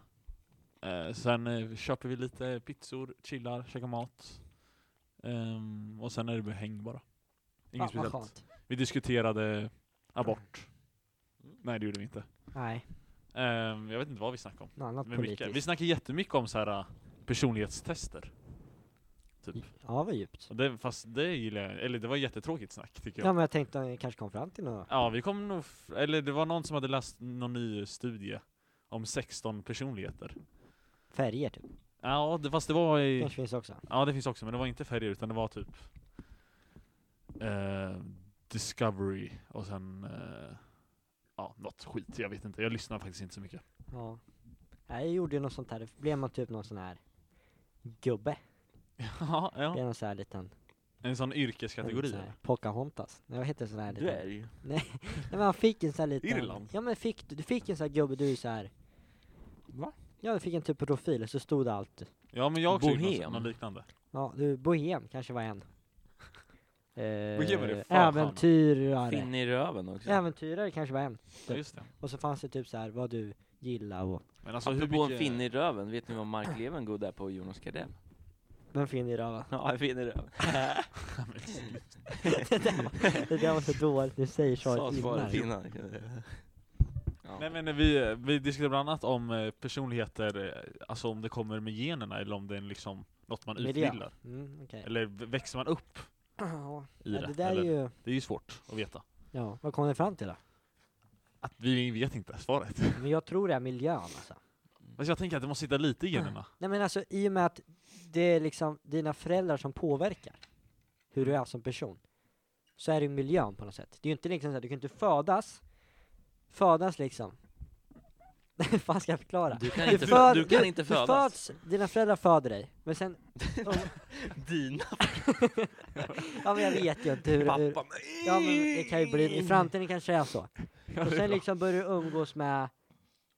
Speaker 2: Eh, sen eh, köper vi lite pizzor, chillar, käkar mat. Ehm, och sen är det behäng bara. Inget
Speaker 1: Ja, Ah, vad
Speaker 2: speciellt.
Speaker 1: skönt.
Speaker 2: Vi diskuterade abort. Nej, det gjorde vi inte.
Speaker 1: Nej,
Speaker 2: Ehm, jag vet inte vad vi snackade om.
Speaker 1: något annat
Speaker 2: Men mycket. Vi
Speaker 1: politiskt.
Speaker 2: snackade jättemycket om så här eh, personlighetstester. Typ.
Speaker 1: Ja, vad djupt.
Speaker 2: Och det, fast det gillar jag, eller det var jättetråkigt snack tycker jag.
Speaker 1: Ja men jag tänkte att ni kanske kom fram till något.
Speaker 2: Ja, vi kom nog, f- eller det var någon som hade läst någon ny studie om 16 personligheter.
Speaker 1: Färger typ.
Speaker 2: Ja, det, fast det var i,
Speaker 1: Kanske finns också.
Speaker 2: ja det finns också, men det var inte färger utan det var typ eh, Discovery och sen eh, ja, något skit, jag vet inte, jag lyssnar faktiskt inte så
Speaker 3: <laughs>
Speaker 2: mycket.
Speaker 1: Ja. Nej, jag gjorde ju något sånt här. Då Blev man typ någon sån här gubbe.
Speaker 2: ja, ja.
Speaker 1: Blev någon sån här liten.
Speaker 2: En sån yrkeskategori.
Speaker 1: sån här
Speaker 2: eller?
Speaker 1: Pocahontas. Nej, vad heter sån här liten?
Speaker 3: Dvärg.
Speaker 1: Nej men han fick en sån här liten
Speaker 2: Irland.
Speaker 1: Ja men fick du, du fick en sån här gubbe, du är så här
Speaker 3: Va?
Speaker 1: Ja du fick en typ av profil, och så stod det allt
Speaker 2: Ja men jag har också gjort något,
Speaker 3: Bohem.
Speaker 2: något liknande.
Speaker 1: Ja, du, bohem kanske var en
Speaker 2: Bohem är det
Speaker 1: eh,
Speaker 2: fan.
Speaker 1: Äventyrare
Speaker 3: Finn i röven också.
Speaker 1: Äventyrare kanske var en
Speaker 2: Ja, just det.
Speaker 1: Och så fanns det typ så här vad du gillar och
Speaker 2: Men alltså hur
Speaker 3: Apropå en
Speaker 2: mycket...
Speaker 3: finn i röven, vet ni vad Mark Levengood är på Jonas Gardell? <laughs>
Speaker 1: Vem finner i röven?
Speaker 3: Ja, en finn i röven.
Speaker 1: <laughs> det, där var- det där var så dåligt, du säger
Speaker 3: Sa
Speaker 1: svaret
Speaker 3: svaret
Speaker 1: innan
Speaker 3: innan. Ja.
Speaker 2: Nej men vi, vi diskuterade bland annat om eh, personligheter, eh, alltså om det kommer med generna eller om det är liksom något man
Speaker 1: Miljö.
Speaker 2: utbildar.
Speaker 1: mm, okej.
Speaker 2: Eller v- växer man upp
Speaker 1: Ja,
Speaker 2: i det?
Speaker 1: det där är
Speaker 2: eller?
Speaker 1: ju,
Speaker 2: det är ju svårt att veta.
Speaker 1: ja, vad kom ni fram till då?
Speaker 2: Att vi vet
Speaker 1: <laughs>
Speaker 2: inte svaret.
Speaker 1: Men jag tror det är miljön alltså
Speaker 2: Fast jag tänker att det måste sitta lite i generna.
Speaker 1: Nej men alltså i och med att det är liksom dina föräldrar som påverkar hur du är som person. Så är det ju miljön på något sätt. Det är ju inte liksom så här, du kan inte födas, födas liksom. <laughs> Hur fan ska jag förklara?
Speaker 3: Du kan
Speaker 1: Du
Speaker 3: inte,
Speaker 1: föd-
Speaker 3: fö- du kan inte
Speaker 1: Du
Speaker 3: födas.
Speaker 1: föds, dina föräldrar föder dig, men sen,
Speaker 3: Dina
Speaker 1: ja men jag vet ju inte hur, hur ja men det kan ju bli, i framtiden kanske det är
Speaker 3: <laughs>
Speaker 1: så. Och sen liksom börjar du umgås med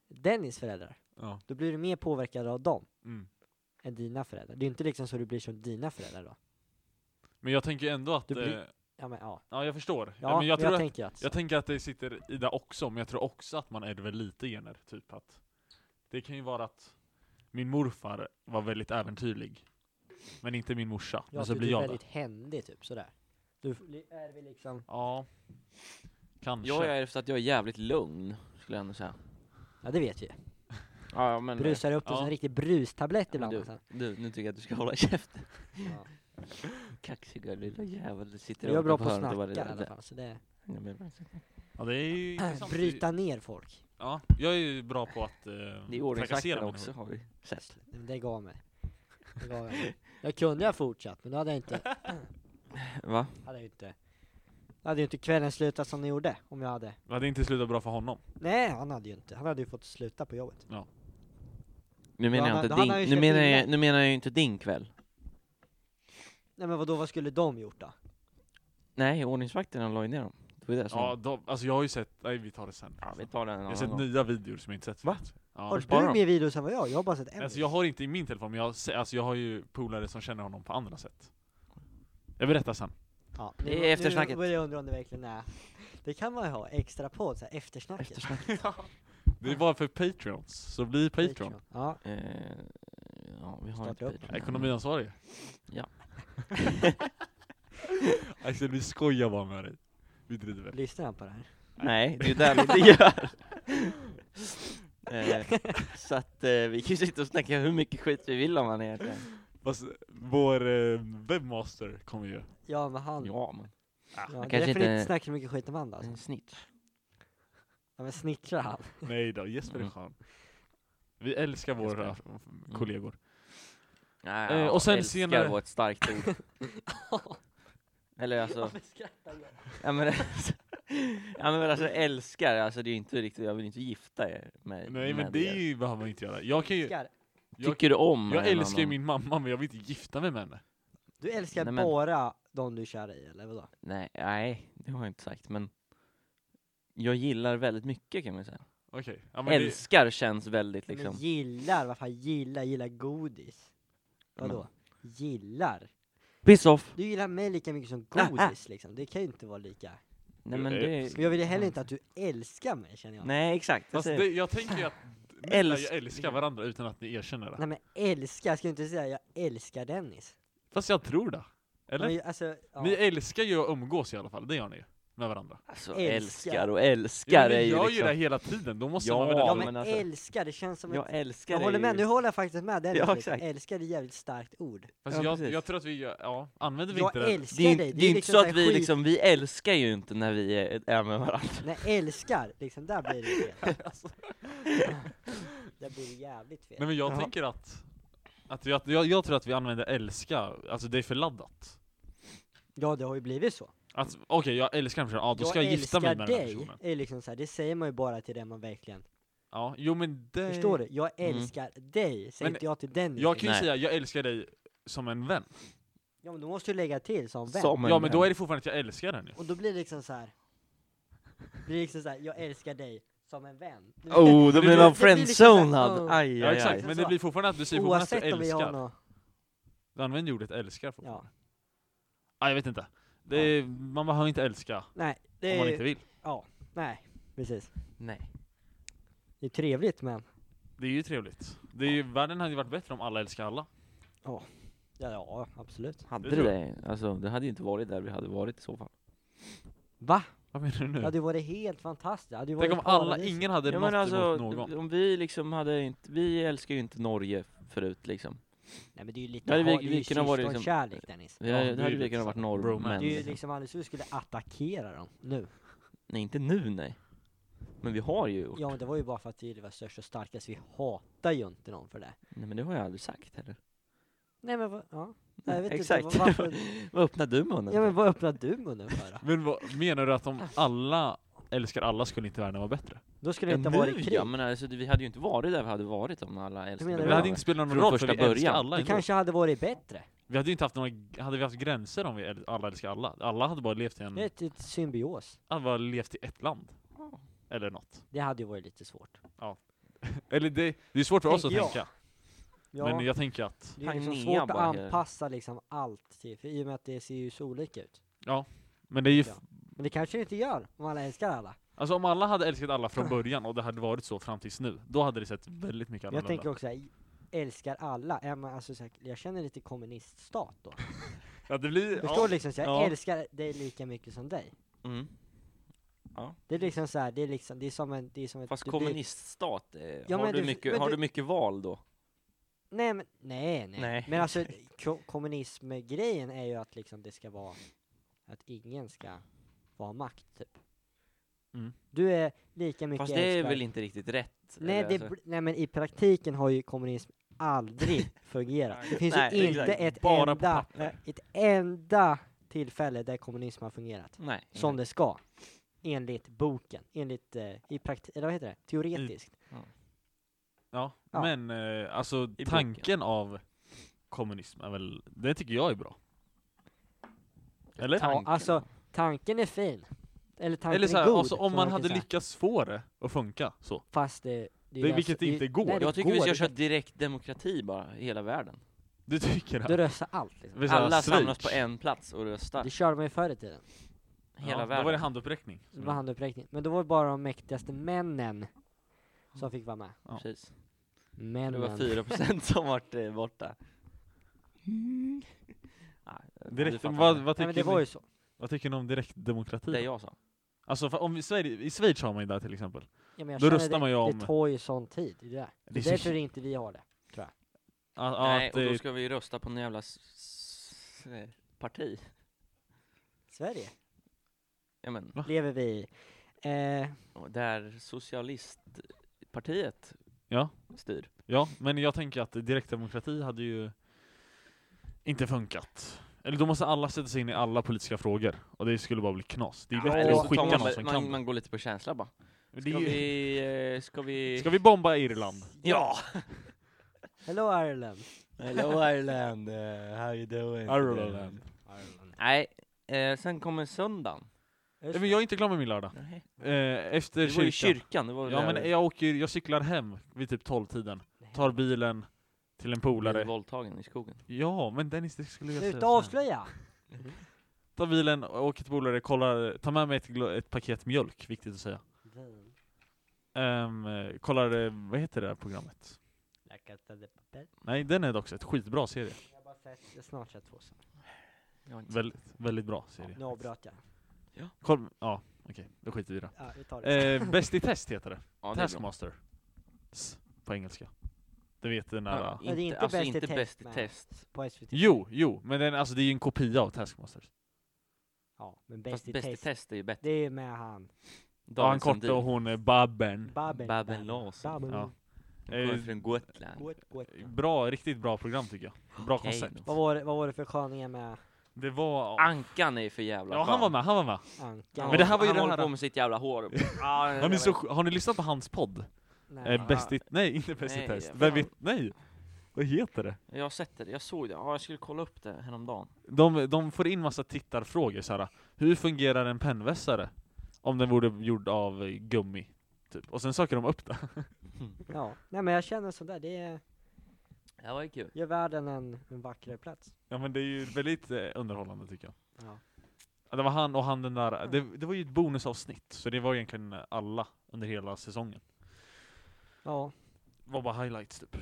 Speaker 1: Dennis föräldrar,
Speaker 2: Ja.
Speaker 1: då blir du mer påverkad av dem
Speaker 2: Mm.
Speaker 1: än dina föräldrar. Det är ju inte liksom så du blir som dina föräldrar då.
Speaker 2: Men jag tänker ändå att...
Speaker 1: Du blir-
Speaker 2: eh,
Speaker 1: Ja men ja.
Speaker 2: Ja jag förstår. Ja,
Speaker 1: Ja,
Speaker 2: men jag, tror att,
Speaker 1: tänker att
Speaker 2: jag tänker att det sitter i det också, men jag tror också att man ärver lite gener. Typ att det kan ju vara att min morfar var väldigt äventyrlig. Men inte min morsa.
Speaker 1: Ja, typ,
Speaker 2: men så
Speaker 1: du
Speaker 2: blir
Speaker 1: är
Speaker 2: jag det.
Speaker 1: väldigt händig typ sådär. Du f- li- är vi liksom,
Speaker 2: Ja, kanske.
Speaker 3: Jag är efter att jag är jävligt lugn, skulle jag ändå säga.
Speaker 1: ja det vet vi
Speaker 3: Ja, ja, men...
Speaker 1: Brusar upp dig
Speaker 2: eh, Ja.
Speaker 1: som en riktig brustablett
Speaker 3: men
Speaker 1: ibland
Speaker 3: du,
Speaker 1: alltså.
Speaker 3: du, nu tycker jag att du ska hålla käften.
Speaker 1: ja.
Speaker 3: Kaxiga lilla jävel, du sitter
Speaker 1: Men Jag är bra på att
Speaker 3: hörnet
Speaker 1: snacka
Speaker 3: och bara-
Speaker 1: i alla fall, så det,
Speaker 3: Ja, men-
Speaker 2: Ja, det är ju intressant.
Speaker 1: bryta ner folk.
Speaker 2: Ja, jag är ju bra på att eh,
Speaker 3: Det är
Speaker 2: trakassera
Speaker 3: ordningsvakterna
Speaker 2: människor.
Speaker 3: också, har vi sett.
Speaker 1: Det gav mig. Det gav jag mig. Jag kunde ha fortsatt, men då hade jag inte,
Speaker 3: Va?
Speaker 1: hade jag inte, då hade ju inte kvällen slutat som den gjorde, om jag hade.
Speaker 2: Det hade inte slutat bra för honom.
Speaker 1: Nej, han hade ju inte, han hade ju fått sluta på jobbet.
Speaker 3: Nu
Speaker 1: Ja,
Speaker 3: menar, jag
Speaker 1: men
Speaker 3: inte
Speaker 1: då hade
Speaker 3: din,
Speaker 1: han ju
Speaker 3: nu,
Speaker 1: köpt
Speaker 3: menar
Speaker 1: in
Speaker 3: jag,
Speaker 1: den.
Speaker 3: nu menar jag ju inte din kväll.
Speaker 1: Nej men vadå, vad skulle de gjort då?
Speaker 3: Nej, ordningsvakterna la ju ner dem. Det var det som...
Speaker 2: Ja, de, alltså jag har ju sett, nej vi tar det sen.
Speaker 3: ja, vi tar den
Speaker 2: jag
Speaker 3: en
Speaker 2: har
Speaker 3: annan
Speaker 2: sett
Speaker 3: gång.
Speaker 2: nya videor som jag inte sett
Speaker 3: Va?
Speaker 2: förut. Ja.
Speaker 1: Har
Speaker 3: sparar
Speaker 1: du
Speaker 3: de.
Speaker 1: mer videos än vad jag? Jag har bara sett en.
Speaker 2: Alltså
Speaker 1: video.
Speaker 2: jag har inte i min telefon, men jag, har se- alltså jag har ju polare som känner honom på andra sätt. Jag berättar sen.
Speaker 1: Ja,
Speaker 3: Det
Speaker 1: nu-
Speaker 3: är eftersnacket.
Speaker 1: Nu börjar jag undra om det verkligen är. Det kan man ju ha, extra podd, så här, eftersnacket.
Speaker 3: Eftersnack.
Speaker 2: Det var för Patreons, så bli Patreon.
Speaker 1: Ja,
Speaker 3: Eh, ja, vi har
Speaker 1: Starta
Speaker 3: inte
Speaker 1: upp
Speaker 3: Patreon.
Speaker 2: Ekonomiansvarig. <laughs>
Speaker 3: Ja.
Speaker 2: Axel vi Alltså, skojar bara med dig. Vi driver.
Speaker 1: lyssnar han på det här?
Speaker 3: Nej, det är ju där vi inte gör. <laughs> eh, så att eh, vi kan ju sitta och snacka hur mycket skit vi vill om han egentligen.
Speaker 2: Fast vår eh, webmaster kommer ju.
Speaker 1: Ja men han, ja,
Speaker 3: Ja, men
Speaker 1: det är
Speaker 3: kanske
Speaker 1: därför ni
Speaker 3: inte- Mm.
Speaker 1: inte snackar så mycket skit om han då, alltså.
Speaker 3: en snitch.
Speaker 1: Ja men snickrar han?
Speaker 2: Nej då, Jesper är
Speaker 3: Mm.
Speaker 2: skön. Vi älskar våra eh, kollegor.
Speaker 3: Nej,
Speaker 2: Eh,
Speaker 3: ja,
Speaker 2: och sen
Speaker 3: älskar
Speaker 2: senare-
Speaker 3: var ett starkt ord. Eller
Speaker 1: <laughs>
Speaker 3: alltså, ja men, <laughs> alltså- ja men alltså älskar, alltså det är ju inte riktigt, jag vill inte gifta er med
Speaker 2: Nej men
Speaker 3: med
Speaker 2: det
Speaker 3: er.
Speaker 2: är ju- behöver man inte göra. Jag kan ju,
Speaker 1: Älskar.
Speaker 2: jag,
Speaker 3: Tycker du om
Speaker 2: jag
Speaker 3: en
Speaker 2: älskar ju
Speaker 3: annan-
Speaker 2: min mamma men jag vill inte gifta mig med henne.
Speaker 1: Du älskar
Speaker 3: Nej, men-
Speaker 1: bara de du kär i eller vadå?
Speaker 3: Nej, nej, det har jag inte sagt, men jag gillar väldigt mycket kan man säga.
Speaker 2: Okej. Ja, men det-
Speaker 3: älskar känns väldigt
Speaker 1: Men
Speaker 3: liksom.
Speaker 1: gillar, vad fan gillar, gillar godis? Vadå? Gillar?
Speaker 3: Piss off!
Speaker 1: Du gillar mig lika mycket som
Speaker 3: Ah, ah.
Speaker 1: godis liksom, det kan ju inte vara lika
Speaker 3: Nej
Speaker 2: Eh,
Speaker 3: men det...
Speaker 1: Men jag vill ju heller inte att du älskar mig känner jag Nej,
Speaker 3: Mm. Nej exakt, jag
Speaker 2: Fast
Speaker 3: säger-
Speaker 2: det, jag tänker ju
Speaker 3: <laughs>
Speaker 2: att ni
Speaker 3: Älsk-
Speaker 2: lär ju älska varandra utan att ni erkänner det.
Speaker 1: men älskar, ska du inte säga jag älskar Dennis?
Speaker 2: Fast jag tror det. Eller?
Speaker 1: Men, alltså, ja.
Speaker 2: Ni älskar ju att umgås i alla fall, det gör ni ju. Med varandra.
Speaker 3: alltså,
Speaker 1: älskar.
Speaker 3: älskar och
Speaker 2: Ja,
Speaker 3: älskar
Speaker 2: men
Speaker 3: är
Speaker 2: ni
Speaker 3: ju
Speaker 2: gör ju
Speaker 3: liksom...
Speaker 2: det hela tiden, då måste
Speaker 3: Ja,
Speaker 2: man väl
Speaker 1: ja
Speaker 2: ändå-
Speaker 1: men
Speaker 3: men alltså-
Speaker 1: älskar, det känns som
Speaker 3: Jag
Speaker 1: ett
Speaker 3: älskar
Speaker 1: Jag
Speaker 3: är
Speaker 1: håller med,
Speaker 3: ju- liksom-
Speaker 1: nu håller jag faktiskt med Dennis,
Speaker 3: Ja,
Speaker 1: liksom.
Speaker 3: exakt.
Speaker 1: älskar är ett jävligt starkt ord
Speaker 2: Fast
Speaker 3: Ja,
Speaker 2: jag,
Speaker 3: precis.
Speaker 2: jag tror att vi, gör- ja, använder vi
Speaker 1: Jag
Speaker 2: inte det?
Speaker 1: älskar
Speaker 3: Det är ju
Speaker 1: dig,
Speaker 3: inte, det är ju inte
Speaker 1: liksom
Speaker 3: så
Speaker 1: här
Speaker 3: att vi
Speaker 1: skit-
Speaker 3: liksom, vi älskar ju inte när vi är, är med varandra.
Speaker 1: Nej, älskar, liksom där blir det ju fel. Alltså. där blir det jävligt fel.
Speaker 2: Nej men jag
Speaker 3: Jaha.
Speaker 2: tänker att, att jag, jag, jag tror att vi använder älska, alltså det är för laddat.
Speaker 1: Ja, det har ju blivit så.
Speaker 2: Alltså, Okej, jag älskar den personen, ja då ska jag, gifta mig med den här
Speaker 1: dig,
Speaker 2: personen.
Speaker 1: är liksom så här, det säger man ju bara till den man verkligen
Speaker 2: Ja, jo men det...
Speaker 1: Förstår du? Jag
Speaker 3: Mm.
Speaker 1: älskar dig, säger
Speaker 2: Eh, Men
Speaker 1: inte jag till Dennis.
Speaker 2: Jag kan ju
Speaker 3: Nej.
Speaker 2: säga, jag älskar dig som en vän.
Speaker 1: Ja men då måste du lägga till som vän.
Speaker 3: Som en
Speaker 2: ja men då
Speaker 3: vän.
Speaker 2: är det fortfarande att jag älskar den ju.
Speaker 1: Och då blir det liksom så här. blir det liksom så här, jag älskar dig som en vän. Nu-
Speaker 3: <laughs> Oh,
Speaker 2: det
Speaker 3: då blir
Speaker 2: blir-
Speaker 3: någon
Speaker 1: det blir liksom så här,
Speaker 3: friendzonad!
Speaker 1: oh.
Speaker 3: Aj,
Speaker 2: Ja
Speaker 3: aj,
Speaker 2: exakt,
Speaker 3: aj.
Speaker 1: Så-
Speaker 2: men
Speaker 1: så-
Speaker 2: det blir fortfarande att du säger fortfarande att
Speaker 1: Oavsett
Speaker 2: du
Speaker 1: om vi har
Speaker 2: älskar.
Speaker 1: något,
Speaker 2: Du använder ju ordet älskar fortfarande.
Speaker 1: ja.
Speaker 2: Ja, jag vet inte. Det är, Man behöver inte älska
Speaker 1: Nej, det
Speaker 2: om man
Speaker 1: är,
Speaker 2: inte vill.
Speaker 1: nej, precis.
Speaker 3: Nej.
Speaker 1: Det är trevligt men,
Speaker 2: Det är ju trevligt. Det är ju, världen hade ju varit bättre om alla älskar alla.
Speaker 1: ja, ja absolut.
Speaker 3: Hade
Speaker 2: Det
Speaker 3: det
Speaker 2: tror
Speaker 3: det? Alltså, det hade ju inte varit där vi hade varit i så fall.
Speaker 1: Va?
Speaker 2: Vad menar du nu?
Speaker 1: Det hade ju varit helt fantastiskt, det hade ju varit
Speaker 2: Tänk om alla,
Speaker 1: paradis.
Speaker 2: ingen hade
Speaker 3: Ja,
Speaker 2: något
Speaker 3: men alltså,
Speaker 2: emot någon.
Speaker 3: om vi liksom hade inte, vi älskar ju inte Norge förut liksom.
Speaker 1: Nej men det är ju lite,
Speaker 3: Då hade
Speaker 1: ha-
Speaker 3: vi-
Speaker 1: det är ju
Speaker 3: vi kunnat vara liksom-
Speaker 1: syskonkärlek Dennis.
Speaker 3: Vi
Speaker 2: Ja,
Speaker 3: hade,
Speaker 2: det är
Speaker 3: det hade
Speaker 2: ju
Speaker 3: vi
Speaker 2: lite
Speaker 3: kunnat
Speaker 2: så.
Speaker 3: varit
Speaker 2: Bromance.
Speaker 3: norrmän.
Speaker 1: Det är ju
Speaker 3: liksom.
Speaker 1: liksom alldeles hur vi skulle attackera dem nu.
Speaker 3: Nej, inte nu nej. Men vi har ju gjort.
Speaker 1: Ja men det var ju bara för att det var störst och starkast, vi hatar ju inte någon för det.
Speaker 3: Nej men det har jag aldrig sagt heller.
Speaker 1: Nej men vad, ja. Nej, jag vet
Speaker 3: Exakt.
Speaker 1: inte vad- varför.
Speaker 3: Vad öppnar du munnen
Speaker 1: Ja
Speaker 3: för?
Speaker 1: men vad öppnade du munnen för då?
Speaker 2: Men vad, menar du att om alla älskar alla skulle inte världen vara bättre?
Speaker 1: Då skulle det inte
Speaker 3: nu,
Speaker 1: ha varit krig.
Speaker 3: ja, men alltså, det- vi hade ju inte varit där vi hade varit om alla älskade
Speaker 1: menar
Speaker 2: Det
Speaker 1: du?
Speaker 2: hade
Speaker 1: var-
Speaker 2: inte spelat någon
Speaker 3: Från
Speaker 2: roll för
Speaker 3: första
Speaker 2: vi älskar
Speaker 3: början.
Speaker 2: alla
Speaker 1: Det
Speaker 2: ändå. Mm.
Speaker 1: kanske hade varit bättre.
Speaker 2: Vi hade ju inte haft några, hade vi haft gränser om vi äl- alla älskar alla? Alla hade bara levt i en,
Speaker 1: Det är ett, ett symbios.
Speaker 2: alla bara levt i ett land. Eller något.
Speaker 1: Det hade ju varit lite svårt.
Speaker 2: Eller det, det är svårt för oss att
Speaker 1: Tänker jag.
Speaker 2: tänka.
Speaker 1: Ja,
Speaker 2: Men jag tänker att,
Speaker 1: det är liksom
Speaker 3: Pangea
Speaker 1: svårt att
Speaker 3: bara här.
Speaker 1: anpassa liksom allt till, för i och med att det ser ju så olika ut.
Speaker 2: men det är ju,
Speaker 1: Ja. Men det kanske det inte gör, om alla älskar alla.
Speaker 2: alltså om alla hade älskat alla från början och det hade varit så fram tills nu, då hade det sett väldigt mycket
Speaker 1: Men jag
Speaker 2: annorlunda
Speaker 1: tänker också såhär, älskar alla, är man, alltså, såhär, jag känner lite kommuniststat då.
Speaker 2: Ja, det blir...
Speaker 1: Det står liksom såhär,
Speaker 2: Ja.
Speaker 1: jag älskar dig lika mycket som dig.
Speaker 3: Mm.
Speaker 1: Det är liksom såhär, det är liksom, det är som en, det är som ett...
Speaker 3: Fast
Speaker 1: du blir-
Speaker 3: kommuniststat, eh,
Speaker 1: Ja,
Speaker 3: har,
Speaker 1: men
Speaker 3: du
Speaker 1: du-
Speaker 3: mycket,
Speaker 1: men
Speaker 3: har
Speaker 1: du-
Speaker 3: du mycket val då?
Speaker 1: Nej men, nej nej.
Speaker 3: Nej,
Speaker 1: Men
Speaker 3: <laughs>
Speaker 1: alltså ko- kommunismgrejen är ju att liksom det ska vara, att ingen ska vara makt typ.
Speaker 2: Mm.
Speaker 1: Du är lika mycket
Speaker 3: Fast det är
Speaker 1: älskvärd-
Speaker 3: väl inte riktigt rätt?
Speaker 1: Nej,
Speaker 3: eller
Speaker 1: det,
Speaker 3: alltså-
Speaker 1: bl- nej men i praktiken har ju kommunism
Speaker 3: <laughs>
Speaker 1: aldrig fungerat. Det finns
Speaker 3: Nej,
Speaker 1: ju inte
Speaker 3: exakt.
Speaker 1: ett
Speaker 3: Bara på
Speaker 1: enda,
Speaker 3: papper.
Speaker 1: eh, ett enda tillfälle där kommunism har fungerat.
Speaker 3: Nej.
Speaker 1: Som det ska. Enligt boken. Enligt, eh, i prakti- eller vad heter det? Teoretiskt.
Speaker 3: Mm.
Speaker 2: Ja,
Speaker 1: Ja.
Speaker 2: men eh, alltså
Speaker 3: boken.
Speaker 2: tanken av kommunism är väl, det tycker jag är bra. Eller?
Speaker 1: Ja, alltså, tanken är fin. Eller tanken
Speaker 2: Eller så
Speaker 1: är
Speaker 2: här,
Speaker 1: god.
Speaker 2: alltså, om
Speaker 1: som
Speaker 2: man
Speaker 1: kan
Speaker 2: hade
Speaker 1: säga.
Speaker 2: lyckats få det att funka så.
Speaker 1: Fast det... det
Speaker 2: Det-
Speaker 1: ju
Speaker 2: vilket
Speaker 1: alltså-
Speaker 2: inte går.
Speaker 1: nej, det
Speaker 2: Jag
Speaker 3: Jag tycker vi
Speaker 1: går.
Speaker 3: ska
Speaker 1: Du
Speaker 3: köra
Speaker 1: kan-
Speaker 3: direktdemokrati bara, i hela världen.
Speaker 2: Du tycker
Speaker 1: Du
Speaker 2: det?
Speaker 1: röstar allt liksom.
Speaker 2: Vi säger
Speaker 3: Alla
Speaker 2: Schweiz.
Speaker 3: samlas på en plats och röstar.
Speaker 1: Det körde man ju förr i tiden.
Speaker 3: Hela
Speaker 2: ja, Då var det
Speaker 3: världen.
Speaker 2: handuppräckning.
Speaker 1: Det
Speaker 3: Mm.
Speaker 1: var handuppräckning. Men då var det bara de mäktigaste männen som fick vara med.
Speaker 2: Ja.
Speaker 3: Precis.
Speaker 1: Männen.
Speaker 3: Det var 4% som vart eh, borta.
Speaker 2: Mm.
Speaker 3: Nej, du
Speaker 2: Direkt,
Speaker 3: fattar
Speaker 2: vad,
Speaker 3: inte.
Speaker 2: vad,
Speaker 1: Nej
Speaker 2: tycker
Speaker 1: men det var ju
Speaker 2: ni,
Speaker 1: så.
Speaker 2: vad tycker ni om direktdemokrati?
Speaker 3: Det
Speaker 2: då?
Speaker 3: jag sa.
Speaker 2: Alltså för om vi, Sverige, i Schweiz har man ju det här till exempel.
Speaker 1: Ja, men jag
Speaker 2: Då
Speaker 1: känner
Speaker 2: röstar
Speaker 1: det,
Speaker 2: man ju om-
Speaker 1: Det tar ju sån tid. Det är där.
Speaker 2: Det
Speaker 1: Det är
Speaker 2: är så-
Speaker 1: därför inte vi har det.
Speaker 2: Att,
Speaker 3: Nej,
Speaker 2: att,
Speaker 3: och då
Speaker 2: eh,
Speaker 3: ska vi rösta på en jävla s- s- eh, parti.
Speaker 1: Sverige
Speaker 3: Ja, men,
Speaker 1: lever vi i. Eh,
Speaker 3: och där socialistpartiet
Speaker 2: Ja.
Speaker 3: styr.
Speaker 2: Ja, men jag tänker att direktdemokrati hade ju inte funkat. Eller då måste alla sätta sig in i alla politiska frågor, och det skulle bara bli knas. Det är
Speaker 1: Ja,
Speaker 2: bättre
Speaker 1: eller
Speaker 2: att
Speaker 1: så
Speaker 2: skicka
Speaker 1: tar
Speaker 2: någon
Speaker 3: man,
Speaker 2: som
Speaker 3: man,
Speaker 2: kan.
Speaker 3: man går lite på känsla bara.
Speaker 2: det. Det
Speaker 3: Ska
Speaker 2: är ju,
Speaker 3: vi... eh, Ska vi...
Speaker 2: ska vi bomba Irland?
Speaker 3: Ja!
Speaker 1: hello Ireland.
Speaker 3: Hello Ireland, Uh, how you doing?
Speaker 2: Ireland.
Speaker 1: Ireland.
Speaker 3: Nej, eh, sen kommer söndagen.
Speaker 2: Nej, Men jag är inte klar med min lördag.
Speaker 3: Nej.
Speaker 2: Eh, efter
Speaker 3: Du var ju i
Speaker 2: kyrkan.
Speaker 3: kyrkan, det var
Speaker 2: Ja
Speaker 3: där
Speaker 2: men jag åker, jag cyklar hem vid typ 12-tiden. Tar bilen till en
Speaker 3: du blev
Speaker 2: polare.
Speaker 3: våldtagen i skogen.
Speaker 2: Ja, men Dennis det skulle jag säga.
Speaker 1: Sluta
Speaker 2: så här.
Speaker 1: avslöja!
Speaker 2: Tar bilen, åker till polare, kollar, tar med mig ett, gla- ett paket mjölk, viktigt att säga. Ehm, eh, kollar, eh, vad heter det här programmet?
Speaker 1: La Casa de Papel.
Speaker 2: Nej, den är dock ett skitbra serie.
Speaker 1: Jag har bara sett, jag har snart sett två sådana.
Speaker 3: Jag har inte sett.
Speaker 2: Väldigt, väldigt bra serie.
Speaker 1: Nu avbröt jag.
Speaker 2: Koll, ja, okej, då skiter vi i det.
Speaker 1: Ja, vi tar det.
Speaker 2: Eh, Bäst i test heter det.
Speaker 3: Ja, det är bra.
Speaker 2: Taskmaster. S, på engelska. Du vet den där...
Speaker 3: Ja,
Speaker 2: ah.
Speaker 1: det är
Speaker 3: inte,
Speaker 1: inte
Speaker 3: alltså
Speaker 1: Bäst i
Speaker 3: inte
Speaker 1: test,
Speaker 3: bäst i
Speaker 1: nej.
Speaker 3: test.
Speaker 1: På SVT.
Speaker 2: Jo, jo, men den, alltså det är ju en kopia av Taskmaster.
Speaker 1: Ja, men
Speaker 3: Fast
Speaker 1: Bäst i
Speaker 3: bäst i
Speaker 1: test.
Speaker 3: test är ju bättre.
Speaker 1: Det är med han.
Speaker 2: Ja, han
Speaker 3: David
Speaker 2: korta och
Speaker 3: Sundin.
Speaker 2: hon är Babben.
Speaker 1: Babben.
Speaker 3: Babben Larsson.
Speaker 1: Babben.
Speaker 2: Ja.
Speaker 3: Han kommer
Speaker 2: Eh,
Speaker 3: från Gotland.
Speaker 1: Gott, gott.
Speaker 2: Bra, riktigt bra program tycker jag. Bra
Speaker 3: Okej
Speaker 2: koncept.
Speaker 3: då.
Speaker 1: Vad var, det- vad var det för sköningar med
Speaker 2: Det var...
Speaker 3: Ah, Ankan är för jävla
Speaker 2: Ja, han
Speaker 3: skön.
Speaker 2: var med, han var med.
Speaker 1: Ankan?
Speaker 3: Han,
Speaker 2: Men det här
Speaker 3: håller-
Speaker 2: var ju
Speaker 3: han
Speaker 2: det
Speaker 3: håller
Speaker 2: här-
Speaker 3: på med sitt
Speaker 2: <laughs>
Speaker 3: jävla hår. Ah,
Speaker 2: Han är så, sj- har ni lyssnat på hans podd?
Speaker 1: Nej.
Speaker 2: Eh, bäst i... Nej, inte Bäst i
Speaker 3: Nej,
Speaker 2: test.
Speaker 3: fan.
Speaker 2: Vem vet? Nej! Vad heter det?
Speaker 3: Jag har sett det, jag såg det. Ja, jag skulle kolla upp det häromdagen.
Speaker 2: De, de får in massa tittarfrågor så här. Hur fungerar en pennvässare? Om den vore gjord av eh, gummi. Typ. Och sen söker de upp det.
Speaker 1: Ja, nej men jag känner sådär, det är,
Speaker 3: Det var ju kul.
Speaker 1: gör världen en, en vackrare plats.
Speaker 2: Ja men det är ju väldigt eh, underhållande tycker jag.
Speaker 1: Ja.
Speaker 2: Ja, Det var han och han den där, det, det var ju ett bonusavsnitt, så det var egentligen alla under hela säsongen.
Speaker 1: Ja,
Speaker 2: Det var bara highlights typ.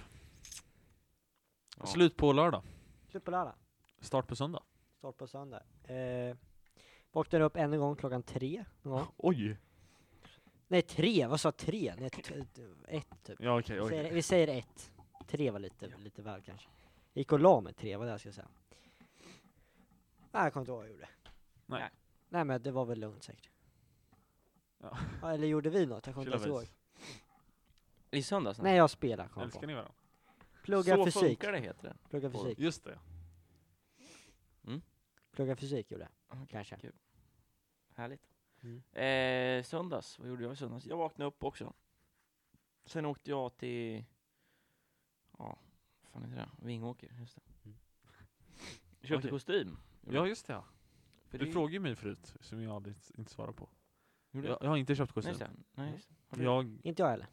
Speaker 3: Ja.
Speaker 2: Slut på lördag,
Speaker 1: slut på lördag,
Speaker 2: start på söndag.
Speaker 1: start på söndag. Eh, vaknade upp en gång klockan tre. någon gång.
Speaker 2: Oj!
Speaker 1: Nej tre, vad sa tre? Nej, t- t- ett typ.
Speaker 2: Ja
Speaker 1: Vi
Speaker 2: okej, oj.
Speaker 1: säger, vi säger ett. Tre var lite, lite väl kanske. Gick och la mig tre, vad det jag skulle säga. Nej, jag kommer inte ihåg vad jag gjorde.
Speaker 2: Nej.
Speaker 1: Nej men det var väl lugnt säkert.
Speaker 2: Ja.
Speaker 1: Ja, eller gjorde vi något? Jag kommer inte ens
Speaker 2: Chilla
Speaker 1: ihåg.
Speaker 2: vis.
Speaker 3: I söndags?
Speaker 1: Nej jag spelade kom jag
Speaker 2: Älskar
Speaker 1: på.
Speaker 2: ni varandra?
Speaker 1: Plugga
Speaker 3: så
Speaker 1: fysik.
Speaker 3: funkar det heter det.
Speaker 1: Plugga
Speaker 3: på-
Speaker 1: fysik.
Speaker 2: Just det.
Speaker 1: Plugga fysik gjorde jag.
Speaker 3: Okej.
Speaker 1: Kanske.
Speaker 3: Härligt.
Speaker 1: Mm.
Speaker 3: Eh, söndags, vad gjorde jag i söndags? Jag vaknade upp också. Sen åkte jag till, ja, vad fan heter det? Vingåker, just det.
Speaker 1: Mm.
Speaker 3: Köpte
Speaker 2: Okej.
Speaker 3: kostym. Gjorde
Speaker 2: Ja
Speaker 3: jag.
Speaker 2: just det ja.
Speaker 3: För
Speaker 2: Du
Speaker 3: det-
Speaker 2: frågade ju mig förut, som jag aldrig inte svarade på.
Speaker 3: gjorde
Speaker 2: Jag,
Speaker 3: jag.
Speaker 2: jag har inte köpt
Speaker 3: Nej,
Speaker 2: kostym.
Speaker 3: just det. Nej, just det. Har du-
Speaker 2: Jag,
Speaker 1: Inte jag heller.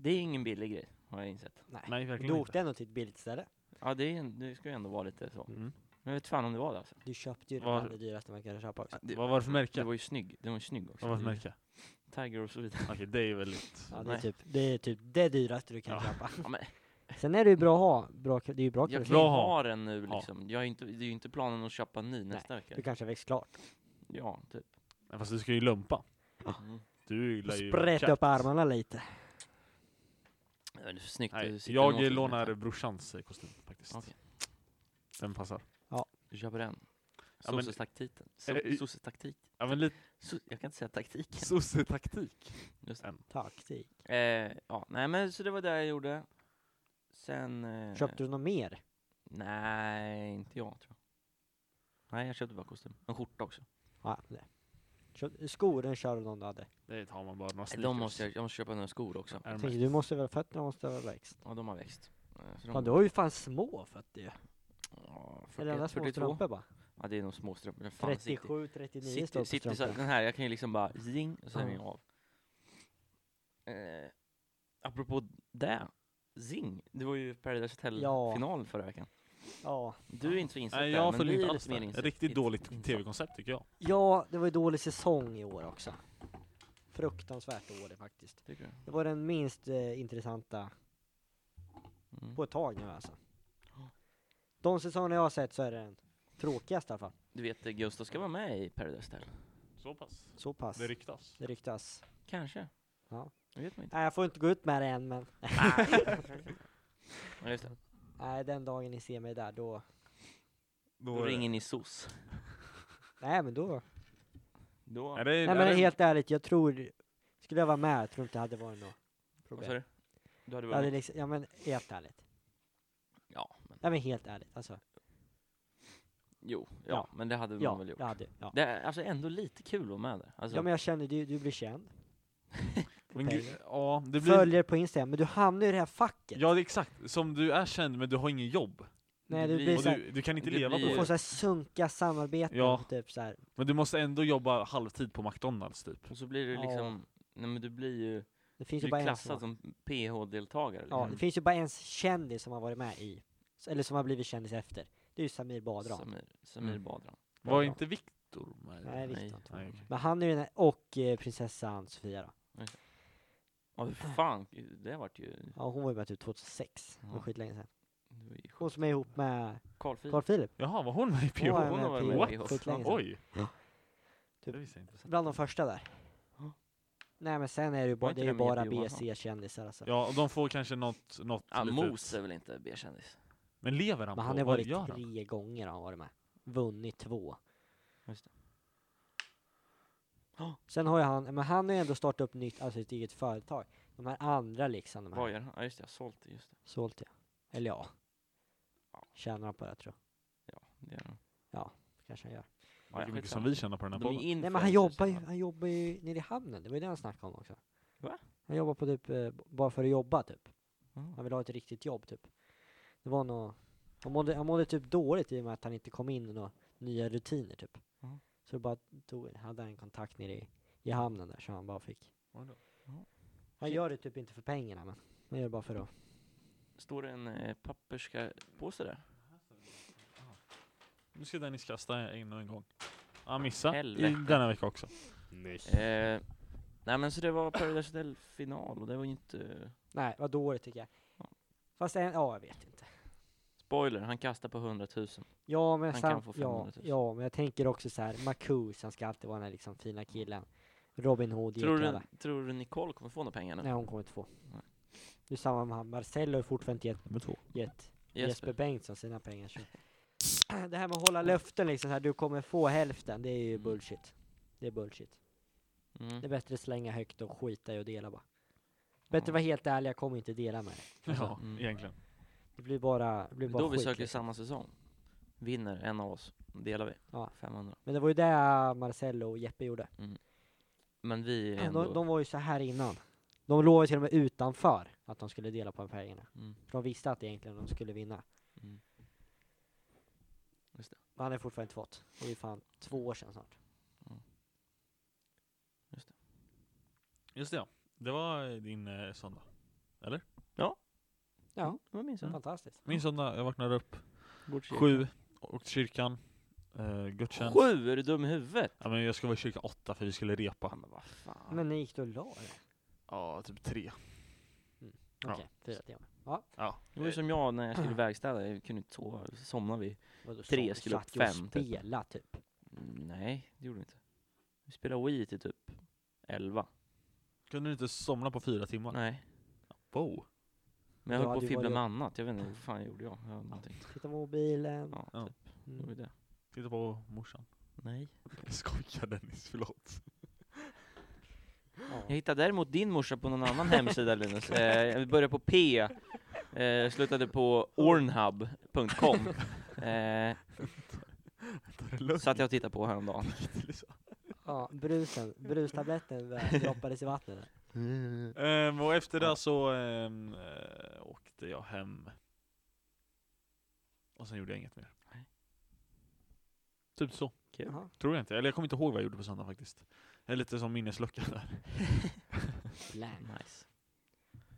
Speaker 3: Det är ingen billig grej, har jag insett.
Speaker 1: Nej.
Speaker 2: nej
Speaker 1: du
Speaker 2: verkligen inte.
Speaker 1: åkte ändå till ett billigt ställe.
Speaker 3: Ja, det, är, en- det ska ju ändå vara lite så.
Speaker 2: Mm.
Speaker 3: Men jag vet fan om det var det alltså.
Speaker 1: Du köpte ju det
Speaker 2: Var-
Speaker 1: allra dyraste man kunde köpa också.
Speaker 3: Det,
Speaker 2: Vad var det för märke?
Speaker 3: det var ju snygg, den var ju snygg också.
Speaker 2: Vad var det
Speaker 3: Det
Speaker 2: för
Speaker 3: är ju
Speaker 2: märke?
Speaker 3: Tiger och så vidare.
Speaker 2: Okej, det är
Speaker 3: <laughs>
Speaker 2: väldigt...
Speaker 1: Ja, det, är
Speaker 3: Nej.
Speaker 1: typ, det är typ det dyraste du kan
Speaker 2: Ja.
Speaker 1: köpa.
Speaker 3: Ja, men-
Speaker 1: Sen är det ju bra att ha, bra, det är ju bra
Speaker 3: Jag
Speaker 1: kvalitet.
Speaker 3: kan ju
Speaker 2: Bra.
Speaker 3: ha den nu
Speaker 2: Ja.
Speaker 3: liksom. Jag är inte, det är ju inte planen att köpa en ny nästa vecka.
Speaker 1: Du kanske har växt klart.
Speaker 3: Ja, typ.
Speaker 2: Nej, Fast du ska ju lumpa.
Speaker 3: Mm.
Speaker 2: Du lär ju...
Speaker 1: Sprätta upp armarna lite.
Speaker 3: Ja, Det är för snyggt.
Speaker 2: Nej,
Speaker 3: att sitta
Speaker 2: jag
Speaker 3: naken i
Speaker 2: lånar
Speaker 3: nätet.
Speaker 2: brorsans eh, kostym faktiskt.
Speaker 3: Okej.
Speaker 2: Den passar.
Speaker 3: Du köper den.
Speaker 2: Ja, men-
Speaker 3: Sosses taktiken.
Speaker 2: Eh, i-
Speaker 3: Sosses taktik.
Speaker 2: Ja men lite
Speaker 3: So- jag kan inte säga taktiken.
Speaker 2: sossetaktik.
Speaker 3: Just det.
Speaker 1: Taktik.
Speaker 3: Eh, ja, nej men så det var det jag gjorde. Sen... eh,
Speaker 1: Köpte du något mer?
Speaker 3: Nej, inte jag tror jag. Nej, jag köpte bara kostym. En skjorta också.
Speaker 1: Ja, det. Köp, skor, den kör du någon du hade.
Speaker 2: Det tar man bara några
Speaker 3: Nej, De måste jag, jag måste köpa några skor också.
Speaker 2: Är
Speaker 1: Jag
Speaker 2: de-
Speaker 1: tänkte, du måste väl, fötterna måste väl ha växt?
Speaker 3: Ja, de har växt. Eh, Så de,
Speaker 1: Fan du har ju fan små fötter ju.
Speaker 3: ja, 41,
Speaker 1: Är det enda små
Speaker 3: 42.
Speaker 1: strumpor bara?
Speaker 3: Ja, det är nog små strumpor. Fan, sitter-
Speaker 1: 37, 39 står
Speaker 3: City,
Speaker 1: på
Speaker 3: City, så,
Speaker 1: strumporna.
Speaker 3: den här, jag kan ju liksom bara zing, och sen är jag
Speaker 1: Ja.
Speaker 3: av. Eh, apropå det, zing, det var ju Paradise
Speaker 1: Ja.
Speaker 3: Hotel-final förra veckan.
Speaker 1: Ja.
Speaker 3: Du är inte så insatt
Speaker 2: Nej,
Speaker 3: där,
Speaker 2: jag
Speaker 3: men
Speaker 2: följer
Speaker 3: vi
Speaker 2: inte
Speaker 3: är
Speaker 2: alls
Speaker 3: lite mer
Speaker 2: det.
Speaker 3: insatt-
Speaker 2: Riktigt
Speaker 3: ins-
Speaker 2: dåligt
Speaker 3: insatt.
Speaker 2: tv-koncept tycker jag.
Speaker 1: ja, det var ju dålig säsong i år också. Fruktansvärt dålig faktiskt.
Speaker 3: Tycker du?
Speaker 1: Det var den minst eh, intressanta
Speaker 3: Mm.
Speaker 1: på ett tag nu alltså.
Speaker 3: Ja.
Speaker 1: De säsongerna jag har sett så är det den tråkigaste i alla fall.
Speaker 3: Du vet, eh, Gustav ska vara med i Paradise Hotel.
Speaker 2: Så pass.
Speaker 1: Så pass.
Speaker 2: Det ryktas.
Speaker 1: Det ryktas.
Speaker 3: Kanske.
Speaker 1: Ja.
Speaker 3: Det vet man inte.
Speaker 1: Nej, jag får inte gå ut med det än men.
Speaker 3: Ja, just det.
Speaker 1: Nej, den dagen ni ser mig där då.
Speaker 3: Då ringer ni SOS.
Speaker 1: Nej men då.
Speaker 3: Då...
Speaker 2: Är det,
Speaker 1: Nej
Speaker 2: är
Speaker 1: men
Speaker 2: det,
Speaker 1: helt ärligt, jag tror. Skulle jag vara med, jag tror inte det hade varit något
Speaker 3: Vad
Speaker 1: problem.
Speaker 3: sa du? Du hade
Speaker 1: Jag hade
Speaker 3: varit
Speaker 1: liksom, ja men helt ärligt.
Speaker 3: Ja, men
Speaker 1: Nej men helt ärligt alltså.
Speaker 3: jo. Ja,
Speaker 1: Ja.
Speaker 3: men det hade man
Speaker 1: Ja,
Speaker 3: väl gjort.
Speaker 1: jag hade, ja.
Speaker 3: Det är alltså ändå lite kul att vara med där. Alltså,
Speaker 1: Ja men jag känner, du, du blir känd.
Speaker 2: men gud, ja, det blir,
Speaker 1: Följer på Instagram, men du hamnar ju i det här facket.
Speaker 2: ja, det är exakt. Som du är känd men du har ingen jobb.
Speaker 1: Nej, du
Speaker 3: det
Speaker 1: blir
Speaker 2: Och
Speaker 1: så här-
Speaker 2: du, du kan inte
Speaker 3: det
Speaker 2: leva
Speaker 1: Du
Speaker 2: på
Speaker 3: blir-
Speaker 1: får
Speaker 2: det.
Speaker 1: så här sunka samarbeten,
Speaker 2: Ja.
Speaker 1: typ så här.
Speaker 2: Men du måste ändå jobba halvtid på McDonalds typ.
Speaker 3: Och så blir du
Speaker 1: Ja.
Speaker 3: liksom, nej men du blir ju,
Speaker 1: Det
Speaker 3: du
Speaker 1: finns ju
Speaker 3: blir
Speaker 1: bara en som
Speaker 3: klassad
Speaker 1: har,
Speaker 3: som PH-deltagare.
Speaker 1: ja,
Speaker 3: Liksom.
Speaker 1: det finns ju bara en kändis som har varit med i, eller som har blivit kändis efter. Det är ju Samir Badran.
Speaker 3: Samir, Samir
Speaker 2: Mm.
Speaker 3: Badran.
Speaker 2: Var inte Viktor med?
Speaker 1: Nej,
Speaker 2: Nej,
Speaker 1: Viktor
Speaker 3: nej.
Speaker 1: inte.
Speaker 2: okej.
Speaker 1: Men han är ju den här, och eh, prinsessan Sofia då.
Speaker 3: Ja hur fan, det vart ju,
Speaker 1: Ja, hon var ju med typ 2006, det var
Speaker 3: Ja.
Speaker 1: skitlänge sedan.
Speaker 3: det var ju
Speaker 1: Hon som är ihop med
Speaker 3: Carl Philip.
Speaker 1: Carl Philip.
Speaker 2: Jaha, var hon med i
Speaker 1: Hon
Speaker 2: PH?
Speaker 3: hon har
Speaker 1: var
Speaker 3: varit
Speaker 1: ju
Speaker 3: med i
Speaker 1: med
Speaker 3: PH.
Speaker 1: PH skitlänge sedan.
Speaker 2: Oj!
Speaker 1: Typ.
Speaker 2: Det visste jag inte.
Speaker 1: Bland de första där.
Speaker 3: Ja.
Speaker 1: Nej men sen är det ju bara,
Speaker 3: inte
Speaker 1: det är ju
Speaker 3: den med
Speaker 1: bara
Speaker 3: Jeppe Johansson?
Speaker 1: BC-kändisar alltså.
Speaker 2: Ja, och de får kanske något, något
Speaker 3: Ja,
Speaker 2: litet.
Speaker 3: Mos är väl inte B-kändis?
Speaker 2: Men lever
Speaker 1: Men
Speaker 2: han på?
Speaker 1: han har
Speaker 2: Vad
Speaker 1: varit
Speaker 2: gör han?
Speaker 1: tre gånger har han varit med. Vunnit två.
Speaker 3: Just det. Ja.
Speaker 1: Sen har ju han, men han har ju ändå startat upp nytt, alltså ett eget företag. De här andra liksom, de
Speaker 3: Vad
Speaker 1: här.
Speaker 3: gör han? Ja just det, jag har sålt det, just det.
Speaker 1: Sålt ja. Eller ja.
Speaker 3: Ja.
Speaker 1: Tjänar han på det tror
Speaker 3: det gör han.
Speaker 1: jag. Kanske han gör.
Speaker 3: Ja,
Speaker 2: Hur mycket
Speaker 3: skitsamma.
Speaker 2: som vi tjänar på den här
Speaker 3: De är
Speaker 2: podden.
Speaker 3: influencers. liksom.
Speaker 1: Nej men han jobbar ju,
Speaker 3: i alla fall.
Speaker 1: han jobbar ju nere i hamnen, det var ju det han snackade om också.
Speaker 3: Va?
Speaker 1: Han jobbar på typ, eh, b- bara för att jobba typ.
Speaker 3: Ja.
Speaker 1: Han vill ha ett riktigt jobb typ. Det var nog, han mådde, han mådde typ dåligt i och med att han inte kom in i några nya rutiner typ.
Speaker 3: Ja.
Speaker 1: Så det bara tog, hade han en kontakt nere i, i hamnen där så han bara fick.
Speaker 2: Oj då.
Speaker 1: Han
Speaker 3: Shit.
Speaker 1: gör det typ inte för pengarna men, han gör det bara för att.
Speaker 3: Står det en eh, papperska påse där?
Speaker 2: Nu ska Dennis kasta in en gång. Han missade
Speaker 3: Helvete.
Speaker 2: i denna vecka också.
Speaker 3: Eh, nej men så det var Paradise Hotel-final och det var ju inte...
Speaker 1: Nej, vad dåligt tycker jag.
Speaker 3: Ja.
Speaker 1: Fast en, ja jag vet inte.
Speaker 3: Spoiler, han kastar på 100 000.
Speaker 1: Ja men,
Speaker 3: Han
Speaker 1: sam-
Speaker 3: kan få
Speaker 1: ja,
Speaker 3: 500 000.
Speaker 1: ja, men jag tänker också så här, Marcus, han ska alltid vara den här liksom fina killen. Robin Hood,
Speaker 3: Tror
Speaker 1: Eklöva.
Speaker 3: du, tror du Nicole kommer få några pengar nu?
Speaker 1: Nej hon kommer inte få.
Speaker 3: Nej.
Speaker 1: Det är samma med han, Marcello har ju fortfarande inte
Speaker 2: Nummer två.
Speaker 1: gett, gett
Speaker 3: Jesper.
Speaker 1: Jesper. Bengtsson sina pengar. Så. Det här med att hålla löften liksom, så här, du kommer få hälften, det är ju bullshit. Det är bullshit.
Speaker 3: Mm.
Speaker 1: Det är bättre att slänga högt och skita i och dela bara. Bättre att vara helt ärlig, jag kommer inte dela med det. Alltså,
Speaker 2: Ja,
Speaker 3: Mm.
Speaker 2: egentligen.
Speaker 1: Det blir bara, det
Speaker 3: Det
Speaker 1: blir
Speaker 3: är
Speaker 1: bara
Speaker 3: då vi
Speaker 1: skit,
Speaker 3: söker
Speaker 1: liksom.
Speaker 3: samma säsong. Vinner en av oss, delar vi.
Speaker 1: Ja.
Speaker 3: 500.
Speaker 1: Men det var ju det Marcello och Jeppe gjorde.
Speaker 3: Men vi är
Speaker 1: Ja,
Speaker 3: ändå...
Speaker 1: De, de var ju så här innan. De lovade till och med utanför att de skulle dela på pengarna.
Speaker 3: Mm.
Speaker 1: För de visste att egentligen de skulle vinna.
Speaker 3: Mm. Just det.
Speaker 1: Men han har fortfarande inte fått. Det är ju fan två år sedan snart.
Speaker 2: Just det ja. Det var din eh, söndag.
Speaker 1: Ja,
Speaker 3: Vad minns jag?
Speaker 1: fantastiskt.
Speaker 2: Min söndag, jag vaknade upp
Speaker 3: Bort kyrkan.
Speaker 2: sju, åkte till kyrkan, eh, gudstjänst.
Speaker 3: Sju? Är du dum i huvudet?
Speaker 2: Ja, men jag ska vara i kyrkan åtta för vi skulle
Speaker 3: Ja,
Speaker 2: repa.
Speaker 3: men vad fan.
Speaker 1: Men ni gick då och la er?
Speaker 2: Ja, typ tre. Ja.
Speaker 1: Okej, fyra timmar. Ja,
Speaker 2: Ja.
Speaker 3: Det var ju som jag när jag
Speaker 1: <clears throat>
Speaker 3: skulle verkstäda, jag kunde inte sova, så somnade vi.
Speaker 1: vadå,
Speaker 3: Tre
Speaker 1: så-
Speaker 3: skulle upp
Speaker 1: satt ju och
Speaker 3: fem, typ.
Speaker 1: spela typ.
Speaker 3: Mm, Nej, det gjorde vi inte. Vi spelade Wii till typ 11.
Speaker 2: Kunde du inte somna på fyra timmar?
Speaker 3: Nej.
Speaker 2: Wow.
Speaker 3: Men jag
Speaker 1: Då
Speaker 3: höll på
Speaker 1: hade
Speaker 3: att
Speaker 1: vi
Speaker 3: fibbla
Speaker 1: varit-
Speaker 3: med annat, jag vet inte vad fan gjorde jag? Jag hade någonting.
Speaker 1: Titta på mobilen.
Speaker 3: Ja,
Speaker 2: Ja.
Speaker 3: typ. Det var
Speaker 1: Mm.
Speaker 3: ju det.
Speaker 2: Titta på morsan.
Speaker 3: Nej.
Speaker 2: Jag skojar Dennis, förlåt.
Speaker 1: Ja.
Speaker 3: Jag hittade däremot din morsa på någon annan hemsida Linus. Eh, vi börjar på P. eh, slutade på ornhub.com. Eh, satt jag och tittade på häromdagen.
Speaker 1: Ja, brusen, <laughs> brustabletten där droppades i vattnet.
Speaker 2: Ehm, och efter det så ehm, eh, åkte jag hem. Och sen gjorde jag inget mer.
Speaker 3: Nej.
Speaker 2: Typ så.
Speaker 3: Kul.
Speaker 1: Jaha.
Speaker 2: Tror jag inte. Eller jag kommer inte ihåg vad jag gjorde på söndagen faktiskt. Jag är lite som minneslucka där.
Speaker 1: Blank.
Speaker 3: Nice.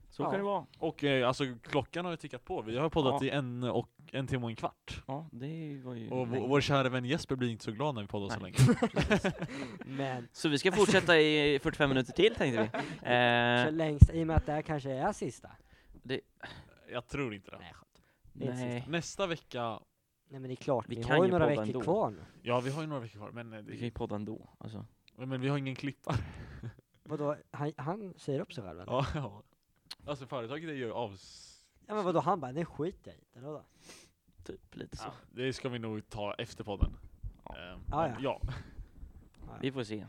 Speaker 3: Så
Speaker 1: Ja.
Speaker 3: kan det vara.
Speaker 2: Och eh, alltså klockan har ju tickat på. Vi har poddat
Speaker 3: Ja.
Speaker 2: i en, och, en timme och en kvart.
Speaker 3: Ja, det var ju
Speaker 2: Och vår,
Speaker 3: länge.
Speaker 2: vår kära vän Jesper blir inte så glad när vi poddar så
Speaker 3: Nej.
Speaker 2: länge.
Speaker 3: Precis. <laughs>
Speaker 1: Men
Speaker 3: Så vi ska fortsätta i 45 minuter till tänkte vi.
Speaker 1: <laughs> så
Speaker 3: Eh,
Speaker 1: längst, i och med att det här kanske är sista.
Speaker 2: Jag tror inte det.
Speaker 1: Nej, skönt. det är inte
Speaker 3: nej,
Speaker 2: Nästa vecka,
Speaker 1: Nej men det är klart,
Speaker 3: Vi
Speaker 1: vi,
Speaker 3: kan
Speaker 1: har ju
Speaker 3: ju
Speaker 1: några
Speaker 3: podda
Speaker 1: veckor
Speaker 3: ändå.
Speaker 1: kvar nu.
Speaker 2: ja vi har ju några veckor kvar, men, eh,
Speaker 3: vi kan ju
Speaker 2: det,
Speaker 3: podda ändå. Alltså.
Speaker 2: men vi har ingen klippare.
Speaker 1: Vadå, han, han säger upp sig själv eller?
Speaker 2: <laughs> Ja, ja. Alltså företaget är ju avs...
Speaker 1: Ja men vadå, han bara, nej skit jag i det, eller vadå?
Speaker 3: Typ lite så.
Speaker 2: Ja, det ska vi nog ta efter podden.
Speaker 3: Ja.
Speaker 2: Ehm,
Speaker 1: Ah,
Speaker 2: men ja.
Speaker 1: Ja, ja.
Speaker 3: Vi får se.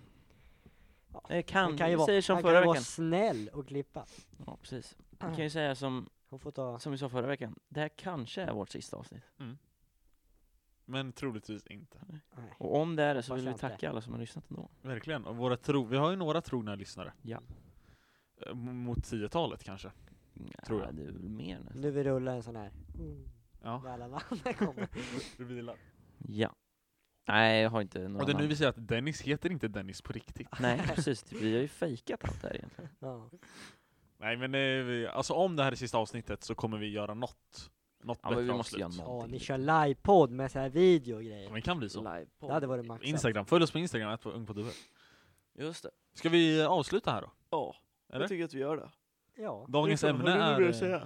Speaker 1: Ja.
Speaker 3: Eh,
Speaker 1: Han
Speaker 3: kan,
Speaker 1: kan ju
Speaker 3: vi
Speaker 1: vara,
Speaker 3: säger som
Speaker 1: han kan ju
Speaker 3: förra
Speaker 1: vara
Speaker 3: veckan.
Speaker 1: snäll och klippa.
Speaker 3: Ja, precis. Vi kan ju säga som,
Speaker 1: Hon får ta,
Speaker 3: som vi sa förra veckan. Det här kanske är vårt sista avsnitt.
Speaker 2: Men troligtvis inte.
Speaker 1: nej.
Speaker 3: Och om det är det så
Speaker 1: Vars
Speaker 3: vill vi
Speaker 1: inte.
Speaker 3: tacka alla som har lyssnat ändå.
Speaker 2: Verkligen. Och våra tro... Vi har ju några trogna lyssnare.
Speaker 3: Ja.
Speaker 2: Ehm, Mot tiotalet kanske. Tror
Speaker 3: Nja,
Speaker 2: jag.
Speaker 3: Det är väl mer nästan.
Speaker 1: Nu vi rullar en sån här. Mm.
Speaker 2: Ja. <laughs>
Speaker 1: Där alla namnen kommer.
Speaker 2: Du vilar.
Speaker 3: Ja. Nej, jag har inte några
Speaker 2: Och det är nu
Speaker 3: namn.
Speaker 2: vi säger att Dennis heter inte Dennis på riktigt.
Speaker 3: Nej, precis. Vi har ju fejkat allt det här egentligen.
Speaker 1: <laughs> Ja.
Speaker 2: Nej men eh, vi- alltså om det här är sista avsnittet så kommer vi göra något. Något
Speaker 3: Ja, men
Speaker 2: bättre
Speaker 3: vi måste
Speaker 2: avslut.
Speaker 3: göra något.
Speaker 1: ja,
Speaker 3: Någonting
Speaker 1: ni
Speaker 3: lite.
Speaker 1: kör livepodd med så här video och
Speaker 2: Ja,
Speaker 1: grejer.
Speaker 2: men det kan bli så.
Speaker 1: Det hade varit maxat.
Speaker 2: Instagram. Följ oss på Instagram, att ung på dubbel.
Speaker 3: Just det.
Speaker 2: Ska vi avsluta här då?
Speaker 3: Ja.
Speaker 2: Eller?
Speaker 3: Jag tycker att vi gör det.
Speaker 1: Ja.
Speaker 2: Dagens ämne är... eh,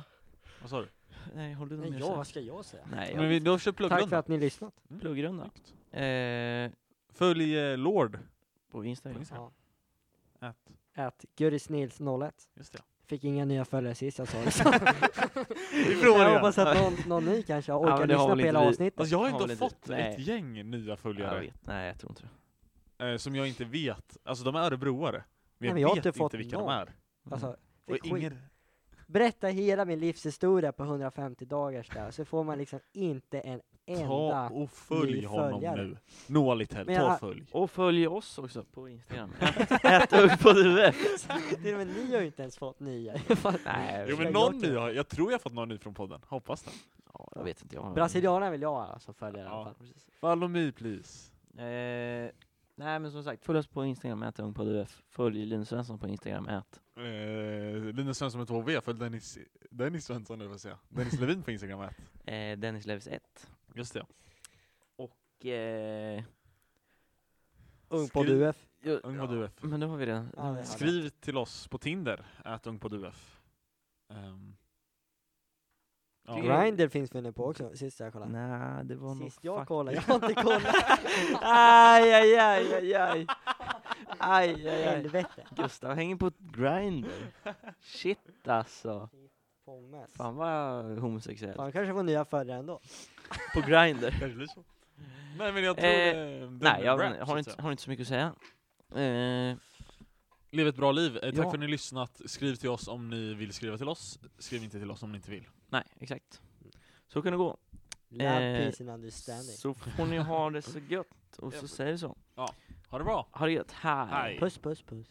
Speaker 2: Vad sa du?
Speaker 3: Nej, har du något
Speaker 1: Men
Speaker 3: mer
Speaker 1: ja,
Speaker 3: att
Speaker 1: vad
Speaker 3: säga?
Speaker 1: ska jag säga?
Speaker 3: Nej, jag
Speaker 2: Men vi, då kör
Speaker 1: Tack för
Speaker 2: pluggrunda.
Speaker 1: att ni lyssnat.
Speaker 3: Pluggrunda.
Speaker 2: Snyggt.
Speaker 3: Eh,
Speaker 2: Följ eh, Lord
Speaker 3: på
Speaker 2: på
Speaker 3: Instagram.
Speaker 2: Instagram. Att,
Speaker 1: Att Gurisnils01
Speaker 2: just det.
Speaker 1: Fick inga nya följare sist jag sa
Speaker 3: <laughs>
Speaker 1: det så.
Speaker 2: Vi
Speaker 1: Jag hoppas att någon, någon ny kanske har
Speaker 3: Ja, men
Speaker 1: orkat
Speaker 3: det
Speaker 1: lyssna på
Speaker 3: har väl inte
Speaker 1: hela
Speaker 3: vi-
Speaker 1: avsnittet.
Speaker 2: Alltså jag har
Speaker 3: Har väl
Speaker 2: inte
Speaker 3: inte-
Speaker 2: fått
Speaker 3: Nej.
Speaker 2: ett gäng nya
Speaker 3: Jag
Speaker 2: följare,
Speaker 3: vet. Nej, jag tror inte det.
Speaker 2: eh, som jag inte vet. Alltså de är örebroare. Men
Speaker 1: Nej,
Speaker 2: jag,
Speaker 1: men jag har
Speaker 2: vet
Speaker 1: inte
Speaker 2: inte,
Speaker 1: fått
Speaker 2: vilka
Speaker 1: någon.
Speaker 2: de är.
Speaker 3: Mm.
Speaker 1: Alltså,
Speaker 2: Och
Speaker 1: fick skit.
Speaker 2: ingen...
Speaker 1: Berätta hela min livshistoria på 150 dagars där, så får man liksom inte en
Speaker 2: Ta
Speaker 1: enda.
Speaker 2: och följ
Speaker 1: ny
Speaker 2: honom
Speaker 1: följare.
Speaker 2: nu. Noah Litell,
Speaker 1: Men
Speaker 2: ta och
Speaker 1: jag-
Speaker 2: följ.
Speaker 3: Och följ oss också på <laughs> Instagram. Ät upp på huvudet. <laughs>
Speaker 1: Till och med ni har ju inte ens fått nya. Fan.
Speaker 3: Nej,
Speaker 2: Jo men
Speaker 1: jag-
Speaker 2: någon
Speaker 1: jag-
Speaker 2: ny har, jag tror jag har fått någon ny från podden, hoppas det.
Speaker 3: ja, jag vet inte. Jag har-
Speaker 1: Brasilianerna vill jag ha alltså följa i alla
Speaker 2: Ja.
Speaker 1: fall.
Speaker 3: Precis.
Speaker 2: Follow me please.
Speaker 3: Eh, nej men som sagt, följ oss på Instagram, ät ung på UF. Följ Linus Svensson på Instagram, ät.
Speaker 2: Eh, Linus Svensson med 2V, följ Dennis, Dennis Svensson nu får jag säga. Dennis Levin på Instagram ät.
Speaker 3: Eh, Dennis Levis 1.
Speaker 2: Just det.
Speaker 3: Och, eh,
Speaker 1: Ung på
Speaker 2: Skriv-
Speaker 1: UF.
Speaker 3: jag-
Speaker 2: Ung på
Speaker 3: ja,
Speaker 2: UF.
Speaker 3: Men då har vi redan.
Speaker 1: Ja, det har vi.
Speaker 2: Skriv till oss på Tinder, ät ung på UF. Ehm. Ja.
Speaker 3: Tycker jag-
Speaker 1: Grindr finns väl nu på också, sist jag kollade.
Speaker 3: Nej, det var nog
Speaker 1: Sist jag
Speaker 3: fuck-
Speaker 1: kollade, jag har inte kollat.
Speaker 3: <laughs> aj, aj, aj, aj, aj. Aj, aj, aj.
Speaker 1: Helvete.
Speaker 3: Gustav hänger på ett grinder. Shit alltså.
Speaker 1: Pommes. Fan,
Speaker 3: Fan vad homosexuell.
Speaker 1: jag kanske får nya följare ändå.
Speaker 3: På grinder.
Speaker 2: Kanske blir så. Nej men jag tror...
Speaker 3: Eh,
Speaker 2: eh, den
Speaker 3: Nej, jag
Speaker 2: rap,
Speaker 3: vet-
Speaker 2: så
Speaker 3: har,
Speaker 2: att
Speaker 3: inte,
Speaker 2: säga.
Speaker 3: har inte så mycket att säga. Eh,
Speaker 2: Lev ett bra liv. Eh, Tack
Speaker 3: Ja.
Speaker 2: för att ni har lyssnat. Skriv till oss om ni vill skriva till oss. Skriv inte till oss om ni inte vill.
Speaker 3: nej, exakt. Så kan det gå.
Speaker 1: Love,
Speaker 3: Eh,
Speaker 1: peace and understanding.
Speaker 3: Så får ni ha det så gött. Och så säger vi så.
Speaker 2: Ha det bra!
Speaker 3: Ha det gött. Hej.
Speaker 2: Hej.
Speaker 1: Puss, puss, puss.